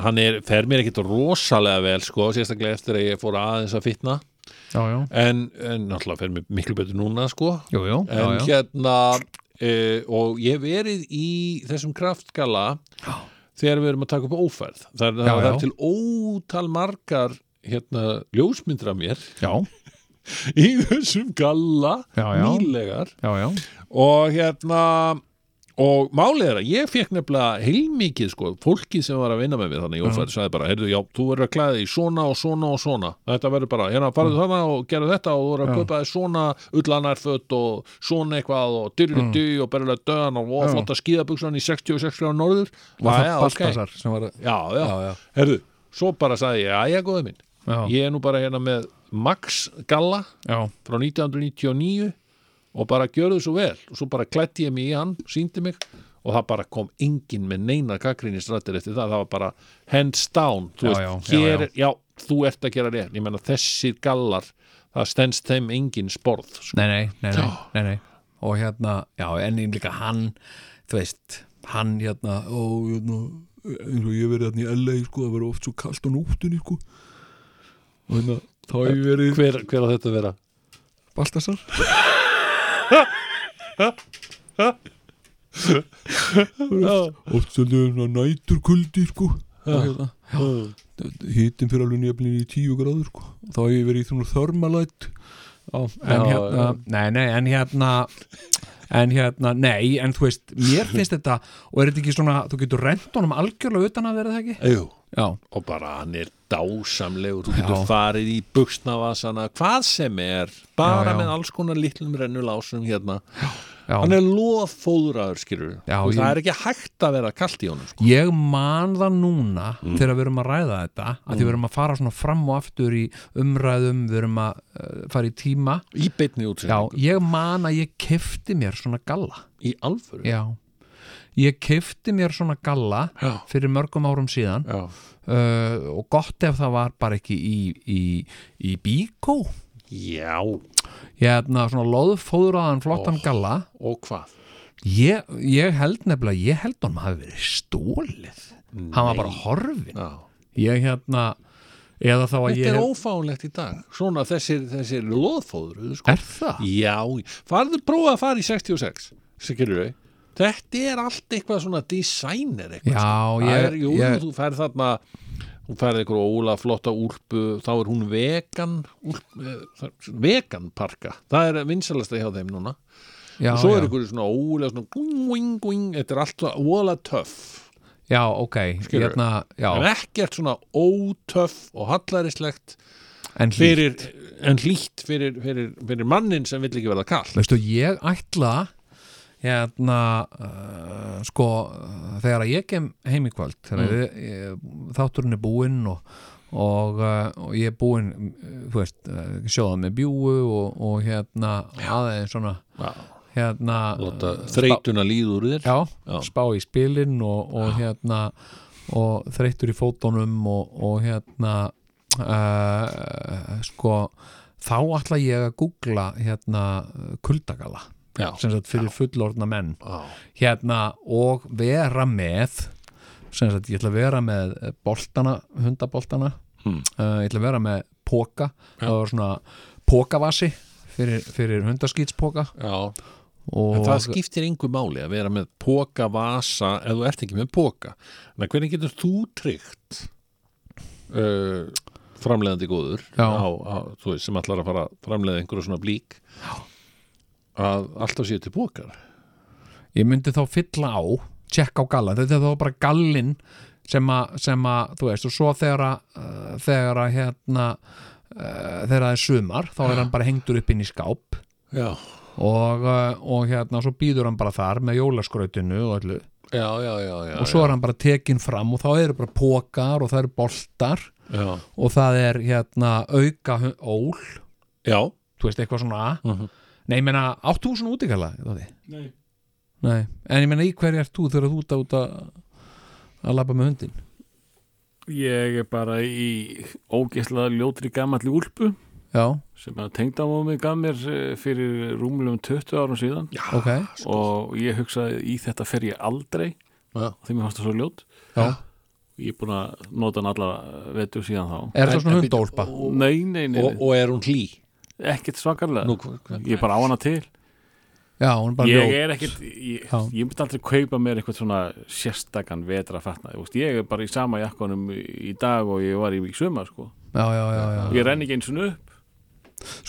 Hann er, fer mér ekkit rosalega vel sko, sérstaklega eftir að ég fór aðeins að fitna já, já, en, en náttúrulega fer mér miklu betur núna sko já, já, já, en já. hérna uh, og ég hef verið í þessum kraftgala þegar við erum að taka upp ófærð það er, Já, það já. er til ótal margar hérna, ljósmyndra mér Já, í þessum galla Já, já. nýlegar já, já, og hérna og málið er að ég fekk nefnilega heilmikið sko, fólkið sem var að vinna með mér Mhm. þannig í ófærð sagði bara, heyrðu, já, þú verður að klæða því svona og svona og svona, þetta verður bara hérna, Mhm. farðu þarna og gera þetta og þú verður að kaupa því svona ullanarföt og svona eitthvað og Mhm. dyrri-dy og berjulega döðan og ó, flotta skíðabugsan í 66 gráður norður var Já, það já, ok. Baltasar sem var að já, já, Já, já. heyrðu, svo bara sagði ég, já, já, góði minn Já. ég er nú bara hérna með Max Galla já, frá 1999 og bara gjörðu svo vel og svo bara klætti ég mig í hann, síndi mig og það bara kom enginn með neina kakrinistrættir eftir það, það var bara hands down, þú Já, veist, já, já, hér já. er já, þú ert að gera rétt, ég meina þessir gallar það stendst þeim enginn sporð sko. nei, nei, nei, nei, nei, nei. og hérna, já, en ég líka hann þú veist, hann hérna og hérna, eins og ég verið hérna í LA, sko, það verið oft svo kalt á nóttunni, sko og hérna, þá hef ég verið hver, hver á þetta að vera? Baltasar Óttstöldu er svona nætur kuldi sko Hittin fyrir alveg nefnir í tíu gráður sko Þá hef ég verið í svona þörmalætt en Já, hérna, nei, nei, en hérna en hérna, nei, en þú veist mér finnst þetta, og er þetta ekki svona þú getur rent honum algjörlega utan að vera það ekki Jú. já, og bara hann er dásamlegur þú getur Já. farið í buksnavasana hvað sem er, bara Já, já. með alls konar litlum rennulásum hérna já, hann er loðfóðraður skilur Já, ég... það ég- er ekki hægt að vera kalt í honum sko. ég man það núna Mm. þegar við erum að ræða þetta að því við erum að fara svona fram og aftur í umræðum, við erum að uh, fara í tíma í beinni já, útsendingu, ég man að ég kefti mér svona galla í alföru já, ég kefti mér svona galla Já. fyrir mörgum árum síðan Já. uh, og gott ef það var bara ekki í, í, í bíkó Já, hérna svona loðfóðraðan flottan Oh. galla og hvað ég, ég held nefnilega, ég held honum hafi verið stólið hann var bara horfin já. ég, ég hérna eða þá að þetta ég er hef- ófánlegt í dag svona þessir, þessir loðfóður sko. er það? já, farðu prófa að fara í 66 skilur við þetta er allt eitthvað svona designer eitthvað, Já, sko. Það ég- er, jú, ég- þú færð þarna þú færð eitthvað óla flotta úlpu þá er hún vegan úlp, eh, það er- vegan parka það er vinsalasta hjá þeim núna Já, og svo já. er einhverju svona ólega svona guing, guing, guing, þetta er alltaf ólega töff já, ok, Skilurðu? hérna já, en ekkert svona ótöff og hallaríslegt en hlýr fyrir, en hlýtt fyrir, fyrir, fyrir mannin sem vill ekki verða kall veistu, ég ætla hérna uh, sko, uh, þegar að ég kem heim í kvöld þegar mm. ég, þátturinn er búinn og, og, uh, og ég er búinn uh, þú veist, uh, sjóða með bjúu og, og hérna aðeins svona hérna Láta þreytuna líður úr þér já, Já. spá í spilin og, og hérna og þreyttur í fótunum og, og hérna uh, sko þá ætla ég að googla hérna uh, kuldagala Já. sem sagt fyrir fullorðna menn Já. hérna og vera með sem sagt ég ætla að vera með boltana, hundaboltana hmm. ég ætla að vera með póka það var svona pókavasi fyrir, fyrir hundaskýtspóka Já. og En það skiptir engu máli að vera með póka vasa ef þú ert ekki með póka en hvernig getur þú tryggt uh, framleiðandi góður Já. á, á, þú veist, sem allar að fara að framleiða einhverja svona blík að alltaf séu til bókar ég myndi þá fylla á tjekka á gallan, þetta er þá bara gallin sem að, sem að þú veist og svo þegar að uh, þegar að hérna uh, þegar það er sumar, þá er hann bara hengdur upp inn í skáp Já, og, uh, og hérna, svo býður hann bara þar með jólaskrautinu og öllu já, já, já, já og svo er hann bara tekinn fram og þá eru bara pókar og það eru boltar Já, og það er hérna auka hu- ól, já, þú veist eitthvað svona Mhm. nei, ég meina, áttu þú svona útikalla? Þótti? Nei. Nei, en ég meina í hverju ert þú þegar þú ert út að að labba með hundin Ég er bara í ógeðslega ljótri gamalli úlpu Já, sem að tengdamómi gaf mér eh, fyrir rúmlegum 20 árum síðan Já, ok sko. og ég hugsaði í þetta fer ég aldrei Já. því mér fannst það svo ljót Já. Ég er búin að nota hann alla vetur síðan þá Er það En- svona en hundólpa? Nei, nei, nei, Eh, og, nei. og er hún hlý ekkert svakarlega Nú, hva- hva- Ég er bara á hana til Já, hún er bara Ég ljóð er ekkert, ég, Já. ég myndi aldrei kaupa mér eitthvað svona sérstakann vetrafatna Ég er bara í sama jakkanum í dag og ég var í, í sumar sko Já, já, já, já. Ég renn ekki eins og upp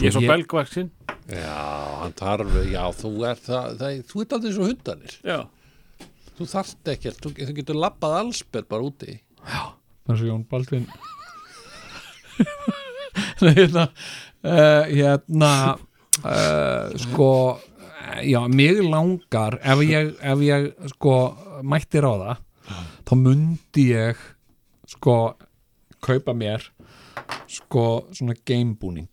Ég er svo ég- ég... belgvaksinn Já, hann tarf, já, þú er það, það þú ert aldrei svo hundanir Já, þú þarft ekkert, þú, þú getur labbað allsberg bara úti Það er svo Jón Baldvin Nei, hérna uh, Hérna uh, Sko Já, mig langar ef ég, ef ég sko mætti ráða þá mundi ég sko kaupa mér sko svona gamebúning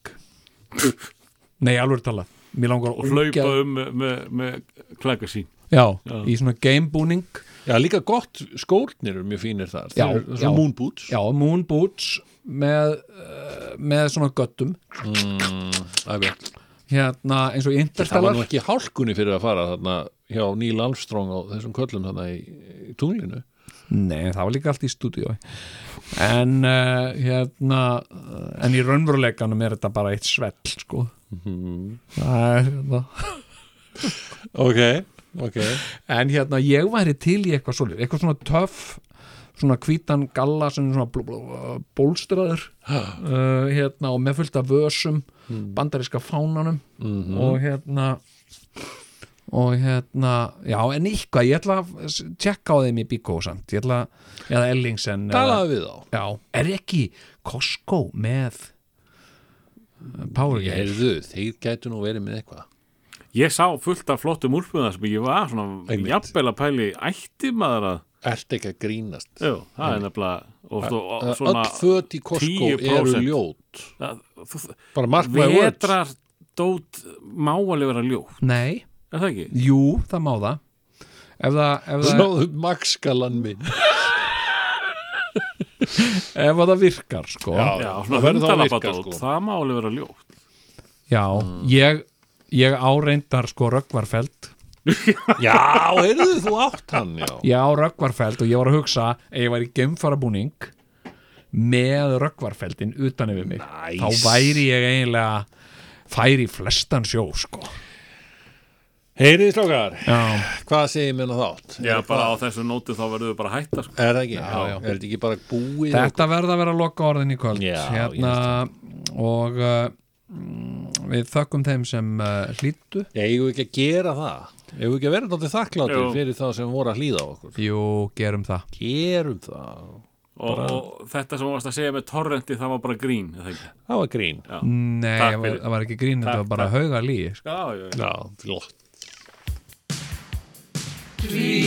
Nei, alveg tala Mér langar og að hlaupa útgefa- um með, með, með klaka sín Já, Já. í svona gamebúning Já, líka gott, skórnir eru mjög fínir þar Já, Þeir eru já. svona moon boots Já, moon boots með, uh, með svona göttum Æ, hérna eins og í Það var Interstellar nú ekki hálkunni fyrir að fara þarna hjá Neil Armstrong og þessum köllum þarna í, í tunglinu Nei, það var líka allt í stúdíói En uh, hérna uh, En í raunveruleikanum er þetta bara eitt svell sko Það er hérna Ok, ok En hérna, ég væri til í eitthvað svolítið Eitthvað svona töff Svona hvítan galla sem er svona blú- blú- bólstraður uh, Hérna og með fullt af vösum Bandaríska fánanum Og hérna Og hérna, já, en eitthvað Ég ætla að s- tjekka á þeim í Bíkó samt Ég ætla, eða Ellingsen eða, Talaðu við þá Já, er ekki Costco með uh, Power Game Herðu, þeir gætu nú verið með eitthvað Ég sá fullt af flottum úlpuða sem ég var svona Einmitt. jafnvel að pæli ætti maður að Ert ekki að grínast Jú, það er nefnilega og, og, og svona Öll föt í Costco 10% eru ljót að- þú- Bara mark my words Vetrar dót má alveg vera ljó Nei, Er það ekki? jú, það má það Ef það, ef það, Snáðu magskalan minn ef það virkar sko Já, það svona verður þá að virka, hundalabadót, sko. það má alveg vera ljó Já, ég, ég áreindar sko Röggvarfeld Já, heyrðu, þú átt hann, já Ég á Röggvarfeld og ég var að hugsa ef ég væri gemfarabúning með Röggvarfeldin utan yfir mig Næs. þá væri ég eiginlega færi í flestan sjó sko Heyriði slókar, Já, hvað segir mér að þátt? Já, bara á þessu nóti þá verðum við bara að hætta sko. Er það ekki? Já, já. Er þetta ekki bara búið? þetta verða að vera loka orðin í kvöld Já, ég hérna, og uh, mm, við þökkum þeim sem uh, hlýttu Eigum við ekki að gera það? Eigum við ekki að vera náttúrulega þakkláttir Jú. fyrir þá sem voru að hlýða á okkur? Jú, gerum það Gerum það og, og þetta sem þú varst að segja með torrenti það var bara grín er það ekki? Það var grín Nei, Takk það var, fyrir. það var ekki grín þetta Takk, var sko. bara hauga líi Já, já, já Já, flott Því